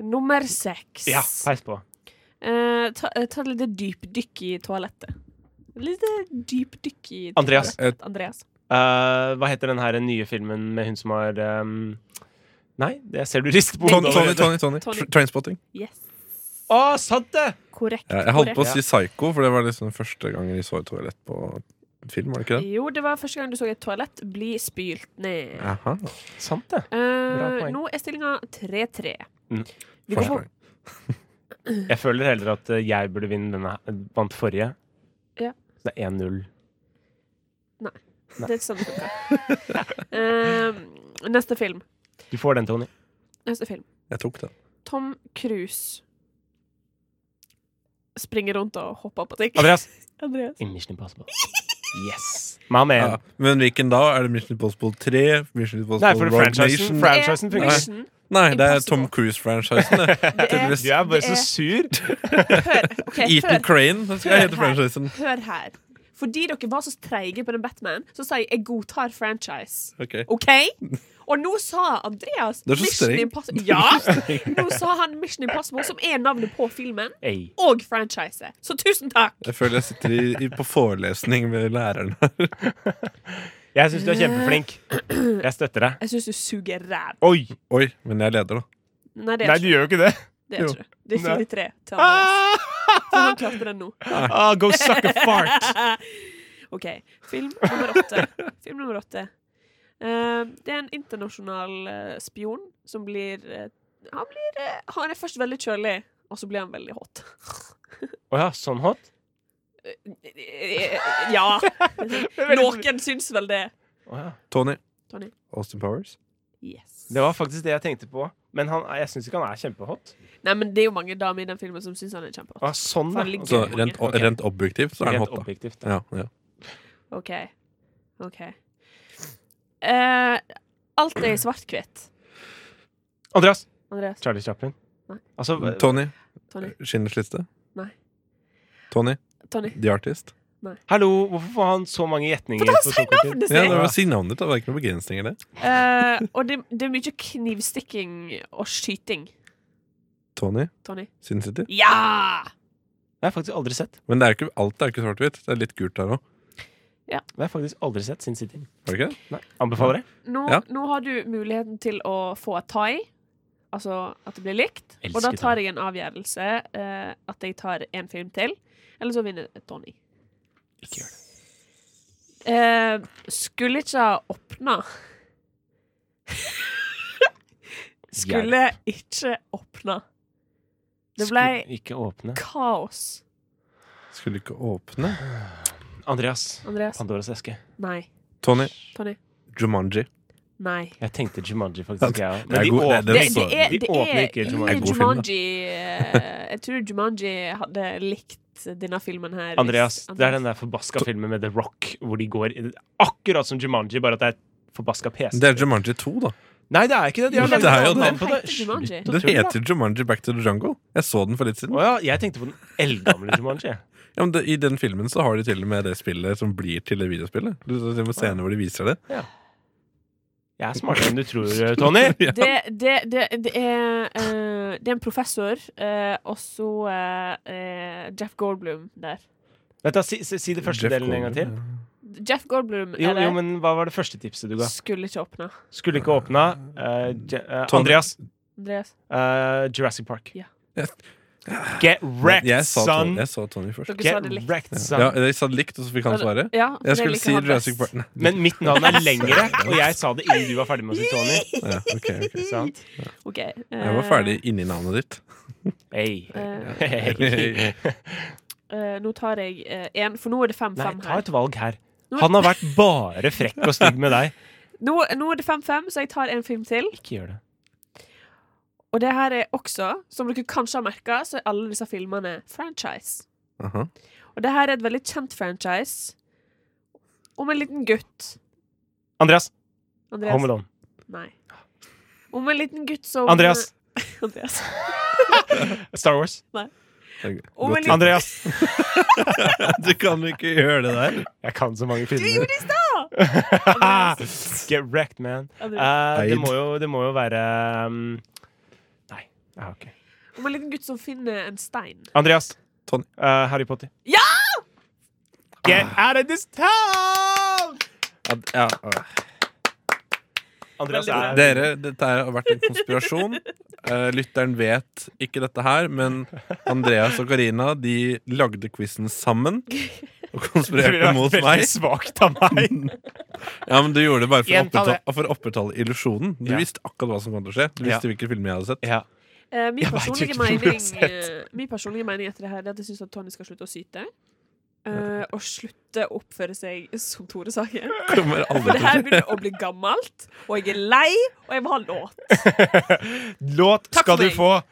S1: nummer seks.
S3: Ja, peis på.
S1: Eh, ta, eh, ta et lite dypdykk i toalettet. Et lite dypdykk i
S3: Andreas.
S1: toalettet. Andreas.
S3: Eh, hva heter den her nye filmen med hun som har ehm, Nei, det ser du rister på
S5: Tony,
S3: hodet.
S5: Tony,
S3: allerede.
S5: Tony. Tony.
S1: Tony.
S5: Tr- Trainspotting.
S1: Yes.
S3: Å, sant det!
S1: Korrekt.
S5: Ja, jeg holdt på å
S1: korrekt.
S5: si Psycho, for det var liksom den første gangen jeg så et toalett på film. var det ikke det?
S1: Jo, det var første gang du så et toalett bli spylt ned.
S5: Aha.
S3: Sant det.
S1: Eh,
S3: poeng.
S1: nå er stillinga 3-3.
S3: Mm.
S1: Vi går på
S5: Forsprang.
S3: Jeg føler heller at eh, jeg burde vinne denne. Vant forrige.
S1: Ja.
S3: Så det er 1-0.
S1: Det er ikke sånn det funker. Eh, neste film.
S3: Du får den, Tony.
S1: Neste film.
S5: Jeg tok den.
S1: Tom Cruise springer rundt og hopper på ting.
S3: Andreas.
S1: Andreas.
S3: Mission Impossible. Yes. My man.
S5: Ja. Men hvilken da? Er det Mission Impossible 3? Mission Impossible
S3: Nei, for
S5: Rogue
S3: franchisen.
S5: Nation?
S3: Franchisen
S1: Det er
S3: funker.
S1: Mission.
S5: Nei, det er
S1: Impossible.
S5: Tom Cruise-franchisen. det.
S1: Det er,
S5: Tydeligvis.
S3: Du er bare
S1: Det er-
S3: så sur.
S1: ok,
S5: Ethan
S1: hør,
S5: Crane. Det skal hete
S1: Hør her.
S5: liksom. franchisen.
S1: hør her. Fordi dere var så treige på den Batman, så sa jeg jeg godtar franchise.
S5: Ok.
S1: OK? Og nå sa Andreas
S5: Det er så
S1: Mission
S5: streng.
S1: Impossible Ja! Nå sa han Mission Impossible, som er navnet på filmen,
S3: Ei.
S1: og franchise. Så tusen takk!
S5: Jeg føler jeg sitter i, i, på forelesning med læreren her.
S3: Jeg syns du er kjempeflink. Jeg støtter deg.
S1: Jeg syns du suger ræv.
S3: Oi!
S5: Oi, men jeg leder, da.
S1: Nei, det er
S3: Nei, du
S1: ikke
S3: gjør jo ikke det.
S1: det. Er
S3: jo.
S1: ikke. det. Det er
S3: Nei.
S1: 4-3 til Andreas.
S3: Ah,
S1: Så han klarte den nå.
S3: ah, go suck a fart!
S1: OK. Film nummer åtte. Film nummer åtte. Eh, det er en internasjonal eh, spion som blir eh, Han blir eh, Han er først veldig kjølig, og så blir han veldig hot.
S3: Å ja, sånn hot?
S1: ja. Noen syns vel det.
S3: Å ja.
S5: Tony.
S1: Tony.
S5: Austin Powers.
S1: Yes.
S3: Det var faktisk det jeg tenkte på. Men han, jeg syns ikke han er kjempehot.
S1: Nei, men Det er jo mange damer i den filmen som syns han er kjempehot.
S3: Ah, sånn,
S1: For han
S3: ja.
S1: ligger
S5: Så
S1: med mange.
S5: rent, o- rent objektivt så er han
S3: Rent
S5: hot, da.
S3: objektivt.
S5: Ja, ja.
S1: OK. OK. Eh, alt er i svart-hvitt.
S3: Andreas.
S1: Andreas.
S3: Charlie Chaplin.
S1: Nei.
S3: Altså,
S5: Tony.
S1: Tony.
S5: Schindlers liste.
S1: Nei.
S5: Tony.
S1: Tony.
S5: The Artist.
S3: hallo, hvorfor får han så mange gjetninger?
S1: For da
S3: på
S1: sier
S3: så kort tid?
S1: navnet
S5: Ja, det
S1: sitt!
S5: var Si navnet ditt, da. Det var ikke noen begrensninger, det.
S1: Eh, og det, det er mye knivstikking og skyting.
S5: Tony.
S1: Tony.
S5: Sin City.
S1: Ja!
S3: Det har jeg faktisk aldri sett.
S5: Men det er jo ikke, alt er jo ikke svart-hvitt. Det er litt gult der òg.
S3: Det har jeg faktisk aldri sett Sin City.
S5: Er det ikke det?
S3: Nei. Anbefaler det?
S1: Nå,
S5: Ja.
S1: nå har du muligheten til å få et tai. Altså at det blir likt.
S3: Elsker
S1: og da tar jeg en avgjørelse eh, at jeg tar en film til. Eller så vinner Tony.
S3: Ikke gjør det.
S1: Eh, skulle ikke ha åpna. skulle ikke åpna. Det ble
S3: Skulle ikke åpne.
S1: kaos.
S5: Skulle ikke åpne.
S3: Andreas.
S1: Andreas?
S3: Pandoras eske.
S1: Nei.
S5: Tony.
S1: Tony?
S5: Jumanji.
S1: Nei.
S3: Jeg tenkte Jumanji, faktisk. Jeg, også.
S5: Det er
S3: men de
S5: god- nei,
S3: åpner
S5: den
S1: det,
S5: så-
S1: det er,
S3: de
S1: det
S3: åpner
S1: er
S3: ikke
S1: i
S3: Jumanji.
S5: Det er god film, da.
S1: Jumanji eh, Jeg tror Jumanji hadde likt denne filmen her. hvis-
S3: Andreas, det er den der forbaska filmen med The Rock hvor de går i- Akkurat som Jumanji, bare at det er forbaska PC.
S5: Det er Jumanji 2, da.
S3: Nei, det er ikke det. De har
S5: Men det
S3: laget
S5: er jo
S3: et annet
S1: det.
S3: navn på det.
S1: Den heter Jumanji.
S3: Slutt å
S5: Den
S3: tulle, da.
S5: heter Jumanji Back to the Jungle. Jeg så den for litt siden.
S3: Å ja, jeg tenkte på den eldgamle Jumanji.
S5: Ja, men det, I den filmen så har de til og med det spillet som blir til det videospillet. Du ser til og med scener hvor de viser det.
S3: Jeg er smartere enn du tror, Tony.
S5: Ja.
S1: Det, det, det, det, er, eh, det er en professor, eh, og så eh, eh, Jeff Goldblum der.
S3: Vet du, si, si, si det første
S5: Jeff
S3: delen en gang til.
S5: Goldblum,
S1: Jeff Goldblum
S3: Jo,
S1: er
S3: jo,
S1: der.
S3: men Hva var det første tipset du ga?
S1: Skulle ikke åpna.
S3: Skulle ikke åpna. eh, Je- eh,
S5: Tony.
S3: Andreas,
S1: Andreas.
S3: eh, Jurassic Park.
S1: Ja.
S3: Get
S5: ja.
S3: wrecked,
S5: Jeg sa Tony,
S3: son!
S5: jeg sa Tony først.
S1: Dere sa
S3: Get
S1: det likt.
S3: wrecked, son.
S5: Ja, jeg sa det likt, og så fikk han svare.
S1: Ja, for Altså, det
S5: Jeg skulle
S1: liker
S5: si
S1: han best.
S5: Jurassic Park Nei.
S3: Men mitt navn er lengre, og jeg sa det innen du var ferdig med å si Tony.
S5: Ja, ok, ok.
S3: Sant?
S1: Ok, eh,
S5: Jeg var ferdig inni navnet ditt.
S3: Hey.
S1: eh,
S3: Hey.
S1: eh, Nå tar jeg én, for nå er det
S3: Nei,
S1: 5-5
S3: ta
S1: her.
S3: et valg her.
S1: Nå-
S3: Han har vært bare frekk og stygg med deg.
S1: Nå, nå er det 5-5, så jeg tar en film til.
S3: Ikke gjør det.
S1: Og det her er også, som dere kanskje har merka, så er alle disse filmene franchise.
S5: Aha.
S1: Og det her er et veldig kjent franchise om en liten gutt.
S3: Andreas, Home
S1: Andreas?
S3: Alone.
S1: Nei. Om en liten gutt som
S3: Andreas.
S1: Andreas.
S3: Star Wars.
S5: Det er
S1: Om
S5: godt
S1: en
S5: gjort.
S1: liten
S3: Andreas.
S5: Du kan ikke gjøre det der.
S3: Jeg kan så mange
S1: Du gjorde
S3: filmer.
S1: det i stad! Andreas.
S3: Ah, Get wrecked, man.
S1: Andreas.
S3: Eh, det,
S5: Eid.
S3: må jo, det må jo være um, Nei, jeg har ikke
S1: Om en liten gutt som finner en stein.
S3: Andreas.
S5: Tony.
S3: Eh, Harry Potter.
S1: Ja!
S3: Get
S5: Ah.
S3: out of this town!
S5: Ja, ja.
S3: Andreas
S1: Veldig
S3: er
S5: Dere, dette her har vært en konspirasjon. Eh, lytteren vet ikke dette her, men Andreas og Karina de lagde quizen sammen. Og
S3: Det ville
S5: konspirerte
S3: vært
S5: mot
S3: veldig
S5: meg.
S3: svakt av meg.
S5: Ja, men Du gjorde det bare for å
S3: Gjenta det.
S5: opprettholde, for å opprettholde illusjonen. Du
S3: Ja.
S5: visste akkurat hva som kom til å skje. Du visste hvilke filmer jeg hadde sett.
S3: ja.
S1: Eh, min,
S3: Jeg vet
S1: personlige
S3: ikke om du har
S1: mening,
S3: sett.
S1: eh, min personlige mening etter det her er at jeg syns Tony skal slutte å syte. eh, og slutte å oppføre seg som Tore Sagen.
S5: Kommer
S1: For
S5: aldri
S1: det
S5: til å
S1: her
S5: skje.
S1: begynner å bli gammelt, og jeg er lei, og jeg vil ha en låt.
S3: Låt
S1: Takk for
S3: skal du
S1: meg.
S3: få.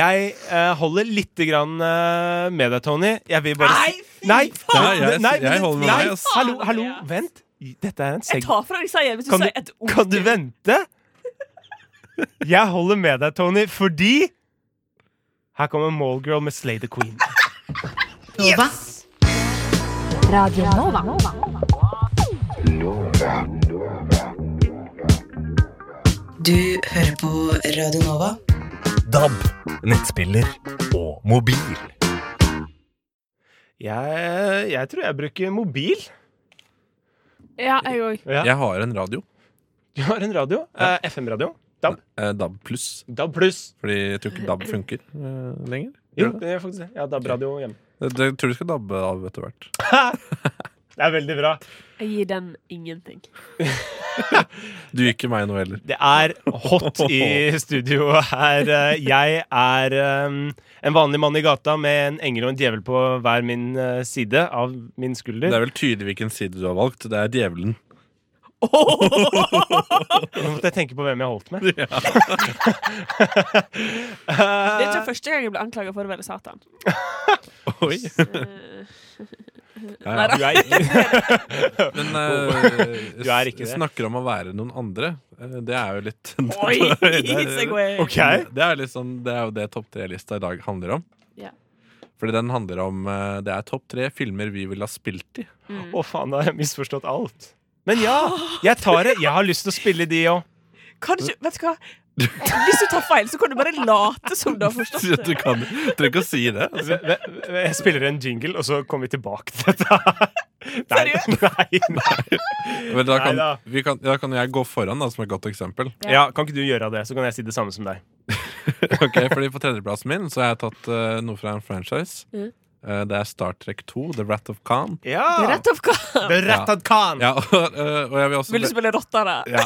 S3: Jeg eh, holder lite grann eh, med deg, Tony. Jeg vil bare si- Nei,
S5: faen! Nei, jeg-
S3: men
S5: jeg
S3: det-
S5: holder med
S3: nei,
S5: deg, ass.
S3: Hallo,
S1: Faen,
S3: hallo,
S1: Andreas.
S3: vent. Dette er en
S1: Jeg
S3: seg...
S1: tar fra deg seieren hvis du
S3: Kan du-
S1: sier et ord.
S3: Kan du
S1: til.
S3: vente? Jeg holder med deg, Tony, fordi Her kommer Mallgirl med Slay the Queen.
S8: Nova. Radio Nova.
S9: Du hører på Radio Nova.
S10: DAB, nettspiller og mobil.
S3: Jeg, jeg tror jeg bruker mobil.
S1: Ja, jeg òg.
S3: Ja.
S5: Jeg har en radio.
S3: Du har en radio. eh, FM-radio.
S5: Eh, DAB pluss.
S3: DAB pluss.
S5: Fordi jeg tror ikke DAB funker eh, lenger.
S3: Jo,
S5: Tror du det?
S3: det gjør faktisk det. Jeg har DAB-radio hjemme.
S5: Det- det- Jeg tror du skal dabbe av etter hvert.
S3: Det er veldig bra.
S1: Jeg gir den ingenting.
S5: Du ikke meg nå heller.
S3: Det er hot i studio her. Eh, Jeg er um, en vanlig mann i gata med en engel og en djevel på hver min uh, side av min
S5: Det
S3: skulder.
S5: er vel tydelig hvilken side du har valgt. Det er djevelen.
S3: Nå måtte jeg tenke på hvem jeg holdt med.
S1: Det er ikke første gang jeg ble anklaga for å være Satan.
S5: Oi.
S1: Eh,
S5: Ja,
S1: Neida.
S5: ja.
S3: Du er ikke
S5: Men eh,
S3: Du er ikke det.
S5: snakker om å være noen andre. Eh, Det er jo litt
S1: Oi!
S5: det, er,
S1: Segway.
S3: OK.
S5: det er litt sånn, det er jo det topp tre-lista i dag handler om.
S1: Ja.
S5: Fordi den handler om eh, Det er topp tre filmer vi ville ha spilt i.
S3: Å, faen, da har jeg misforstått alt. Men ja, jeg tar det. Jeg har lyst til å spille de òg.
S1: Kan du ikke, vet du hva? Hvis du tar feil, så kan du bare late som du har
S5: Så
S1: forstått
S5: Du
S1: det.
S5: kan, trenger ikke å si det. Altså.
S3: Jeg spiller en jingle, og så kommer vi tilbake til dette. Nei, nei, nei.
S5: Men da kan,
S3: Neida.
S5: vi kan, da kan jeg gå foran da, som et godt eksempel.
S3: Ja, kan ikke du gjøre det, så kan jeg si det samme som deg?
S5: Ok, fordi På tredjeplassen min så har jeg tatt eh, noe fra en franchise.
S1: Mhm.
S5: Eh, det er Star Trek 2, The Wrath of Khan.
S3: Ja!
S1: Rett opp hva?
S3: Det er rett at kan!
S5: Ja, og, eh, og jeg vil også
S1: Vil du spille rotta, da?
S5: Ja.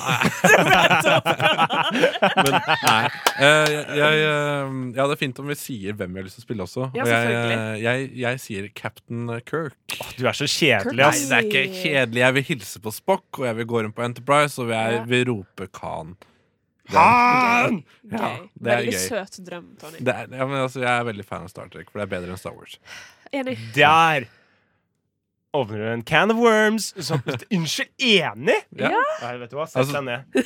S5: Men nei. Eh, jeg, jeg, eh, ja, det er fint om vi sier hvem vi har lyst til å spille også.
S1: Ja,
S5: Og jeg,
S1: selvfølgelig.
S5: eh, jeg, jeg sier Captain Kirk.
S3: Du er så kjedelig,
S5: Nei,
S3: ass.
S5: det er ikke kjedelig. Jeg vil hilse på Spock, og jeg vil gå rundt på Enterprise, og jeg
S1: Ja.
S5: vil rope Khan.
S3: Han!
S5: Ja,
S1: Gøy.
S5: det er
S1: Veldig
S5: gøy.
S1: søt drøm, Tony.
S5: Det er, ja, men altså, jeg er veldig fan av Star Trek, for det er bedre enn Star Wars.
S1: Enig.
S3: Der åpner du en can of worms. Som, unnskyld, enig?
S5: Ja.
S3: Nei, vet du hva, sett
S5: Altså-
S3: deg ned.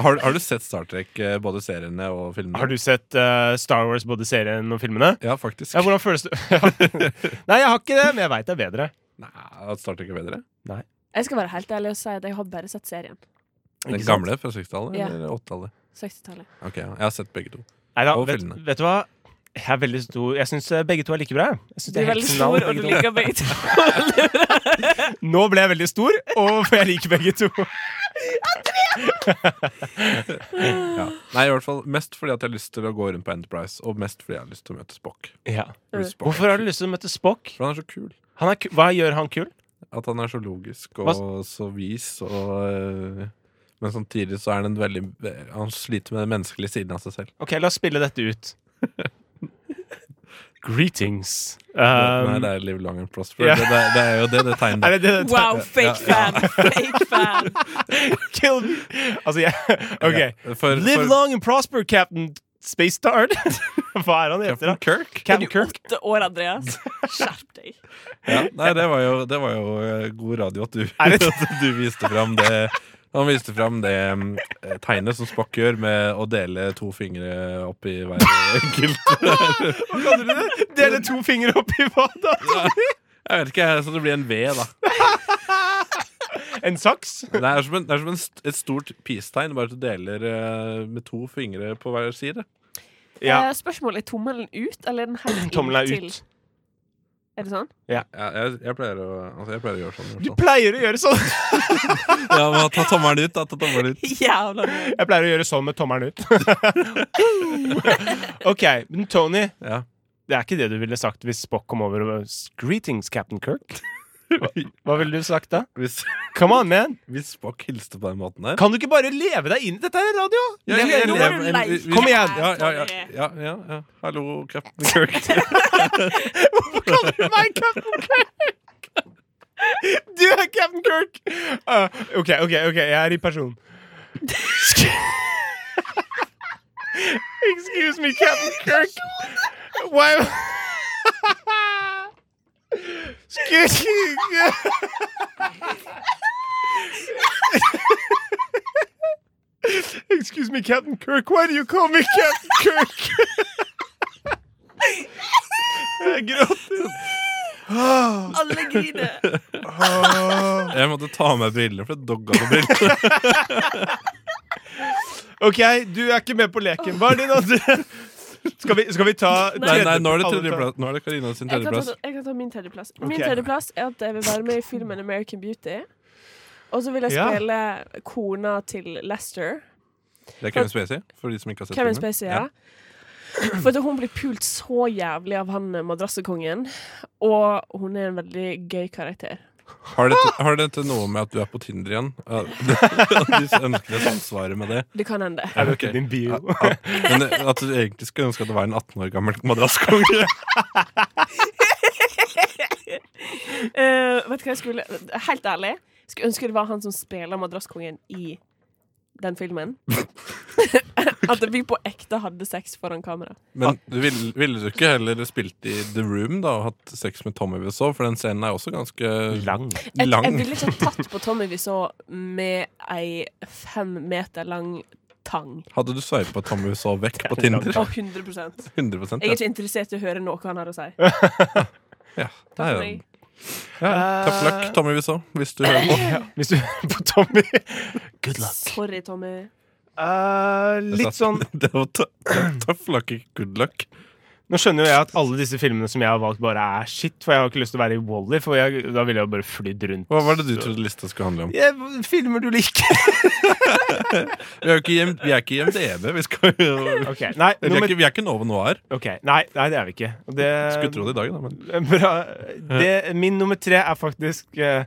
S5: Har, har du sett Star Trek, eh, både seriene og filmene?
S3: Har du sett eh, Star Wars, både serien og filmene?
S5: Ja, faktisk.
S3: Ja, hvordan føles det? Ja. Nei, jeg har ikke det, men jeg veit det er bedre.
S5: Nei, at Star Trek er bedre?
S1: Jeg skal være helt ærlig og si at jeg har bare sett serien.
S5: Den
S3: Ikke sant?
S5: gamle fra 60-tallet
S1: Ja.
S5: eller 80-tallet?
S1: 60-tallet.
S5: Ok, ja, jeg har sett begge to.
S3: Neida,
S5: Og
S3: vet,
S5: filmene.
S3: vet du hva? Jeg er veldig stor Jeg syns eh, begge to er like bra. jeg. Jeg
S1: Du
S3: synes det
S1: er
S3: er helt
S1: veldig
S3: signal,
S1: stor, og du
S3: begge to.
S1: liker begge to.
S3: Nå ble jeg veldig stor, og for jeg liker begge to.
S5: Ja. Nei, i hvert fall mest fordi at jeg har lyst til å gå rundt på Enterprise, og mest fordi jeg har lyst til å møte Spock.
S3: Ja.
S5: Fordi Spock
S3: Hvorfor har du lyst til å møte Spock?
S5: For han er så kul.
S3: Han er, ku- hva gjør han kul?
S5: At han er så logisk og
S3: Hva
S5: så vis og øh, Men samtidig så er han en veldig Han sliter med den menneskelige siden av seg selv.
S3: Ok, la oss spille dette ut. Greetings.
S5: Nei,
S3: Um,
S5: det er liv lang and prosper.
S3: ja.
S5: Det, det, det er jo det det
S3: er
S5: tegner.
S3: det det det
S7: Wow,
S5: Ja,
S7: fake fan! Fake fan!
S3: Kill me! Altså, jeg OK.
S5: Ja, for-
S3: Live
S5: for-
S3: long and prosper, Captain Space Tard. Hva er han heter,
S5: Captain
S3: da?
S5: Kirk?
S3: Captain Kirk.
S7: Åtte år, Andreas. Skjerp deg.
S5: Ja, nei, det var jo, det var jo eh, god radio at du,
S3: Er det-
S5: at du viste fram det Han viste fram det mm, eh, tegnet som Spock gjør, med å dele to fingre opp i hver enkelt.
S3: Dele to fingre opp i vada.
S5: Jeg vet ikke, så det blir en V, da.
S3: En saks.
S5: Det er som, en, det er som en, st- et stort peace-tegn, bare at du deler eh, med to fingre på hver side.
S3: Ja.
S1: Eh, spørsmålet er tommelen ut, eller er den helt
S3: Tommelen er
S1: inntil?
S3: ut.
S1: Er det sånn?
S5: Ja, jeg, jeg, pleier å, altså, jeg pleier å gjøre sånn. i
S3: Du
S5: hvert fall.
S3: pleier å gjøre sånn.
S5: Ja, men ta tommelen ut, da. Ta tommelen ut.
S7: Jævla nerd.
S3: Jeg pleier å gjøre sånn med tommelen ut. OK, men Tony,
S5: Ja.
S3: det er ikke det du ville sagt hvis Spock kom over og Greetings, Captain Kirk. Hva, hva ville du sagt da?
S5: Hvis,
S3: Come on, man!
S5: hvis Spock hilste på den måten der
S3: Kan du ikke bare leve deg inn i Dette er radio!
S5: Ja, jeg- jeg
S7: nå må
S5: lever-
S7: du
S5: en-
S7: leke
S5: vi- vi-
S3: Kom igjen.
S5: Ja, ja, ja,
S7: Tony.
S5: ja, ja, ja. Hallo, Captain Kirk.
S3: Nei, Captain Kirk! Du er Captain Kirk! Uh, OK, OK, ok, jeg er i person. Sk- Excuse me, Captain Kirk. Why Excuse me. Excuse me, Captain Kirk. Why do you call me Captain Kirk? Jeg gråter.
S7: Alle griner.
S5: Jeg måtte ta av meg brillene, for det dogga på brillene.
S3: Ok, du er ikke med på leken. Hva er din andre? Skal vi, skal vi ta
S5: Nei, nei, nå er det
S3: alle tar-
S5: tredjeplass. Nå er det Karina
S1: Jeg
S5: sin
S1: kan,
S5: tredjeplass.
S1: ta, jeg kan ta min tredjeplass. Min
S3: Ok.
S1: tredjeplass er at jeg vil være med i filmen American Beauty. Og så vil jeg
S3: Ja.
S1: spille kona til Lester.
S5: Det er Kevin Spacey, for de som ikke har sett
S1: Kevin
S5: filmen.
S1: Spacey, ja. For at hun blir pult så jævlig av han eh, madrassekongen. Og hun er en veldig gøy karakter.
S5: Har dette, har dette noe med at du er på Tinder igjen? At du ønsker et samsvar med det?
S1: Det kan hende.
S3: Er det ikke din bio?
S5: At, men eh, at du egentlig skulle ønske at det var en 18 år gammel madrasskonge?
S1: Eh, vet du hva jeg skulle Helt ærlig, jeg skulle ønske det var han som spiller madrasskongen i den filmen. At vi på ekte hadde sex foran kamera.
S5: Men du ville, ville du ikke heller spilt i The Room da og hatt sex med Tommy Wiseau? For den scenen er også ganske
S3: Lang.
S1: Jeg, jeg
S5: lang.
S1: ville ikke tatt på Tommy vi så med ei fem meter lang tang.
S5: Hadde du sveipa Tommy Wiseau vekk på Tinder?
S1: Og 100 Jeg
S5: 100
S1: er
S5: ja.
S1: ikke interessert i å høre noe han har å si.
S5: Ja.
S1: Takk for
S5: Nei, ja.
S1: meg.
S5: Ja, tough luck, Tommy Wiseau, hvis du hører på.
S3: Hvis du på Tommy Good
S1: Sorry, Tommy.
S3: litt sånn
S5: Det var tø- tough luck, ikke good luck.
S3: Nå skjønner jo jeg at alle disse filmene som jeg har valgt, bare er shit. For jeg har ikke lyst til å være i Wally, for jeg, da ville jeg jo bare flydd rundt.
S5: Hva var det du trodde lista skulle handle om?
S3: Jeg- filmer du liker?
S5: Vi er jo ikke, hjem, vi er ikke i MDB. Vi, skal jo, vi,
S3: Ok, Nei,
S5: er
S3: nummer,
S5: ikke, vi er ikke Nova Noir.
S3: ok, nei, nei, det er vi ikke. Og Det,
S5: Skulle tro det i dag, da. Men.
S3: Bra. Det, min nummer tre er faktisk eh,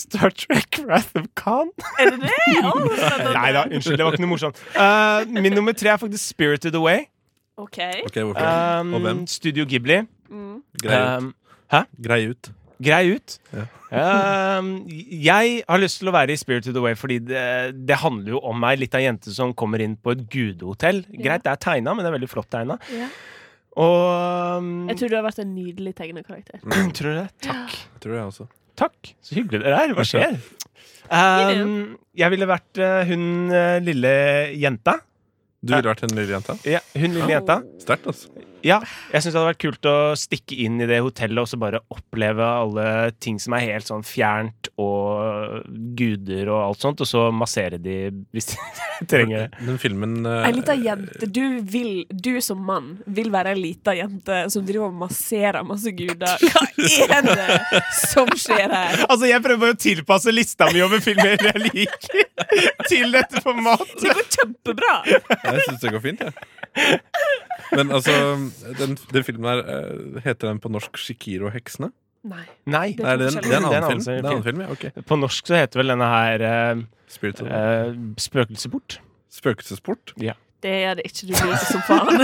S3: Star Trek Wrath of Khan.
S7: Er det det? Å, spennende.
S3: Nei da, unnskyld. Det var ikke noe morsomt. Eh, min nummer tre er faktisk Spirited Away.
S1: OK. mm.
S5: Ok, hvorfor?
S3: Um,
S5: Og hvem?
S3: Studio Ghibli.
S5: Grei ut.
S3: Um,
S5: Grei ut.
S3: grei ut.
S5: Ja.
S3: Um, jeg har lyst til å være i Spirited Away, fordi det, det handler jo om ei lita jente som kommer inn på et gudehotell. Greit, det er tegna, men det er veldig flott tegna.
S1: Ja.
S3: Og um,
S1: Jeg tror du har vært en nydelig tegnet karakter.
S3: Tror du det? Takk.
S5: Det tror jeg også.
S3: Takk. Så hyggelig dere er. Hva skjer? Um, jeg ville vært eh, hun eh, lille jenta.
S5: Du ville vært en lille jente?
S3: Ja, hun lille jenta.
S5: Sterkt, altså.
S3: Ja, jeg syns det hadde vært kult å stikke inn i det hotellet og så bare oppleve alle ting som er helt sånn fjernt, og guder og alt sånt, og så massere de hvis de trenger det.
S5: Den filmen eh,
S1: Ei lita jente. Du, vil, du som mann vil være ei lita jente som driver og masserer masse guder. Hva er det som skjer her?
S3: Altså, jeg prøver bare å tilpasse lista mi over filmer jeg liker, til dette formatet.
S1: Det går kjempebra!
S5: Jeg syns det går fint, jeg. Men altså, den, den filmen her eh, Heter den på norsk 'Shikiro og heksene'?
S1: Nei.
S3: Nei.
S1: Det-
S5: Nei, det er en, det er en
S3: Det er en
S5: annen film. Det
S3: annen
S5: er en annen film, ja, ok
S3: På norsk så heter vel denne her eh,
S5: Spirit of
S3: eh, Spøkelsesport.
S5: Spøkelsesport?
S1: Det gjør det ikke. Du liker som faen.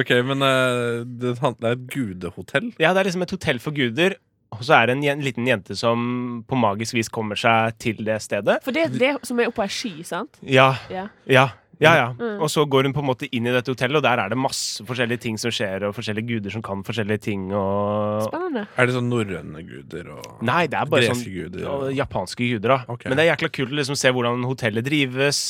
S5: Ok, men eh, det, han- det er et gudehotell?
S3: Ja, det er liksom et hotell for guder. Og så er det en jen- liten jente som på magisk vis kommer seg til det stedet.
S1: For det er det som er oppå ei sky, sant?
S3: Ja.
S1: Ja.
S3: Ja, ja, ja.
S1: Mm.
S3: Og så går hun på en måte inn i dette hotellet, og der er det masse forskjellige ting som skjer, og forskjellige guder som kan forskjellige ting, og
S1: Spennende.
S5: Er det sånn norrøne guder og
S3: Nei, det er bare
S5: Greske
S3: sånn
S5: guder,
S3: ja,
S5: og-
S3: japanske guder, da. Men det er jækla kult å liksom se hvordan hotellet drives,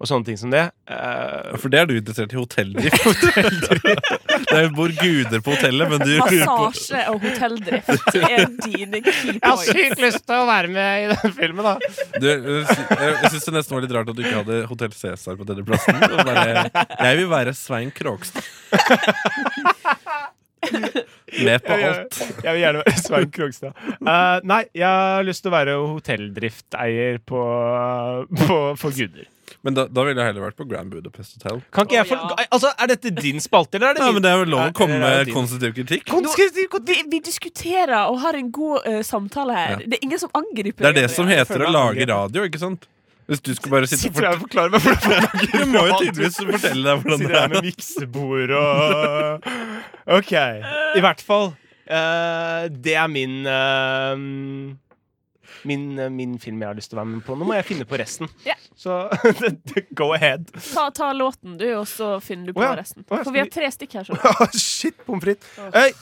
S3: og sånne ting som det. Eh,
S5: For det er du interessert i hotelldrift. det er jo bor guder på hotellet, men du lurer på
S7: Massasje og hotelldrift er dine key points.
S3: Jeg har sykt lyst til å være med i den filmen, da.
S5: du, Jeg, jeg syns det nesten var litt rart at du ikke hadde Hotell Cæsar på denne plassen. Og bare, jeg vil være Svein Krogstad. Med på alt.
S3: Jeg, vil gjerne være Svein Krogstad. Eh, nei, jeg har lyst til å være hotelldrifteier på, på, for guder.
S5: Men da, da ville jeg heller vært på Grand Budapest Hotel.
S3: Kan ikke jeg få Altså, Er dette din spalte, eller er det
S5: Ja,
S3: min?
S5: men Det er vel lov å
S3: Er-
S5: komme
S3: eller er det
S5: med
S3: din?
S5: konstruktiv kritikk.
S1: Nå, vi, vi diskuterer og har en god eh, samtale her.
S5: Ja.
S1: Det er ingen som angriper.
S5: Det er det
S1: Adrian.
S5: som heter å
S3: føler
S5: lage
S3: jeg
S5: radio, ikke sant? Hvis du skulle bare sitte og
S3: Sitter jeg
S5: fortelle
S3: og forklarer meg hvordan det
S5: Du må jo tydeligvis fortelle deg hvordan
S3: Sitter
S5: det
S3: her
S5: er.
S3: med miksebord og OK. I hvert fall. eh, det er min eh, min, eh, min film jeg har lyst til å være med på. Nå må jeg finne på resten.
S1: Ja.
S3: Så go ahead.
S1: Ta, ta låten, du, og så finner du på
S3: Å ja.
S1: resten.
S3: Å ja,
S1: For vi har
S3: skal
S1: tre stykk her. skjønner du.
S3: Ah, Shit, pommes frites. Hey,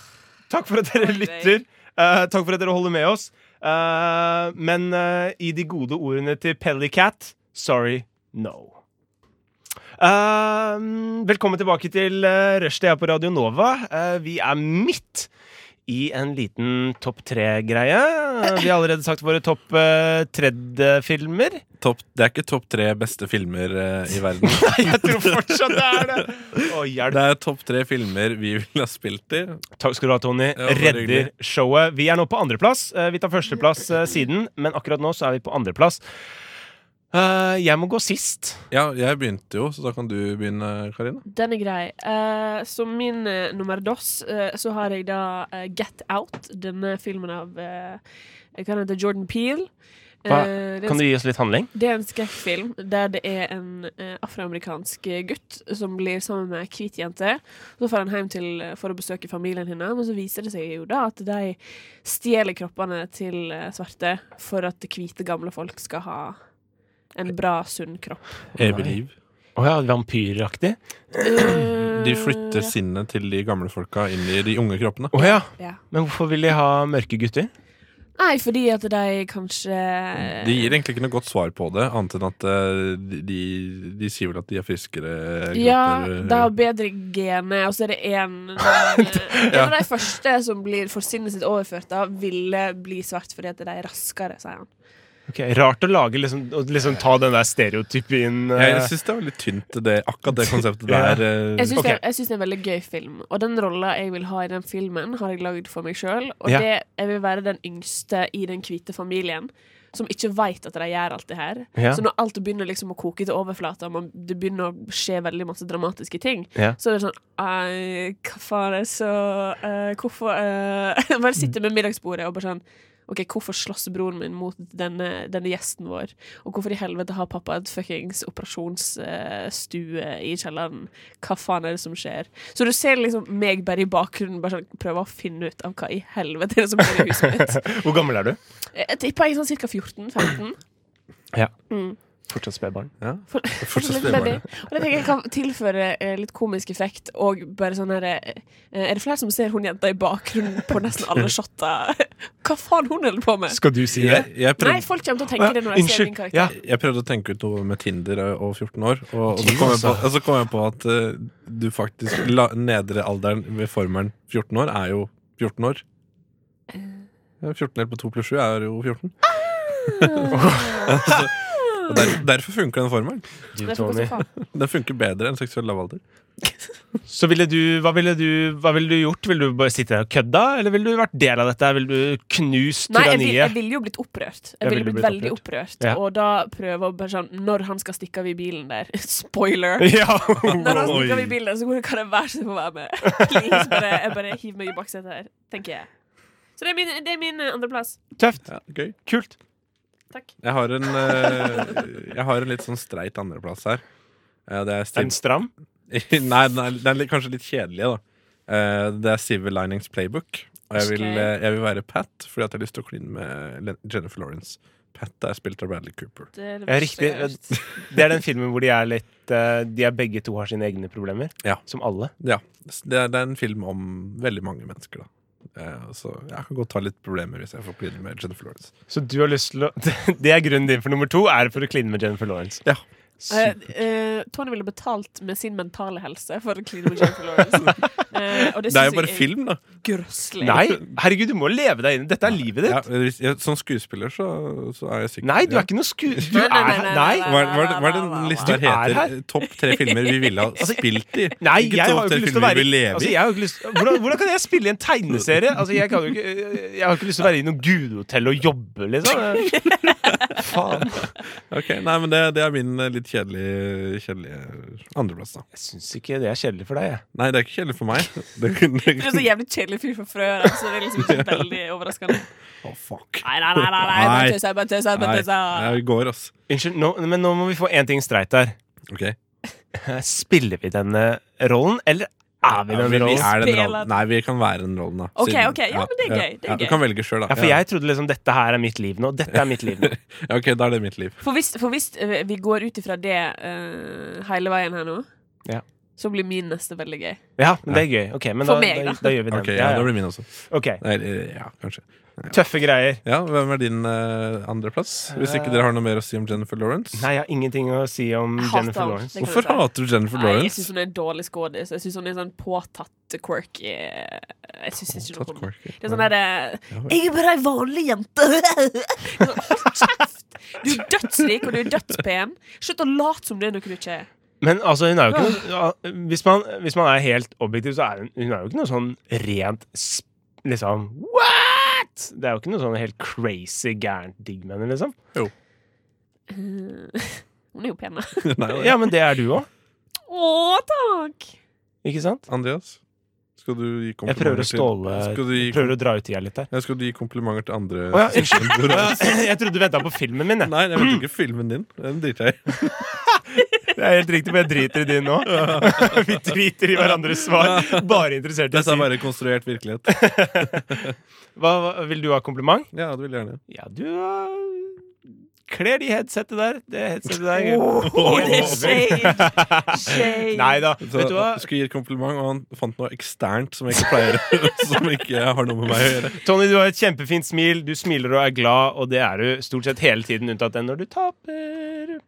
S3: takk for at dere
S1: Oi,
S3: lytter. Eh, takk for at dere holder med oss. Eh, men eh, i de gode ordene til Pellycat sorry, no. Eh, velkommen tilbake til uh, Rushdie her på Radio Nova. Eh, vi er midt i en liten topp tre-greie. Vi har allerede sagt våre topp uh, tredje-filmer.
S5: Topp, det er ikke topp tre beste filmer eh, i verden.
S3: Jeg tror fortsatt det er det! Å, hjelp.
S5: Det er topp tre filmer vi ville ha spilt i.
S3: Takk skal du ha, Tony.
S5: bare
S3: Redder
S5: hyggelig.
S3: showet. Vi er nå på andreplass. Eh, Vi tar førsteplass eh, siden, men akkurat nå så er vi på andreplass. Eh, Jeg må gå sist.
S5: Ja, jeg begynte jo, så da kan du begynne, Karina.
S1: Den er grei. Eh, som min eh, nummer dos, eh, så har jeg da eh, Get Out, denne filmen av eh, Hva heter det? Jordan Eh, Peel.
S3: Hva- Kan du gi oss litt handling?
S1: Det er en skrekkfilm der det er en eh, afroamerikansk eh, gutt som blir sammen med ei hvit jente. Så drar han hjem til, eh, for å besøke familien hennes, men så viser det seg jo da at de stjeler kroppene til eh, svarte for at hvite, gamle folk skal ha en bra, sunn kropp.
S5: Jeg believe.
S3: Å ja, vampyraktig?
S5: De flytter sinnet til de gamle folka inn i de unge kroppene.
S3: Å ja.
S1: Ja.
S3: Men hvorfor vil de ha mørke gutter?
S1: Nei, fordi at de kanskje
S5: De gir egentlig ikke noe godt svar på det, annet enn at eh, de, de- de sier vel at de er friskere. eh.
S1: Ja,
S5: gutter.
S1: de har bedre gener, og så er det én En av de første som blir for sinnet sitt overført, da, ville bli svart fordi at de er raskere, sier han.
S3: Ok, Rart å lage liksom, å liksom ta den der stereotypien
S5: Jeg,
S3: eh,
S5: jeg syns det var litt tynt, det, akkurat det konseptet
S3: Ja.
S5: der. eh,
S1: Jeg syns
S3: Ok.
S1: det, jeg syns det er en veldig gøy film, og den rolla jeg vil ha i den filmen, har jeg lagd for meg sjøl. Og
S3: Ja.
S1: det, jeg vil være den yngste i den hvite familien som ikke veit at de gjør alt det her.
S3: Ja.
S1: Så når alt begynner liksom å koke til overflata, og man- det begynner å skje veldig masse dramatiske ting,
S3: Ja.
S1: så er det sånn «Ei, Hva faen er det så eh, Hvorfor eh?» Bare sitte med middagsbordet og bare sånn OK, hvorfor slåss broren min mot denne, denne gjesten vår? Og hvorfor i helvete har pappa et fuckings operasjonsstue eh, i kjelleren? Hva faen er det som skjer? Så du ser liksom meg bare i bakgrunnen bare sånn, prøve å finne ut av hva i helvete er det som skjer i huset mitt.
S3: Hvor gammel er du?
S1: Jeg tipper jeg er sånn ca. 14-15.
S3: Ja.
S1: Mm.
S3: Fortsatt spedbarn.
S5: Ja.
S1: For-
S5: Fortsatt
S1: Litt baby.
S5: spedbarn.
S1: Og det tenker jeg kan tilføre eh, litt komisk effekt. Og bare sånn her eh, Er det flere som ser hun jenta i bakgrunnen på nesten alle shotta? Hva faen hun holder på med?
S3: Skal du si det?
S5: Jeg, jeg prøvde
S1: Nei, folk kommer til å tenke det når de ser
S3: Unnskyld.
S1: min karakter.
S3: Ja.
S5: Jeg prøvde å tenke ut noe med Tinder eh, og og 14 år, og, og, så, kom jeg på, og så kom jeg på at eh, du faktisk la, Nedre alderen ved formelen 14 år er jo 14 år. Ja, 14 delt på 2 pluss 7 er jo 14. Så- og der, derfor funker den formelen.
S3: Du,
S1: Det er for
S3: Tony.
S1: hvordan faen.
S5: Den funker bedre enn seksuell lavalder.
S3: Så ville du, hva ville du, hva ville du gjort? Ville du bare sitte der og kødda, eller ville du vært del av dette? Ville du knust
S1: Nei, jeg, vil, jeg
S3: tyranniet?
S1: ville jo blitt opprørt.
S3: Ja,
S1: Jeg ville
S3: ville
S1: blitt
S3: blitt
S1: veldig opprørt.
S3: Ja.
S1: Og da prøve å bare sånn Når han skal stikke av i bilen der Spoiler!
S3: Ja.
S1: Når han stikker av i
S3: Oi.
S1: bilen der, så går det kan jeg være så få være med. Please, bare, jeg bare hiver meg i baksetet her, tenker jeg. Så det er min, det er min eh, andreplass.
S3: Tøft.
S5: Ja, gøy.
S3: Kult.
S1: Takk.
S5: Jeg har en, eh, jeg har en litt sånn streit andreplass her. Eh, Det er
S3: Er den
S5: Steve
S3: stram?
S5: Nei, den er, den er litt, kanskje litt kjedelig, da. Eh, det er Civil Linings Playbook. Og jeg vil,
S1: Ok.
S5: eh, jeg vil være Pat, fordi at jeg har lyst til å kline med Len- Jennifer Lawrence. Pat er spilt av Bradley Cooper.
S1: Det er det
S3: Ja,
S1: verste
S3: riktig.
S1: jeg har hørt.
S3: Det er den filmen hvor de er litt eh, De er begge to har sine egne problemer.
S5: Ja.
S3: Som alle.
S5: Ja, s- det er, det er en film om veldig mange mennesker, da. Eh, så jeg kan godt ta litt problemer hvis jeg får kline med Jennifer Lawrence.
S3: Så du har lyst til å Det er grunnen din for nummer to, er for å kline med Jennifer Lawrence.
S5: Ja.
S1: Eh, eh, Tony ville betalt med sin mentale helse for å kline med Jennifer Lawrence. Eh, og det,
S5: Det er jo
S1: synes
S5: bare
S1: jeg
S5: film, da.
S1: er grøsselig.
S3: Nei, herregud, du må leve deg inn i Dette er livet ditt.
S5: Ja, hvis- ja, som skuespiller så, så er jeg sikker.
S3: Nei, du
S5: Ja.
S3: er ikke noe sku... Du
S1: Nei,
S3: er
S1: nei, nei, nei,
S3: Nei!
S5: Hva, hva, hva, hva er det den lista
S3: Du er
S5: heter?
S3: her. Altså,
S5: Topp tre filmer vi ville ha spilt i.
S3: Nei, jeg
S5: topp
S3: har jo
S5: tre
S3: ikke lyst til å
S5: filmer vi
S3: være
S5: vil leve i.
S3: altså, jeg har jo ikke lyst, hvordan, hvordan kan jeg spille i en tegneserie? Altså, jeg, kan jo ikke, jeg har jo ikke lyst til å være i noe gudehotell og jobbe, liksom. Faen.
S5: Ok, nei, men det, det er min eh, litt kjedelige, kjedelige andreplass, da.
S3: Jeg syns ikke det er kjedelig for deg. Jeg.
S5: Nei, det er ikke kjedelig for meg. Det, det,
S1: Du er så jævlig kjedelig fyr fra før, så det er liksom ikke veldig overraskende.
S5: Å, fuck.
S1: Nei, nei, nei, nei, nei,
S5: Nei.
S1: bare tøysa, bare tøysa,
S5: Nei,
S1: bare tøysa.
S5: jeg går, ass.
S3: Unnskyld, nå, men nå må vi få én ting streit her.
S5: Ok.
S3: Eh, Spiller vi denne rollen, eller er vi
S5: Ja,
S3: den
S5: vi, vi
S3: rollen?
S5: er den
S1: Spiller
S5: rollen. Nei, vi kan være den rollen, da.
S1: Ok, ok, ja, men det er gøy, det er
S5: ja,
S1: gøy.
S5: Du kan velge sjøl, da.
S3: Ja, for jeg trodde liksom dette her er mitt liv nå. Dette er mitt liv nå.
S5: Ja, ok, da er det mitt liv.
S1: For hvis, for hvis eh, vi går ut ifra det eh, hele veien her nå,
S3: Ja.
S1: så blir min neste veldig gøy.
S3: Ja, men det er gøy. Ok, men da,
S1: For meg,
S3: da,
S1: da.
S3: da gjør vi den.
S5: Ok, ja,
S3: Ja,
S5: Da
S3: ja.
S5: blir min også.
S3: Ok,
S5: Nei, eh, ja, kanskje.
S3: Tøffe greier.
S5: Ja, Hvem er din eh, andreplass? Hvis ikke dere har noe mer å si om Jennifer Lawrence?
S3: Nei, jeg har ingenting å si om
S1: Jeg hater liksom.
S3: Jennifer
S1: han.
S3: Lawrence.
S1: Det kan
S5: Hvorfor
S1: jeg si.
S5: hater du Jennifer
S1: Nei, jeg
S5: Lawrence?
S1: syns hun er en dårlig skådis. Jeg syns hun er sånn påtatt quirky. Jeg syns ikke noe
S5: Tatt
S1: om henne.
S5: quirky.
S1: Det er sånn derre
S5: Ja, vel.
S1: 'Jeg er bare ei vanlig jente'. Det er sånn, Hold kjeft! Du er dødsrik, og du er dødspen. Slutt å late som det er noe du ikke er.
S3: Men altså, hun er jo ikke noe ja, hvis, man, hvis man er helt objektiv, så er hun, hun er jo ikke noe sånn rent sp- Liksom What?! Det er jo ikke noe sånn helt crazy gærent digg med henne, liksom.
S1: Eh, Hun er jo pen. da.
S5: Nei, det-
S3: Ja, men det er du òg,
S1: Å, takk!
S3: ikke sant?
S5: Andreas, skal du gi
S3: Jeg
S5: komplimenter
S3: prøver å
S5: til-
S3: ståle
S5: Skal du gi,
S3: Prøver å dra ut tida litt der.
S5: ja, skal du gi komplimenter til andre?
S3: Å ja,
S5: som skjønner hvor-
S3: Jeg trodde du venta på filmen min, jeg.
S5: Nei, jeg vet ikke filmen din. Den driter jeg i.
S3: Det er helt riktig, men jeg driter i din nå. Vi driter i hverandres svar. Bare interessert i å
S5: Dette er
S3: si.
S5: bare konstruert virkelighet.
S3: Hva, hva- vil du ha kompliment?
S5: Ja, det vil jeg gjerne.
S3: Ja, du eh, kler de headsetet der. Det headsetet der.
S1: Å, det er shade! Shade.
S3: Nei da.
S5: Så
S3: Vet du hva?
S5: jeg skulle gi et kompliment, og han fant noe eksternt som jeg ikke pleier Som ikke har noe med meg å gjøre.
S3: Tony, du har et kjempefint smil. Du smiler og er glad, og det er du stort sett hele tiden, unntatt den når du taper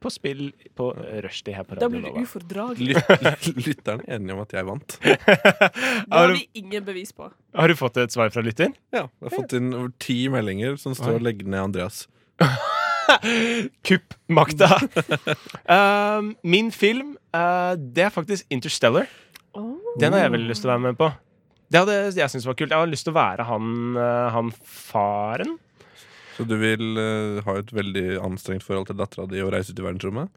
S3: på spill på rushtid her på
S1: Da
S3: Radio
S1: blir du
S3: Nova.
S1: ufordragelig.
S5: Lyt, lytterne er enige om at jeg vant.
S1: Det har
S3: Har du,
S1: vi ingen bevis på.
S3: har du fått et svar fra lytter?
S5: Ja, Jeg har fått inn over ti meldinger som står 'legg ned Andreas'.
S3: Kupp makta! Um, min film, eh, det er faktisk Interstellar. Den har jeg veldig lyst til å være med på. Det hadde jeg syntes var kult. Jeg har lyst til å være han, eh, han faren.
S5: Så du vil eh, ha et veldig anstrengt forhold til dattera di og reise ut i verdensrommet?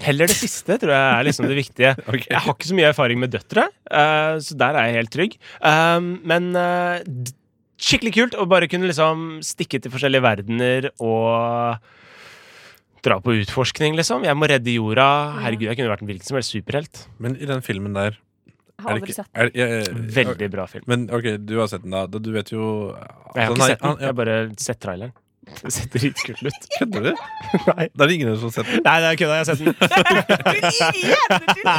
S3: Heller det siste, tror jeg er liksom det viktige.
S5: Ok.
S3: Jeg har ikke så mye erfaring med døtre, eh, så der er jeg helt trygg. Um, men eh, d- skikkelig kult å bare kunne liksom stikke til forskjellige verdener og dra på utforskning, liksom. Jeg må redde jorda. Herregud, jeg kunne vært en hvilken som helst superhelt.
S5: Men i den filmen der
S1: Jeg har aldri sett
S5: er, det- jeg- jeg-
S3: Veldig bra film.
S5: Men ok, du har sett den, da. Du vet jo
S3: Jeg har
S5: Den
S3: ikke
S5: er-
S3: sett den,
S5: han-
S3: jeg har bare sett traileren. Det ser dritkult ut.
S5: ja, Kødder du?
S3: Nei.
S5: Det er det ingen som har sett den.
S3: Nei, det er kødda. Jeg har sett den.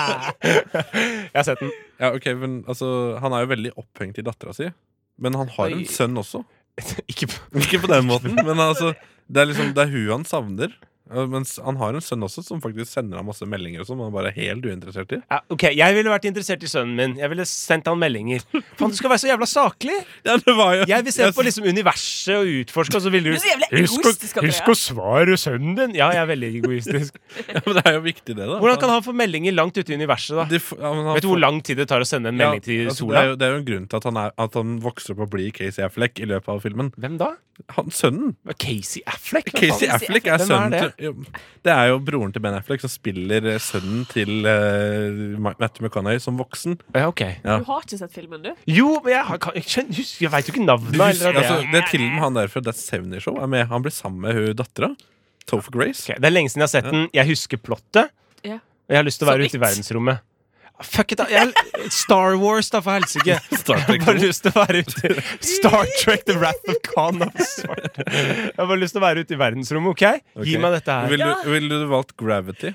S3: Jeg har sett den.
S5: Ja, ok, men altså, Han er jo veldig opphengt i dattera si. Men han har
S1: Oi.
S5: en sønn også.
S3: Ikke på
S5: Ikke på den måten, men altså det er liksom, det er hun han savner. Ja, Mens han har en sønn også som faktisk sender ham masse meldinger og sånn. Han bare er helt uinteressert i
S3: ja, Ok, Jeg ville vært interessert i sønnen min. Jeg ville sendt han meldinger. Faen, du skal være så jævla saklig!
S5: Ja, det var jo
S3: Jeg vil se på liksom universet og utforske, og så ville
S1: Du
S3: du
S1: er så jævlig
S3: Husk å-
S1: egoistisk, Andrea.
S3: Husk å svare sønnen din! Ja, jeg er veldig egoistisk.
S5: ja, men Det er jo viktig, det, da.
S3: Hvordan kan han få meldinger langt ute i universet, da?
S5: De f- ja, men han
S3: Vet du hvor
S5: får-
S3: lang tid det tar å sende en melding
S5: Ja,
S3: til
S5: altså, Det er,
S3: sola?
S5: jo, det er jo en grunn til at han, er, at han vokser opp og blir Casey Affleck i løpet av filmen.
S3: Hvem da?
S5: Han sønnen!
S3: Casey Affleck? Hva
S5: Casey
S3: faen?
S5: Affleck er
S3: Hvem er
S5: sønnen
S3: det?
S5: til jo, Det er jo broren til Ben Affleck som spiller eh, sønnen til eh, Ma- Matthew McConaughey som voksen.
S3: Ja, ok
S5: Ja.
S1: Du har ikke sett filmen, du?
S3: Jo, men jeg, har- kan, jeg, skjønner- husk- jeg veit jo ikke
S5: Du
S3: navnet.
S5: husker,
S3: eller at
S5: altså,
S3: jeg-
S5: det er til og med han der fra That 70 Show. Er med. Han blir sammen med hun dattera. Topher Grace.
S3: Ok, det er lenge siden jeg har sett den. Jeg husker plottet.
S1: Ja.
S3: Og jeg har lyst til å være
S1: Som
S3: ute i
S1: It.
S3: verdensrommet. Fuck it, da! Jeg, Star Wars, da, for helsike!
S5: Star
S3: Jeg
S5: Trek
S3: har bare
S5: 2.
S3: lyst til å være ute i Star Trek, The Wrath of Khan of Svart. Jeg har bare lyst til å være ute i verdensrommet, OK? Gi
S5: Ok.
S3: meg dette her.
S5: Ville du, vil du valgt Gravity?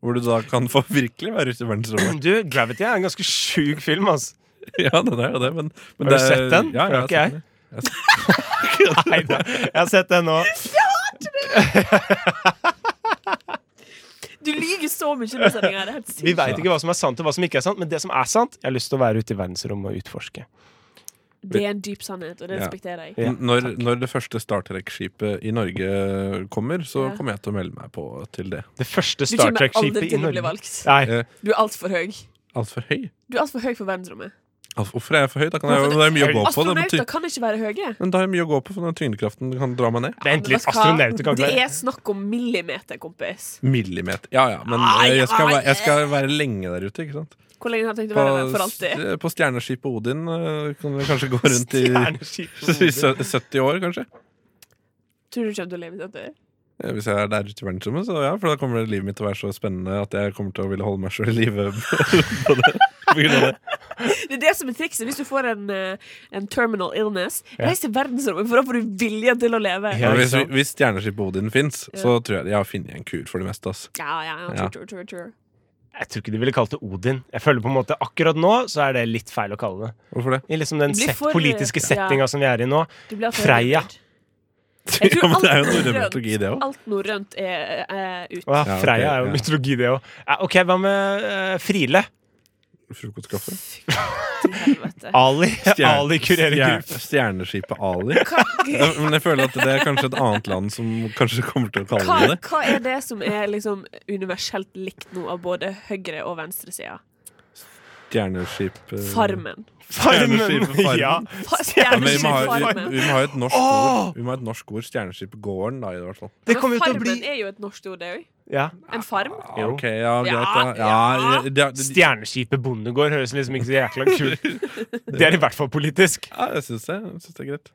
S5: Hvor du da kan få virkelig være ute i verdensrommet?
S3: Du, Gravity er en ganske sjuk film, altså.
S5: Ja, den er jo det, men, men
S3: Har du
S5: det er-
S3: sett den?
S5: Ja, ja,
S3: For det har ikke
S5: jeg.
S3: Nei da. Jeg har sett den nå.
S1: Du lyver så mye med sendinga. Det er helt sykt.
S3: Vi veit ikke hva som er sant og hva som ikke er sant, men det som er sant, jeg har lyst til å være ute i verdensrommet og utforske.
S1: Det er en dyp sannhet, og det
S5: Ja.
S1: respekterer jeg.
S3: Ja,
S5: når, når det første Star Trek-skipet i Norge kommer, så
S1: Ja.
S5: kommer jeg til å melde meg på til det.
S3: Det første
S1: Du
S3: Star
S1: kommer aldri
S3: Trek-skipet i
S1: til å bli
S3: Norge.
S1: valgt.
S3: Nei,
S1: Du er altfor høy.
S5: Altfor høy?
S1: Du er altfor høy for verdensrommet.
S5: Alt, hvorfor er jeg for høy? Da kan jeg, det er mye å gå på. Det
S1: Astronauter
S5: betyr,
S1: kan ikke være høye.
S5: men da er det mye å gå på, for den tyngdekraften kan dra meg ned.
S3: Vent litt,
S1: Men vet du hva?
S3: astronauter kan ikke
S1: Det
S3: være
S1: er snakk om millimeter, kompis.
S5: Millimeter. Ja ja, men eh, jeg skal, være- jeg skal være lenge der ute, ikke sant?
S1: Hvor lenge har du tenkt å
S5: På, eh,
S1: være der? For alltid?
S5: på stjerneskipet Odin eh, kan vi kanskje gå rundt i,
S3: Stjerneskip
S5: i sø- 70 år, kanskje.
S1: Tror du ikke at du lever til det?
S5: Ja, Hvis jeg er der ute i verdensrommet, så ja, for da kommer livet mitt til å være så spennende at jeg kommer til å ville holde meg sjøl i live. på det. På grunn av det.
S1: Det er det som er trikset. Hvis du får en, eh, en terminal illness,
S3: Ja.
S1: reis til verdensrommet, for da får du viljen til å leve.
S3: Ja,
S5: Men
S3: ikke
S5: hvis,
S3: sant?
S5: hvis stjerneskipet Odin fins, så tror jeg de har funnet en kur for det meste. altså. Ass.
S1: Ja, ja, ja.
S5: Ja.
S1: True, true, true, true.
S3: Jeg tror ikke de ville kalt det Odin. Jeg føler på en måte Akkurat nå så er det litt feil å kalle det.
S5: Hvorfor det?
S3: I liksom den
S1: Blir
S3: set,
S1: for- eh,
S3: politiske
S1: ja.
S3: settinga som vi er i nå.
S1: Du blir altfor
S3: Freia.
S1: høylytt. Jeg
S5: Ja,
S1: tror
S5: men det er jo
S1: alt
S5: norrøn
S1: norrønt-
S5: mytologi, det òg.
S1: Alt norrønt er eh, ut.
S3: Å,
S5: Ja, ok,
S3: Freia er jo
S5: ja.
S3: mytologi, det òg. OK, hva med eh, Friele?
S5: Frokostkaffe.
S1: til helvete.
S3: Ali?
S5: Stjerne-
S3: Ali kurerer
S5: stjer-
S3: gruff.
S5: Stjerneskipet Ali. Ja, Men jeg føler at det er kanskje et annet land som kanskje kommer til å kalle
S1: Hva,
S5: det det.
S1: hva er det som er liksom universelt likt nå av både høyre- og venstresida?
S5: Stjerneskip eh,
S1: Farmen.
S3: Farmen!
S5: Farmen.
S3: Ja.
S1: Fa-
S5: Ja, men vi, må ha, vi,
S1: Farmen.
S5: vi må ha et norsk
S3: Åh!
S5: ord. Vi må ha et norsk ord. Stjerneskipgården, da, i hvert fall.
S3: Det kommer
S1: Men
S3: jo til å
S1: farmen
S3: bli
S1: er jo et norsk ord, det òg.
S3: ja.
S1: En farm.
S3: Jo.
S5: Ok, ja,
S1: Ja,
S5: greit, da. Ja,
S1: ja.
S5: det- det- det-
S3: Stjerneskipet Bondegård høres liksom ikke så jækla kult Det er i hvert fall politisk.
S5: ja, jeg syns det. Jeg synes det er greit.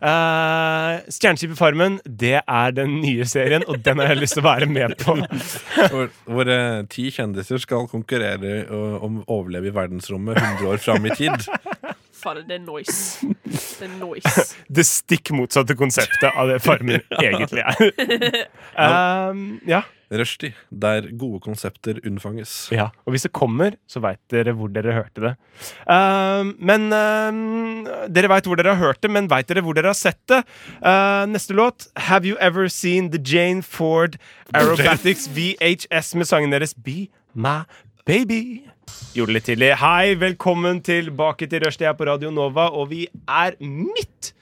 S3: Eh, Stjerneskipet Farmen, det er den nye serien, og den har jeg lyst til å være med på.
S5: Hvor, hvor eh, ti kjendiser skal konkurrere eh, om å overleve i verdensrommet 100 år fram i tid.
S1: Fader, det er noise. Det er noise.
S3: Det stikk motsatte konseptet av det Farmen egentlig er. Eh, ja.
S5: Rushdie, der gode konsepter unnfanges.
S3: ja. Og hvis det kommer, så veit dere hvor dere hørte det. Eh, men eh, Dere veit hvor dere har hørt det, men veit dere hvor dere har sett det? Eh, neste låt, Have You Ever Seen The Jane Ford Aerobatics VHS med sangen deres Be My Baby? Gjorde det litt tidlig. Hei, velkommen tilbake til Rushdie her på Radio Nova, og vi er midt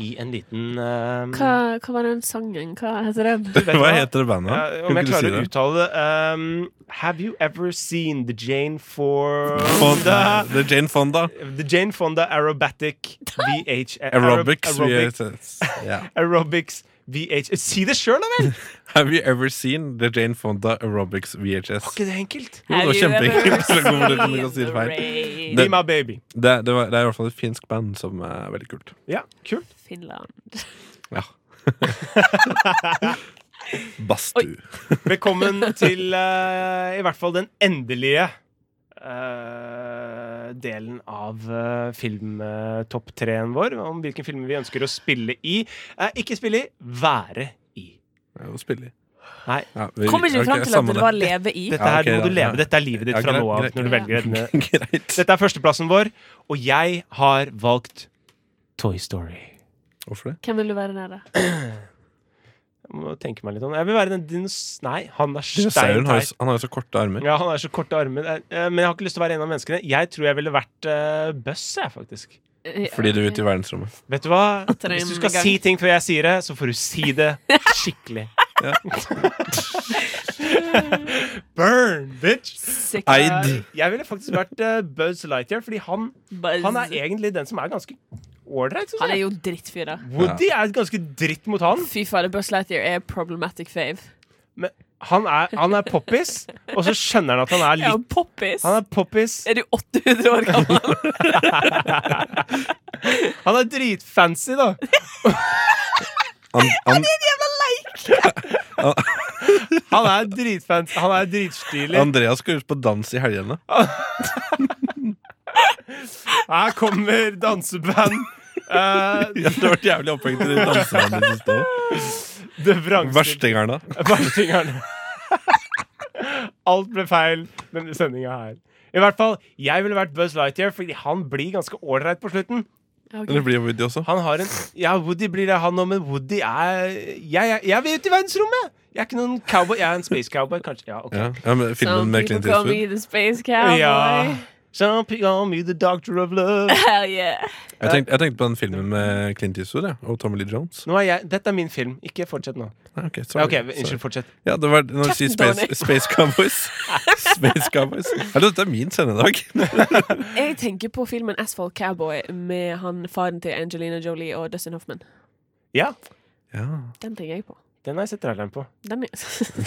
S3: i en liten eh,
S1: Hva, hva var den sangen? Hva heter den?
S3: vet du
S5: Hva heter det bandet?
S3: Ja,
S5: Kan
S3: om jeg
S5: ikke du si
S3: klarer å
S5: det?
S3: uttale det um, Have you ever seen the Jane Fonda
S5: Fonda. Det er Jane Fonda.
S3: The Jane Fonda Aerobatic VH
S5: Aerobics. vi-
S3: aerobic,
S5: Ja.
S3: Aerobics VH Si det sjøl, da vel!
S5: Have you ever seen The Jane Fonda Aerobics VHS?
S3: Var ikke det enkelt?
S5: Jo, det var kjempeenkelt. Det kommer til å si det feil.
S1: Rain.
S3: Be my baby.
S5: Det, det, var, det er i hvert fall et finsk band som er veldig kult.
S3: Ja, kult.
S1: Finland.
S5: Ja. Bastu.
S3: Velkommen til eh, i hvert fall den endelige eh, delen av uh, filmtopp treen vår, om hvilken film vi ønsker å spille i. Eh, ikke spille i, være i.
S5: Ja, og spille i.
S3: Nei.
S5: Ja, vi-
S1: Kommer ikke
S5: ok,
S1: du fram til at
S5: samme
S1: det var leve i?
S3: Dette
S5: Ja,
S3: her
S5: ok,
S3: må
S5: da.
S3: du leve.
S5: Ja.
S3: Dette er livet ditt
S5: Ja,
S3: fra
S5: greit,
S3: nå av.
S5: greit.
S3: Når du velger eh, denne.
S5: Greit.
S3: Dette er førsteplassen vår, og jeg har valgt Toy Story.
S5: Hvorfor det?
S1: Hvem vil du være nær, da?
S3: Jeg må tenke meg litt om Jeg vil være den dinos... Nei, han er
S5: Dinosauren har, jo
S3: steinteit.
S5: s- han har jo så korte armer.
S3: Ja, han har så korte armer. Eh, eh, Men jeg har ikke lyst til å være en av menneskene. Jeg tror jeg ville vært uh, Buss, jeg, faktisk.
S5: Fordi du er ute i verdensrommet.
S3: Vet du hva?
S1: det er
S3: Hvis du skal
S1: en gang.
S3: si ting før jeg sier det, så får du si det skikkelig.
S5: Ja.
S3: Burn, bitch!
S1: Sick
S5: Eid.
S3: Eh, Jeg ville faktisk vært eh, Buzz Lightyear, fordi han,
S1: buzz.
S3: han er egentlig den som er ganske ålreit. synes
S1: Han er
S3: jeg.
S1: jo drittfyr, da.
S3: Woody er ganske dritt mot han.
S1: Fy fader, Buzz Lightyear er problematic fave.
S3: Men han er, han er poppis, og så skjønner han at han er
S1: Ja,
S3: litt
S1: og poppis.
S3: Han er poppis.
S1: Er du 800 år gammel?
S3: Han er dritfancy, da.
S5: Han, han,
S1: Jævla leik!
S3: Han er dritfans. Han er dritstilig.
S5: Andreas skal ut på dans i helgene.
S3: Her kommer danseband.
S5: Det
S3: Uh,
S5: har vært jævlig opphengt i de dansebandene som står.
S3: det vrangstilte-
S5: Verstingerne.
S3: Verstingerne. Alt ble feil denne sendinga her. I hvert fall, jeg ville vært Buzz Lightyear, fordi han blir ganske ålreit på slutten.
S5: Eller blir Woody også.
S3: Han har en Ja, Woody blir det han òg, men Woody er jeg, jeg, jeg vil ut i verdensrommet! Jeg er ikke noen cowboy. Jeg er en space cowboy, kanskje. Ja, ok
S5: Ja, ja men Filmen
S7: Some
S5: med
S7: people
S5: Clint
S7: call
S5: Eastwood.
S7: me the space cowboy.
S3: Ja. Some people call me the doctor of love.
S7: Hell yeah.
S5: Jeg tenkte, jeg tenkte på den filmen med Clint Eastwood ja, og Tommy Lee Jones.
S3: Nå er jeg, dette er min film. Ikke fortsett nå.
S5: Nei, ok, sorry,
S3: Ja, ok,
S5: sorry.
S3: Unnskyld, fortsett.
S5: Ja, det var når du sier Space,
S7: Donner.
S5: space Cowboys. space Cowboys Eller, dette er min sendedag.
S1: Jeg tenker på filmen Asphalt Cowboy med han faren til Angelina Jolie og Dustin Hoffman.
S3: Ja,
S5: Ja.
S1: Den tenker jeg på.
S3: den har jeg sett traileren på.
S1: Den er, den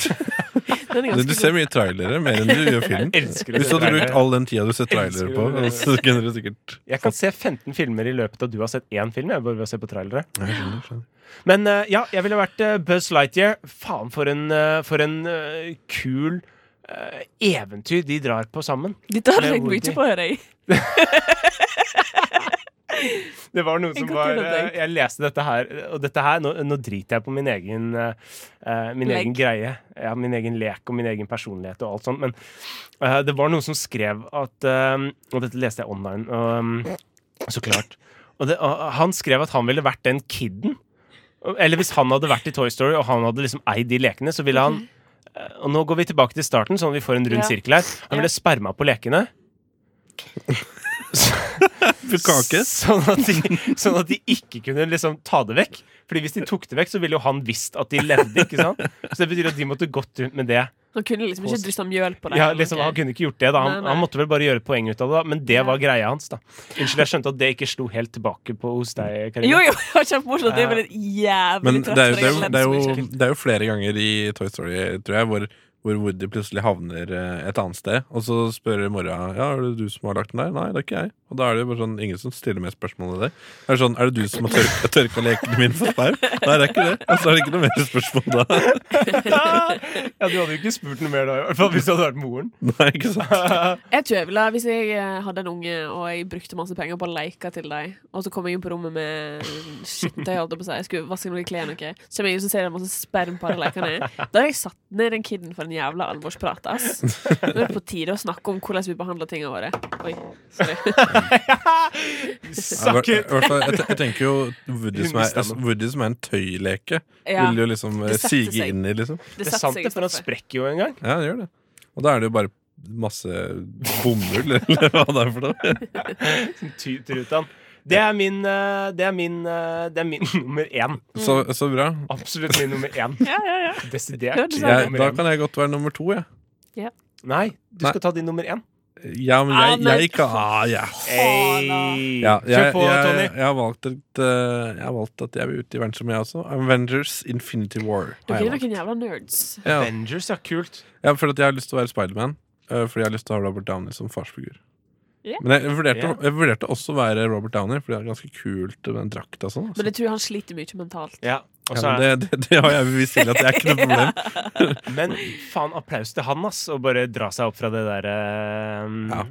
S1: er
S5: Du,
S1: ganske
S5: du ser mye trailere, mer enn du gjør film.
S3: Elsker å
S5: Hvis
S3: se
S5: du hadde
S3: trailere.
S5: brukt all den tida du ser
S3: Elsker
S5: trailere
S3: å
S5: på,
S3: gjøre det.
S5: så kunne du sikkert
S3: Jeg kan se 15 filmer i løpet av du har sett én film. Jeg bare ved å se på trailere
S5: Nei, jeg skjønner, skjønner.
S3: Men eh, ja, jeg ville vært eh, Buzz Lightyear. Faen, for en, eh, for en eh, kul eh, eventyr de drar på sammen.
S1: Dette har jeg
S3: Med
S1: tenkt mye
S3: Woody.
S1: på, hører jeg.
S3: Det var noe som
S1: kan
S3: var
S1: kunne
S3: eh,
S1: tenkt.
S3: Jeg leste dette her, og dette her Nå, nå driter jeg på min egen eh, Min
S1: Lek.
S3: egen greie. Ja, min egen lek og min egen personlighet og alt sånt. Men eh, det var noen som skrev at eh, Og dette leste jeg online, og, eh, så klart. Og det, og han skrev at han ville vært den kiden. Eller hvis han hadde vært i Toy Story og han hadde liksom eid de lekene, så ville han eh, Og nå går vi tilbake til starten, sånn at vi får en rund
S1: Ja.
S3: sirkel her. Han
S1: Ja.
S3: ville sperma på lekene. Sånn at, de, sånn at de ikke kunne liksom ta det vekk. Fordi hvis de tok det vekk, så ville jo han visst at de levde. ikke sant? Så det betyr at de måtte gått rundt med det.
S1: Han kunne liksom ikke dryssa mjøl på det.
S3: Ja,
S1: eller
S3: liksom,
S1: noe.
S3: han kunne ikke gjort det da han,
S1: Nei, nei.
S3: han måtte vel bare gjøre et poeng ut av det, da. men det
S1: Ja.
S3: var greia hans. da Unnskyld, jeg skjønte at det ikke slo helt tilbake på hos deg,
S1: Jo,
S3: Karina.
S1: jo, det var kjempemorsomt. Det var et
S5: Men
S1: jævlig
S5: det er,
S1: trøst.
S5: jo, det, er jo, det, er jo, det er jo flere ganger i Toy Story, tror jeg, hvor, hvor Woody plutselig havner eh, et annet sted. Og så spør mora ja, er det du som har lagt den der. Nei, det er ikke jeg. Og da er det jo bare sånn ingen som stiller mer spørsmål enn det. Det Er sånn, er det du som har tørka, tørka lekene mine for sperm? Nei, det er ikke det. Og så er det ikke noe mer spørsmål da.
S3: Ja, Du hadde jo ikke spurt noe mer da, i hvert fall hvis du hadde vært moren.
S5: Nei, ikke sant?
S1: Jeg tror jeg ville, Hvis jeg eh, hadde en unge og jeg brukte masse penger på leker til dem, og så kom jeg inn på rommet med skittøy, holdt jeg på å si, jeg skulle vaske noen klær, noe, så kommer jeg inn og ser det er masse sperm på alle lekene, da hadde jeg satt ned den kiden for en jævla alvorsprat. ass. Nå er det på tide å snakke om hvordan vi behandler tingene våre. Oi, sorry.
S5: Ja, i
S3: Suck
S5: hvert- i
S3: it!
S5: hvert fall, Jeg, te- jeg tenker jo Woody som er, altså, Woody som er en tøyleke,
S1: Ja,
S5: vil jo liksom eh,
S1: Det setter
S5: sige
S1: seg.
S5: inn i, liksom.
S3: Det er sant, det, for han sprekker jo en gang.
S5: Ja, det gjør det. Og da er det jo bare masse bomull, eller hva det er for noe.
S3: Ty- Trutan. Det er min, eh, det er min, eh, det er min nummer én.
S5: Så, så bra.
S3: Absolutt min nummer én. Desidert.
S1: Hørtes
S5: Jeg,
S3: Nummer
S5: da
S3: én.
S5: kan jeg godt være nummer to, jeg.
S3: Nei, du
S5: Nei.
S3: skal ta din nummer én.
S5: Ja, men jeg,
S1: Ah, men-
S5: jeg er ikke ah, ja.
S3: Hey.
S5: Ja, jeg,
S3: Kjør på,
S5: jeg,
S3: Tony.
S5: jeg, har valgt et, eh, jeg har valgt at jeg vil ut i verdensrommet, jeg også. Avengers Infinity War.
S1: Dere
S5: Har jeg
S1: er
S5: valgt.
S1: noen jævla nerds.
S5: Ja,
S3: Avengers, ja. Kult.
S5: ja, for at jeg har lyst til å være Spiderman. eh, Fordi jeg har lyst til å ha Robert Downey som farsfigur.
S1: Ja.
S5: Men jeg vurderte,
S3: Ja.
S5: jeg vurderte også å være Robert Downey, Fordi det er ganske kult med en drakt. og sånn, altså.
S1: Men jeg tror han sliter mye mentalt.
S3: Ja. og
S5: Ja,
S3: så er-
S5: men det, det, det har jeg bevist til at det er ikke noe problem.
S3: men faen, applaus til han, ass. Å bare dra seg opp fra det der eh,
S5: Ja.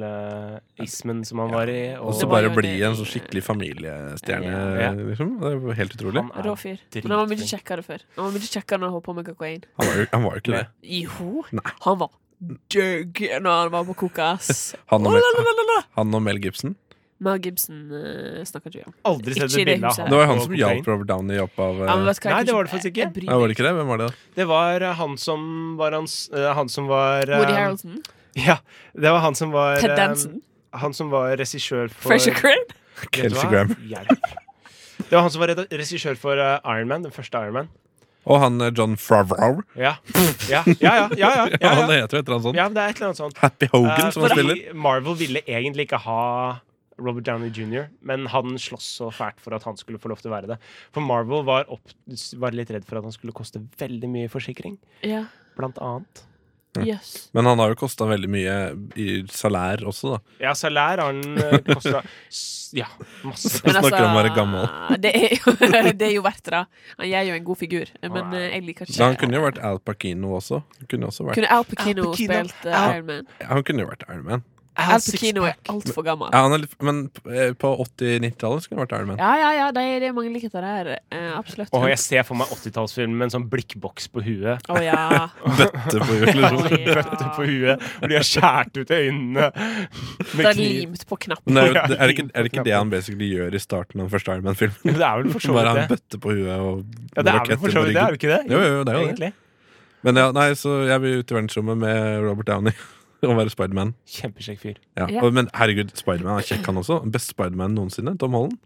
S3: alkoholismen som han var i.
S5: Og
S3: Og
S5: så
S1: Det var
S5: bare
S1: jo
S5: bli
S1: det-
S5: en sånn skikkelig familiestjerne,
S3: Ja.
S5: liksom. Det er jo helt utrolig.
S3: han er
S1: Rå fyr.
S3: dritflink.
S1: Men han var mye kjekkere før. Han var mye kjekkere når han holdt på med kokain.
S5: Han var jo, han var jo ikke det.
S1: Jo,
S5: Nei.
S1: han var døgg når han var på kokas.
S5: Han og, Mel,
S1: Olalalala.
S5: han og Mel Gibson.
S1: Mel Gibson uh, snakker ikke vi om.
S3: Aldri sett
S1: Ikke i
S3: et
S1: det
S3: bilde av
S1: huset.
S3: han.
S5: Det var jo han
S3: på
S5: som
S3: kokain.
S5: hjalp Robert Downey opp av eh,
S1: Ja, men vet du hva, jeg
S3: Nei,
S1: kan
S3: det var det faktisk ikke.
S1: Jeg bryr
S5: Nei, var
S1: meg.
S5: det ikke det? Hvem var det? da?
S3: Det var eh, han som var hans, eh, Han som var eh,
S1: Woody Harrelson.
S3: Ja, det var han som var
S1: Ted
S3: eh,
S1: Danson.
S3: Han som var regissør for
S1: Fraser Crane.
S3: Vet du hva?
S5: Kelsey Grammer.
S3: Hjelp. Det var han som var reda- regissør for eh, Iron Man, den første Iron Man.
S5: Og han eh, John Favreau.
S3: Ja, ja, ja. ja, ja, ja, ja,
S5: Han
S3: ja.
S5: heter jo et eller annet sånt.
S3: ja men det er et eller annet sånt.
S5: Happy Hogan,
S3: Eh,
S5: som han
S3: fordi
S5: spiller.
S3: Marvel ville egentlig ikke ha Robert Downey jr., men han sloss så fælt for at han skulle få lov til å være det. For Marvel var, opp, var litt redd for at han skulle koste veldig mye i forsikring,
S1: Ja.
S3: blant annet.
S1: Jøss.
S5: Men han har jo kosta veldig mye i salær også, da.
S3: Ja, salær har den kosta Ja, masse.
S5: Så snakker han om å være gammel.
S1: altså, Det er, jo, det er jo verdt det. da. Han gjør jo en god figur, men eh, jeg liker
S5: Men
S1: ikke
S5: han kunne jo vært Al Pacino også. Han kunne også vært,
S1: Kunne Al Pacino
S3: Al Pacino.
S1: spilt eh,
S5: Al-
S1: Iron Man?
S5: Ja, han kunne jo vært Iron Man.
S1: Al Pacino er altfor gammel.
S5: Ja, han er litt, men eh, på 80-90-tallet skulle han vært Iron Man.
S1: Ja, ja, ja, det er, det er mange likheter der. eh, absolutt.
S3: Og jeg ser for meg 80-tallsfilm med en sånn blikkboks på huet. Sånn
S1: Å ja.
S5: Bøtte på liksom. hjulet.
S1: Oi, ja.
S3: Bøtte på huet, hvor de har skjært ut øynene
S1: Det
S3: med
S1: er
S3: kniv.
S1: limt på knapp.
S5: Men det er, jo- det, er, det ikke, er det ikke det han basically gjør i starten av den første Iron Man-filmen?
S3: Det er vel for så
S5: Bare han
S3: vidt det.
S5: bøtte på huet og
S3: Ja, det er vel for
S5: raketter på
S3: så vidt det,
S5: ryggen.
S3: er det ikke det?
S5: Jo, jo, jo, det er jo det.
S3: Egentlig.
S5: Men ja, nei, så jeg vil ut i verdensrommet med Robert Downey og være Spiderman.
S3: Kjempekjekk fyr.
S5: Ja.
S1: Ja.
S5: Og- Men herregud, Spiderman er kjekk, han også. Best Spiderman noensinne. Tom Holland.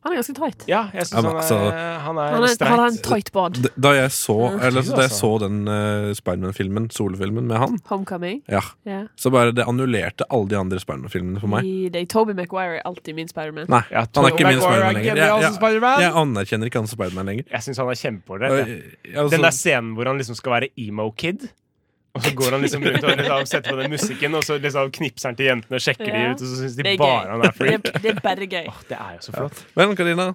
S1: Han er ganske tight.
S3: Ja, jeg syns
S5: Ja, men
S3: han,
S5: altså-
S3: er- han
S1: Han,
S3: er
S1: er, han har en
S3: streit.
S1: tight bod.
S5: D- Da jeg så,
S3: Ja,
S5: eller,
S3: fy,
S5: altså, da jeg
S3: altså.
S5: så den eh, Spiderman-filmen, solofilmen med han,
S1: Homecoming.
S5: ja,
S1: Ja.
S5: så bare det annullerte alle de andre Spiderman-filmene for meg.
S1: I, det, Toby Maguire er alltid min Spiderman.
S5: Nei,
S3: Ja,
S5: han er ikke min
S3: Tobey Maguire er
S5: Spiderman lenger.
S3: genial
S5: Jeg,
S3: som
S5: jeg,
S3: Spider-Man.
S5: jeg anerkjenner ikke han som Spiderman lenger.
S3: Jeg syns han er kjempeålreit. jeg.
S5: Jeg- jeg- altså-
S3: Den der scenen hvor han liksom skal være emo-kid. Og så går han liksom rundt og liksom setter på den musikken, og så liksom knipser han til jentene og sjekker de
S1: Ja.
S3: ut, og så syns de
S1: Det er
S3: bare
S1: gøy.
S3: han er
S1: Det,
S3: freak.
S1: er- det er bare gøy.
S3: Åh, det er jo så flott.
S5: Men Karina,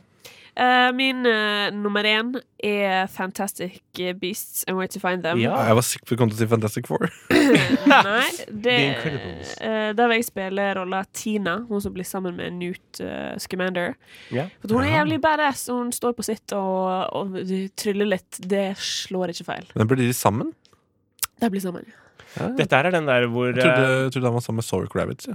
S1: Eh, min eh, nummer én er Fantastic Beasts and Where to Find Them.
S3: Ja.
S5: jeg var sikker på at du kom til å si Fantastic Four.
S1: Nei, det,
S3: The Incredibles.
S1: eh, der vil jeg spille rolla Tina, hun som blir sammen med Newt eh, Scamander.
S3: Ja.
S1: For hun er jævlig badass, og hun står på sitt og, og tryller litt. Det slår ikke feil.
S5: Men blir de sammen?
S1: De blir sammen.
S3: Dette her er den der hvor
S5: Jeg
S3: eh,
S5: trodde, trodde han var sammen med Sorry Kravitz. Ja.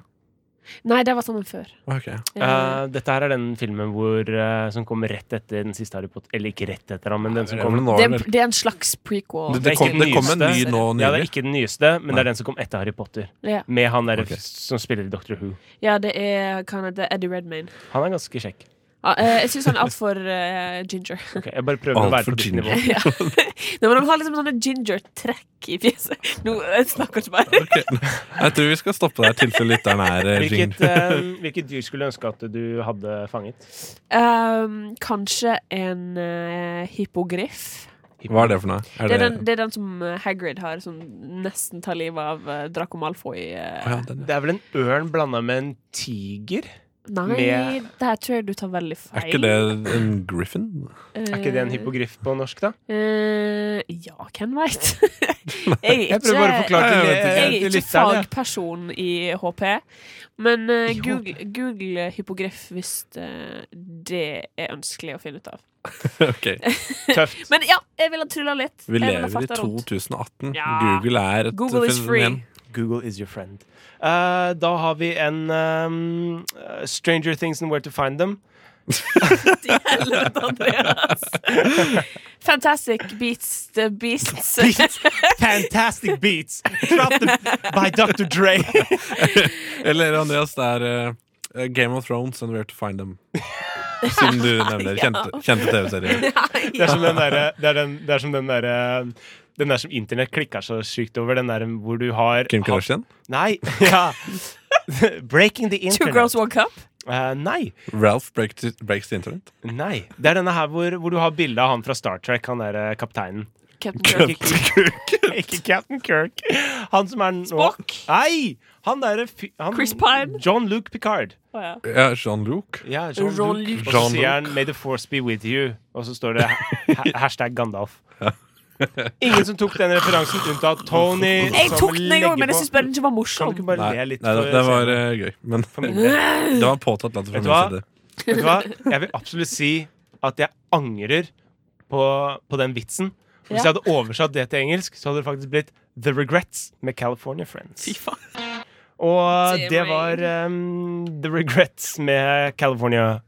S1: Nei, de var sammen før.
S5: Ok.
S1: Eh,
S3: eh, Dette her er den filmen hvor, eh, som kom rett etter den siste Harry Potter Eller ikke rett etter, han, men den som
S5: Det er
S3: kom
S5: vel nå,
S1: det,
S5: eller?
S1: er- det er en slags prequel.
S5: Det, det, kom, det kom en ny nå
S3: Ja, det er
S5: nylig.
S3: ikke den nyeste, men det
S5: Nei.
S3: er den som kom etter Harry Potter.
S1: Ja.
S3: Med han der
S5: Ok.
S3: som spiller i Doctor Who.
S1: Ja, det er hva han heter Eddie Redmayne.
S3: Han er ganske kjekk.
S1: Ja, eh, jeg syns han er altfor uh, ginger.
S3: Ok, jeg bare prøver å
S5: Alt
S3: være
S5: for
S3: på ditt
S5: ginger.
S3: nivå.
S1: ja. Nei, men han har liksom sånne ginger-trekk i fjeset. Nå jeg snakker ikke bare.
S5: Ok. Jeg tror vi skal stoppe der, tilfelle lytteren er eh, ring.
S3: Hvilket, eh, hvilket dyr skulle du ønske at du hadde fanget?
S1: Um, kanskje en eh, hippogriff.
S5: Hva er det for noe?
S1: Det
S5: Er det,
S1: er, den, det er den som eh, Hagrid har, som nesten tar livet av eh, Draco Malfoy. eh.
S5: Å ja, den, ja.
S3: Det er vel en ørn blanda med en tiger?
S1: Nei,
S3: Med-
S1: der tror jeg du tar veldig feil.
S5: Er ikke det en griffin?
S3: Er ikke det en hippogriff på norsk, da?
S1: Eh, ja, hvem veit? jeg er
S3: Jeg prøver bare å
S1: ikke
S3: forklare til
S5: Jeg vet
S1: Jeg er
S3: til
S1: ikke
S3: lytteren, jeg.
S1: fagperson i HP, men eh,
S3: I
S1: google, google hypogriff hvis eh, det er ønskelig å finne ut av.
S5: Ok.
S3: Tøft.
S1: Men ja, jeg ville trylla litt.
S5: Vi
S1: Jeg ville
S5: lever i
S1: farta rundt.
S5: 2018.
S1: Ja.
S5: Google er et
S1: Google is free.
S5: fenomen.
S3: Google is your friend. Eh, da har vi en ehm, eh, Stranger Things and Where to Find Them.
S1: Til helvete, Andreas. Fantastic beats the beasts.
S3: Fantastic beats! Dropped by Dr. Dre.
S5: Eller Andreas, det er eh, Game of Thrones and Where to Find Them. Siden du nevner kjente, kjente TV-serier.
S3: Det er som den derre Det er, den, det er som den derre den der som internett klikker så sykt over. Den der hvor du har
S5: Kim Kardashian?
S3: Nei. Ja. Breaking the
S1: Two
S3: internet.
S1: girls, one cup.
S3: Eh, nei.
S5: Ralph break to, breaks the internet?
S3: Nei. Det er denne her hvor, hvor du har bilde av han fra Star Trek, han derre kapteinen.
S1: Captain Kirk.
S3: Ikke Kirk. Ikke Captain Kirk. Han som er nå
S1: Spock.
S3: Nei! Han derre fy- han-
S1: Chris Pine.
S3: John Luke Picard.
S1: Å, ja.
S5: Ja, Jean-Luc?
S3: Ja,
S1: Jean-Luc.
S3: Og så
S5: Jean-Luc.
S3: sier han 'May the force be with you', og så står det ha- hashtag Gandalf. Ingen som tok den referansen, unntatt Tony.
S1: Jeg
S3: som
S1: tok den en
S3: legger
S1: gang, men jeg
S3: på-
S1: syns bare den ikke var
S3: Kan du ikke
S1: morsom.
S3: bare
S5: Nei,
S3: le
S5: nei
S3: litt?
S5: det,
S3: for-
S5: det var eh, gøy, men
S3: for min del?
S5: det var påtatt latter fra
S3: Vet
S5: min
S3: du hva?
S5: side.
S3: Vet du hva? Jeg vil absolutt si at jeg angrer på, på den vitsen. Hvis
S1: Ja.
S3: jeg hadde oversatt det til engelsk, så hadde det faktisk blitt The Regrets med California Friends.
S1: Fy faen.
S3: Og
S1: Se
S3: det
S1: meg.
S3: var um, The Regrets med California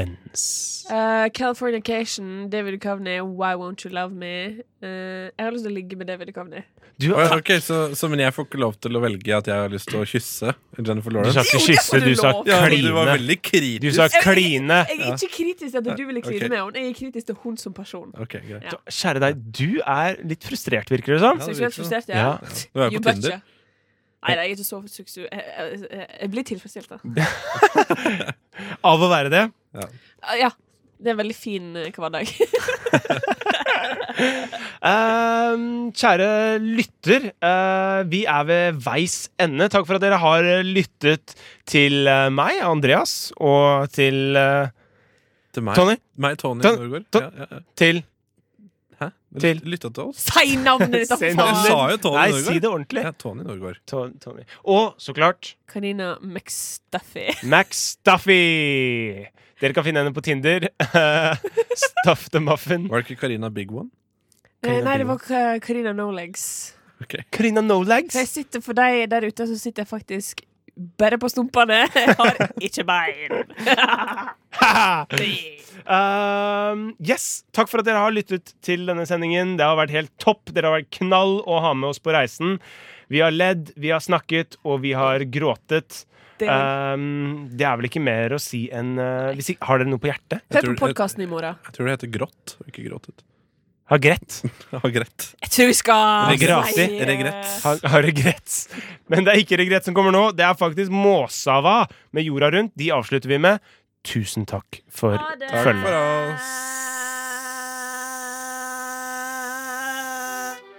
S3: Friends.
S1: Uh, Californication, David Coveney, Why Won't You Love Me? Uh, jeg har lyst til å ligge med David Coveney.
S3: Du,
S5: Å, ja, Ok, så, så Men jeg får ikke lov til å velge at jeg har lyst til å kysse Jennifer
S3: du sa
S5: Lawrence?
S3: ikke
S1: Jo, det
S3: kysse,
S1: får du
S3: du sa
S1: lov.
S5: Ja, men du var
S3: kline.
S5: veldig kritisk.
S3: Du sa kline.
S1: Jeg er ikke kritisk til at du ville kline
S5: Ok.
S1: med henne, jeg er kritisk til hun som person.
S5: Ok, greit.
S1: Ja.
S3: Kjære deg, du er litt frustrert, virker det som.
S5: Ja, det virker
S1: Seksuelt
S5: sånn.
S1: frustrert,
S3: Ja.
S1: ja.
S5: Du er jo
S1: You
S5: på
S1: betcha.
S5: Tinder.
S1: Nei, nei, jeg er ikke så seksuell. Jeg, jeg, jeg- jeg blir tilfredsstilt, da.
S3: Av å være det.
S1: Ja. Det er en veldig fin eh, hverdag.
S3: Ehm, kjære lytter, eh, vi er ved veis ende. Takk for at dere har lyttet til eh, meg, Andreas, og til eh,
S5: Til meg.
S3: Tony?
S5: Meg, Tony
S3: Ton-
S5: Norgård.
S3: Ton-
S5: Ja, ja, ja.
S3: Til
S5: Hæ? Men
S3: Til-
S5: Lytta til oss?
S1: Si navnet ditt, da,
S3: Se
S5: Jeg
S3: navnet.
S1: faen!
S5: sa jo Tony
S3: Nei,
S5: Norgård.
S3: si det ordentlig.
S5: Ja, Tony Norgård.
S3: To- Tony. Og så klart
S1: Karina McStuffy.
S3: Max Staffy. Dere kan finne henne på Tinder. Staff the Muffin.
S5: Var det ikke Karina Big One?
S3: Karina
S1: Eh, Nei, det
S3: Bigman.
S1: var Ka- Karina Nolegs.
S5: Ok.
S3: Karina
S1: For jeg
S3: Nolags.
S1: sitter for deg der ute, så sitter jeg faktisk bare på stumpene. Jeg har ikke bein.
S3: Ehm, yes, Takk for at dere har lyttet til denne sendingen. Det har vært helt topp. Dere har vært knall å ha med oss på reisen. Vi har ledd, vi har snakket, og vi har gråtet.
S1: Det-
S3: Ehm, det er vel ikke mer å si enn eh, hvis ikke, Har dere noe på hjertet?
S5: Jeg
S1: Hør
S5: tror-
S1: på podkasten i morgen.
S5: Jeg tror det heter grått, og ikke gråtet.
S3: Har grett?
S5: Ja, greit.
S1: Jeg tror vi skal
S3: Regrati.
S1: si, eh,
S5: Regrett.
S3: Har, har regrets. Men det er ikke regrets som kommer nå. Det er faktisk Måsava med Jorda rundt. De avslutter vi med. Tusen takk for
S1: Ha det.
S3: følget.
S5: For oss.